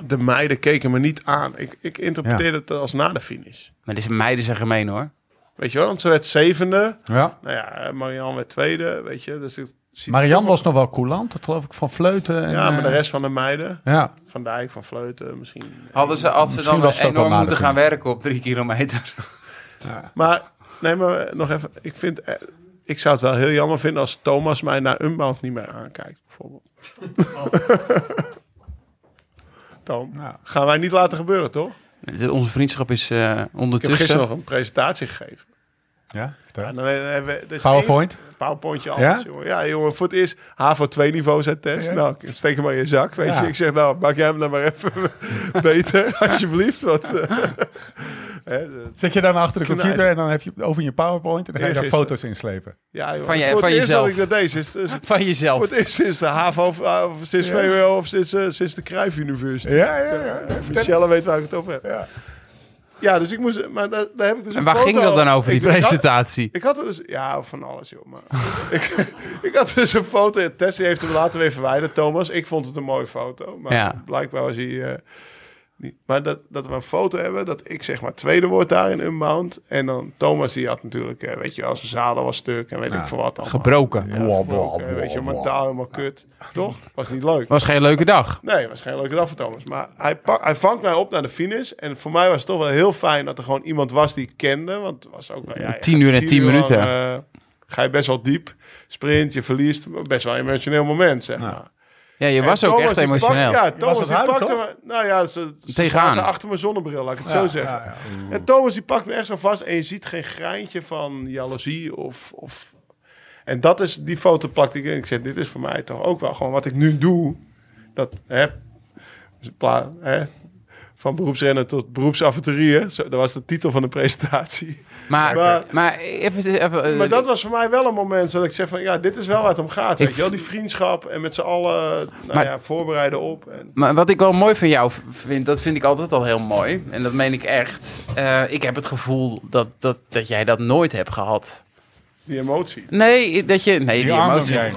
Speaker 4: De meiden keken me niet aan. Ik, ik interpreteerde het als na de finish.
Speaker 3: Maar deze meiden zijn gemeen hoor.
Speaker 4: Weet je wel, want ze werd zevende.
Speaker 6: Ja.
Speaker 4: Nou ja, eh, Marianne werd tweede, weet je. Dus ik zie
Speaker 6: Marianne was nog wel coulant, dat geloof ik, van fleuten. En,
Speaker 4: Ja, maar de
Speaker 6: eh,
Speaker 4: rest van de meiden.
Speaker 6: Ja,
Speaker 4: Van Dijk, Van Vleuten misschien.
Speaker 3: Hadden ze, had ze
Speaker 6: Misschien
Speaker 3: dan
Speaker 6: was het ook wel
Speaker 3: enorm moeten
Speaker 6: aardig,
Speaker 3: gaan
Speaker 6: ja.
Speaker 3: werken op drie kilometer.
Speaker 4: Maar, nee, maar eh, nog even. Ik vind... eh, Ik zou het wel heel jammer vinden als Thomas mij naar Unbound niet meer aankijkt, bijvoorbeeld. Tom,
Speaker 6: Ja.
Speaker 4: gaan wij niet laten gebeuren, toch?
Speaker 3: De- Onze vriendschap is eh,
Speaker 4: Ik heb
Speaker 3: ondertussen...
Speaker 4: gisteren nog een presentatie gegeven.
Speaker 6: ja vertel.
Speaker 4: En dan hebben we, er is
Speaker 6: PowerPoint?
Speaker 4: één PowerPointje
Speaker 6: Ja?
Speaker 4: alles, jongen. Ja, jongen, voor het eerst HAVO 2 niveau zijn test.
Speaker 6: Serieus?
Speaker 4: Nou, steek hem maar in je zak, weet
Speaker 6: Ja.
Speaker 4: je. Ik zeg, nou, maak jij hem dan maar even beter, alsjeblieft. Want, eh, hè, dus- de-
Speaker 6: Zet je dan achter de
Speaker 4: Knaai.
Speaker 6: computer en dan heb je over je PowerPoint en dan ga je daar
Speaker 4: Eergisteren.
Speaker 6: foto's inslepen.
Speaker 4: ja, jongen. dus
Speaker 3: Van je-
Speaker 4: voor
Speaker 3: van
Speaker 4: het eerst
Speaker 3: jezelf.
Speaker 4: dat ik dat deed. Is, dus- is,
Speaker 3: Van
Speaker 4: voor
Speaker 3: jezelf.
Speaker 4: het eerst sinds de HAVO of, eh, of sinds VWO of sinds, eh, sinds de Cruijff University.
Speaker 6: Ja, ja, ja.
Speaker 4: Eh, Michelle weet waar ik het over heb.
Speaker 6: Ja.
Speaker 4: Ja, dus ik moest... Maar daar, daar heb ik dus
Speaker 3: En
Speaker 4: een
Speaker 3: waar
Speaker 4: foto-
Speaker 3: ging dat dan over, die
Speaker 4: Ik- ik had-
Speaker 3: presentatie?
Speaker 4: Ik had er dus... Ja, van alles, joh. Maar ik, ik had dus een foto... Tess die heeft hem later weer verwijderd, Thomas. Ik vond het een mooie foto. Maar
Speaker 3: Ja.
Speaker 4: blijkbaar was hij... eh, niet. Maar dat, dat we een foto hebben dat ik zeg maar tweede word daar in Unbound. En dan Thomas die had natuurlijk, eh, weet je als zijn zadel was stuk en weet ik veel wat. allemaal.
Speaker 3: Gebroken.
Speaker 4: Ja,
Speaker 6: Blah, blah,
Speaker 4: gebroken,
Speaker 6: blah,
Speaker 4: weet je,
Speaker 6: blah.
Speaker 4: mentaal helemaal kut. Toch? Was niet leuk.
Speaker 3: Was geen leuke dag.
Speaker 4: Nee, waarschijnlijk dat voor Thomas. Maar hij, pak, hij vangt mij op naar de finish. En voor mij was het toch wel heel fijn dat er gewoon iemand was die ik kende. Want het was ook... nou Ja,
Speaker 3: Tien uur en tien
Speaker 4: lang,
Speaker 3: minuten.
Speaker 4: eh, ga je best wel diep. Sprint, je verliest. Best wel een emotioneel moment, zeg maar.
Speaker 3: Ja, je
Speaker 4: En
Speaker 3: was ook
Speaker 4: Thomas,
Speaker 3: echt
Speaker 4: die pakte-
Speaker 3: emotioneel.
Speaker 4: ja,
Speaker 6: was
Speaker 4: Thomas
Speaker 6: het
Speaker 4: die
Speaker 6: huilen,
Speaker 4: pakte
Speaker 6: toch?
Speaker 4: me... Nou ja, ze, ze
Speaker 3: Tegenaan.
Speaker 4: zaten achter mijn zonnebril, laat ik het
Speaker 6: Ja,
Speaker 4: zo zeggen.
Speaker 6: ja, ja.
Speaker 4: En Thomas die pakt me echt zo vast. En je ziet geen greintje van jaloezie of... of en dat is die foto plakte ik in. Ik zeg, dit is voor mij toch ook wel gewoon wat ik nu doe. Dat, hè, dus pla- hè, van beroepsrenner tot beroepsavonturier. Zo, Dat was de titel van de presentatie.
Speaker 3: Maar,
Speaker 4: Maar-
Speaker 3: maar even... even eh,
Speaker 4: Maar dat was voor mij wel een moment dat ik zeg van... Ja, dit is wel waar het om gaat. Weet je wel, die vriendschap en met z'n allen nou
Speaker 3: Maar-
Speaker 4: ja, voorbereiden op. En,
Speaker 3: Maar wat ik wel mooi van jou v- vind, dat vind ik altijd al heel mooi. En dat meen ik echt. Eh, ik heb het gevoel dat, dat, dat jij dat nooit hebt gehad.
Speaker 4: die emotie.
Speaker 3: Nee, dat je... Nee, die,
Speaker 6: Die arm om
Speaker 3: emotie.
Speaker 6: je heen.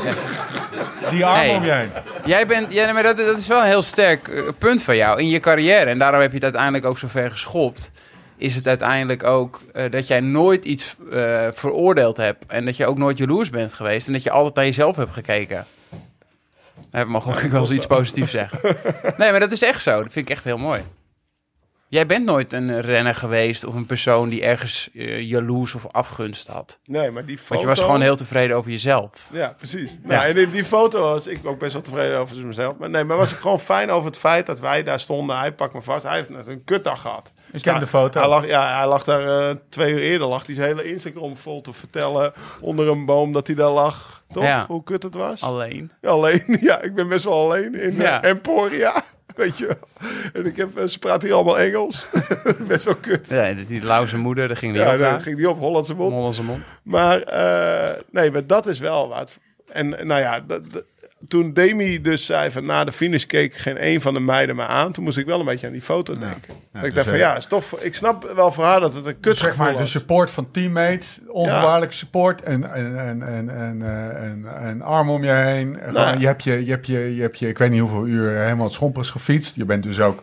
Speaker 6: Die arm
Speaker 3: Nee.
Speaker 6: om je heen.
Speaker 3: Jij bent... Ja, nee, maar dat, dat is wel een heel sterk eh, punt van jou in je carrière. En daarom heb je het uiteindelijk ook zo ver geschopt. Is het uiteindelijk ook eh, dat jij nooit iets eh, veroordeeld hebt. En dat je ook nooit jaloers bent geweest. En dat je altijd naar jezelf hebt gekeken. Dat mag ook wel eens iets positiefs zeggen. Nee, maar dat is echt zo. Dat vind ik echt heel mooi. Jij bent nooit een renner geweest of een persoon die ergens eh, jaloers of afgunst had.
Speaker 4: Nee, maar die foto...
Speaker 3: Want je was gewoon heel tevreden over jezelf.
Speaker 4: Ja, precies. Nou, en in die foto was ik ook best wel tevreden over mezelf. Maar nee, maar was ik gewoon fijn over het feit dat wij daar stonden. Hij pakt me vast. Hij heeft net een kutdag gehad.
Speaker 6: Ik ken
Speaker 4: Ja,
Speaker 6: de foto.
Speaker 4: Hij lag, ja, hij lag daar eh, twee uur eerder. Lag hij zijn hele Instagram vol te vertellen. Onder een boom dat hij daar lag. Toch?
Speaker 3: Ja.
Speaker 4: Hoe kut het was.
Speaker 3: Alleen.
Speaker 4: Ja, Alleen, ja, ik ben best wel alleen in eh,
Speaker 3: Ja.
Speaker 4: Emporia. Weet je wel. En ik heb, eh, ze praat hier allemaal Engels. best wel kut.
Speaker 3: Ja, die lauze moeder, daar ging die
Speaker 4: Ja,
Speaker 3: ook
Speaker 4: dan
Speaker 3: naar.
Speaker 4: ging die op Hollandse mond.
Speaker 3: Hollandse mond.
Speaker 4: Maar eh, nee, maar dat is wel wat. En eh, nou ja, dat, dat- toen Demi dus zei van na de finish keek geen een van de meiden me aan. Toen moest ik wel een beetje aan die foto denken. dat
Speaker 6: dus,
Speaker 4: ik dacht van
Speaker 6: eh, Dus
Speaker 4: ja, is toch, ik snap wel voor haar dat het een kut
Speaker 6: Zeg maar de
Speaker 4: was.
Speaker 6: support van teammates, onvoorwaardelijke support en, en, en, en, en, eh, en, en arm om je heen. Gewoon,
Speaker 4: Nou ja.
Speaker 6: je, hebt je, je, hebt je, je hebt je, ik weet niet hoeveel uur helemaal het schompers gefietst. Je bent dus ook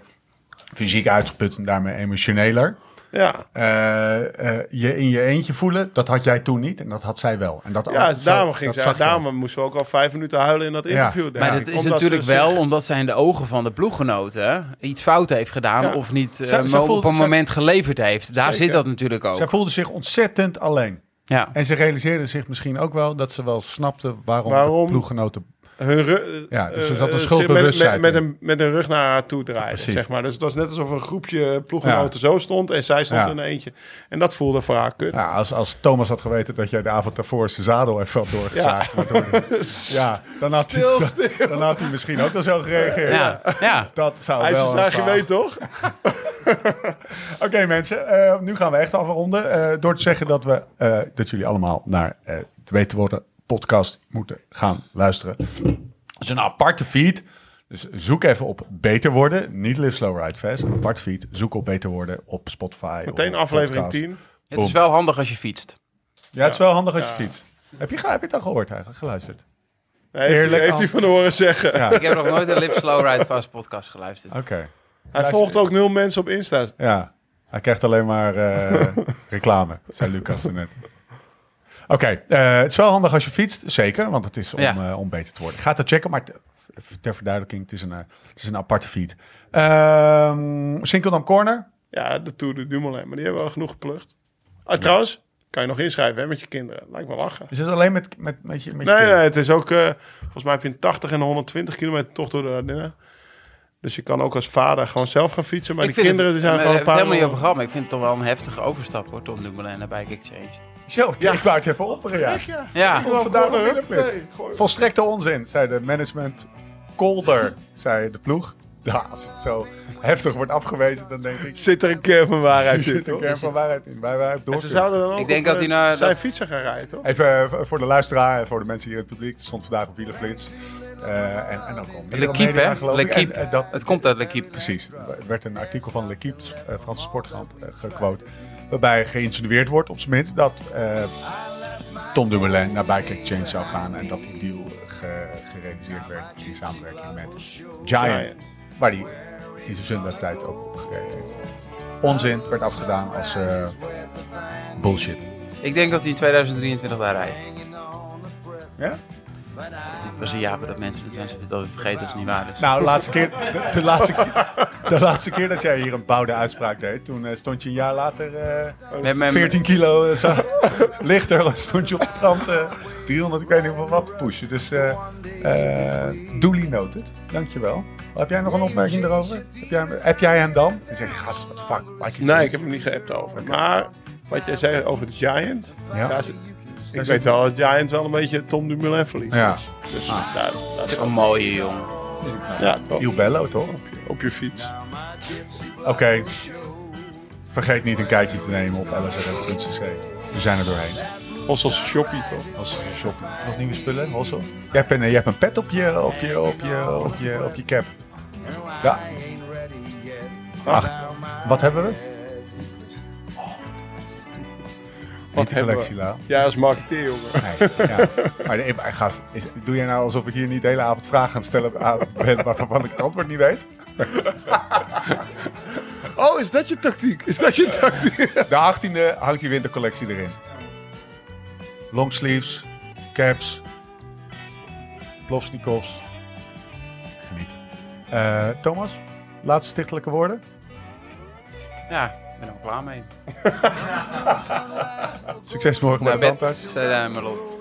Speaker 6: fysiek uitgeput en daarmee emotioneler.
Speaker 4: Ja,
Speaker 6: Eh, eh, je in je eentje voelen, dat had jij toen niet en dat had zij wel. En dat
Speaker 4: ja
Speaker 6: Oh,
Speaker 4: dus
Speaker 6: zo-
Speaker 4: daarom, ging
Speaker 6: dat
Speaker 4: ze,
Speaker 6: zag je.
Speaker 4: daarom moest ze ook al vijf minuten huilen in dat interview. denk
Speaker 3: Maar
Speaker 4: ik.
Speaker 3: dat is
Speaker 4: Omdat
Speaker 3: natuurlijk
Speaker 4: ze zich-
Speaker 3: wel omdat zij in de ogen van de ploeggenoten iets fout heeft gedaan.
Speaker 4: Ja.
Speaker 3: Of niet eh,
Speaker 6: Zij- zij
Speaker 3: mo-
Speaker 6: voelt-
Speaker 3: op een
Speaker 6: zij-
Speaker 3: moment geleverd heeft. Daar
Speaker 4: Zeker.
Speaker 3: zit dat natuurlijk ook.
Speaker 6: Zij voelde zich ontzettend alleen.
Speaker 3: ja.
Speaker 6: En ze realiseerde zich misschien ook wel dat ze wel snapte waarom,
Speaker 4: Waarom?
Speaker 6: de ploeggenoten...
Speaker 4: hun ru-
Speaker 6: Ja, dus er
Speaker 4: eh,
Speaker 6: zat een
Speaker 4: eh,
Speaker 6: schuldbewustzijn
Speaker 4: Met, met,
Speaker 6: in.
Speaker 4: een, met een rug naar haar toe draaien,
Speaker 6: Precies.
Speaker 4: zeg maar. Dus het was net alsof een groepje ploeggenoten zo stond en zij stond
Speaker 6: Ja.
Speaker 4: in eentje. En dat voelde voor haar kut.
Speaker 6: Ja, Nou, als, als Thomas had geweten dat jij de avond daarvoor zijn zadel even had doorgezaagd. waardoor hij- ja, dan, had hij,
Speaker 4: Stil,
Speaker 6: dan, dan had hij misschien ook wel zo gereageerd.
Speaker 3: Ja. ja.
Speaker 6: Dat zou
Speaker 4: Hij is dus
Speaker 6: wel...
Speaker 4: een
Speaker 6: een
Speaker 4: zaagje
Speaker 6: verhaal-
Speaker 4: weet, toch?
Speaker 6: Oké mensen, eh, nu gaan we echt afronden. eh, door te zeggen dat, we, eh, dat jullie allemaal naar eh de Weten Worden podcast moeten gaan luisteren. Het is een aparte feed. Dus zoek even op Beter Worden. Niet Live Slow Ride Fast. Een apart feed. Zoek op Beter Worden op Spotify.
Speaker 4: Meteen
Speaker 6: op
Speaker 4: aflevering
Speaker 6: Oh, podcast.
Speaker 4: 10.
Speaker 3: Het is wel handig als je fietst.
Speaker 6: Ja, het is wel handig als je fietst. Heb je, heb je het al gehoord eigenlijk? Geluisterd?
Speaker 4: Nee, heeft, hij,
Speaker 6: Heerlijk
Speaker 4: heeft hij van horen zeggen.
Speaker 3: Ik heb nog nooit een Live Slow Ride Fast podcast geluisterd.
Speaker 6: Oké.
Speaker 4: Hij volgt ook nul mensen op Insta.
Speaker 6: Ja. Hij krijgt alleen maar eh, reclame, zei Lucas er net. Oké, eh, het is wel handig als je fietst, zeker, want het is om,
Speaker 3: Ja.
Speaker 6: eh, om beter te worden. Ik ga het checken, maar te- ter verduidelijking, het is een, eh, het is een aparte feed. Ehm Sinkeldam Corner,
Speaker 4: Ja, de Tour de Dumoulin, maar die hebben we al genoeg geplucht. Ah, Trouwens, kan je nog inschrijven hè, met je kinderen. Lijkt me lachen.
Speaker 6: is het alleen met, met, met je... Met je
Speaker 4: Nee, nee,
Speaker 6: kinderen?
Speaker 4: het is ook... eh, volgens mij heb je een 80 en een 120 kilometer tocht door de Ardennen. Dus je kan ook als vader gewoon zelf gaan fietsen. Maar
Speaker 3: ik
Speaker 4: die
Speaker 3: vind
Speaker 4: kinderen
Speaker 3: het,
Speaker 4: die zijn
Speaker 3: we
Speaker 4: gewoon een
Speaker 3: hebben het helemaal
Speaker 4: paar...
Speaker 3: niet over gehad, maar ik vind het toch wel een heftige overstap hoor, Tom Dumoulin naar Bike Exchange.
Speaker 6: Zo, ja. ik wou het even opperen, ja.
Speaker 4: Ja,
Speaker 3: Ja.
Speaker 6: Komt vandaag nog in de plus.
Speaker 4: Nee, gooi-
Speaker 6: Volstrekte onzin, zei de management. Kolder, zei de ploeg. Ja, als het zo heftig wordt afgewezen, dan denk ik...
Speaker 4: Zit er een keer van
Speaker 6: Er
Speaker 4: waarheid in,
Speaker 6: zit een
Speaker 4: toch?
Speaker 6: kern van waarheid in. Wij, wij door
Speaker 4: En ze zouden dan ook
Speaker 3: denk
Speaker 4: op,
Speaker 3: dat
Speaker 4: eh,
Speaker 3: hij naar-
Speaker 4: zijn
Speaker 3: dat-
Speaker 4: fietsen gaan rijden, toch?
Speaker 6: Even eh, v- voor de luisteraar en voor de mensen hier in het publiek. Het stond vandaag op Wielenflits. Eh en, en ook om
Speaker 3: L'Equipe,
Speaker 6: media,
Speaker 3: hè?
Speaker 6: geloof ik. En, eh,
Speaker 3: L'Equipe.
Speaker 6: dat,
Speaker 3: Het komt uit L'Equipe.
Speaker 6: precies. Er werd een artikel van L'Equipe, eh, Franse Sportkrant, eh, gequote. Waarbij geïnsinueerd wordt, op zijn minst, dat eh, Tom Dumoulin naar Bike Exchange zou gaan. En dat die deal eh, ge- gerealiseerd werd in samenwerking met Giant.
Speaker 4: Giant.
Speaker 6: Waar die in zijn zundagtijd ook op gereageerd heeft. Onzin werd afgedaan als eh, bullshit.
Speaker 3: Ik denk dat hij in 2023 daar rijdt.
Speaker 6: Ja?
Speaker 3: Dit was een jaar dat mensen het zijn ze dit alweer vergeten als het niet waar dus. is.
Speaker 6: Nou, de laatste keer, de, de laatste keer, de laatste keer dat jij hier een bouwde uitspraak deed, toen eh, stond je een jaar later eh,
Speaker 3: Met mijn-
Speaker 6: 14 kilo eh, za- lichter, stond je op het strand eh, 300, ik weet niet hoeveel wat te pushen. Dus eh eh duly noted, dankjewel. Heb jij nog een opmerking erover? Heb jij, heb jij hem dan? Dan zeg je, gast, wat fuck. maak je
Speaker 4: Nee,
Speaker 6: zin?"
Speaker 4: ik heb hem niet geappt over. Maar wat jij zei over de Giant.
Speaker 6: Ja.
Speaker 4: daar is- ik weet wel dat Giant wel een beetje Tom Dumoulin verliefd
Speaker 6: Ja. Ah.
Speaker 4: is. Dus daar, daar-
Speaker 3: Dat is een Oh, mooie jongen.
Speaker 4: ja, toch.
Speaker 6: Il Bello, toch?
Speaker 4: op je fiets.
Speaker 6: Oké. Vergeet niet een kijkje te nemen op lsrf.cc. We zijn er doorheen.
Speaker 4: Ons als shoppie, toch?
Speaker 6: Als shoppen. Nog nieuwe spullen, Hossel? Jij hebt een, eh, jij hebt een pet op je, op je, op je, op je, op je cap. Ja. Ach, wat hebben we?
Speaker 4: Wat hebben
Speaker 6: collectie,
Speaker 4: we?
Speaker 6: Lau.
Speaker 4: Ja, als marketeer, jongen.
Speaker 6: Nee, ja. Maar de, maar gast, is, doe jij nou alsof ik hier niet de hele avond vragen aan het stellen aan ben waarvan ik het antwoord niet weet?
Speaker 4: Oh, is dat je tactiek? Is dat je tactiek?
Speaker 6: De 18e hangt die wintercollectie erin. Longsleeves, caps, plofsnikovs. Genieten. Eh, Thomas, laatste stichtelijke woorden?
Speaker 3: Ja, ik ben er wel klaar mee.
Speaker 6: Succes morgen
Speaker 3: Naar
Speaker 6: met de
Speaker 3: bed,
Speaker 6: tandarts.
Speaker 3: zei hij maar lot.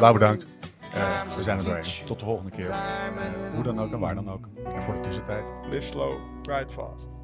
Speaker 6: Lau, bedankt. Eh, we zijn er doorheen. Tot de volgende keer. Eh, hoe dan ook en waar dan ook. En voor de tussentijd.
Speaker 4: Live slow, ride fast.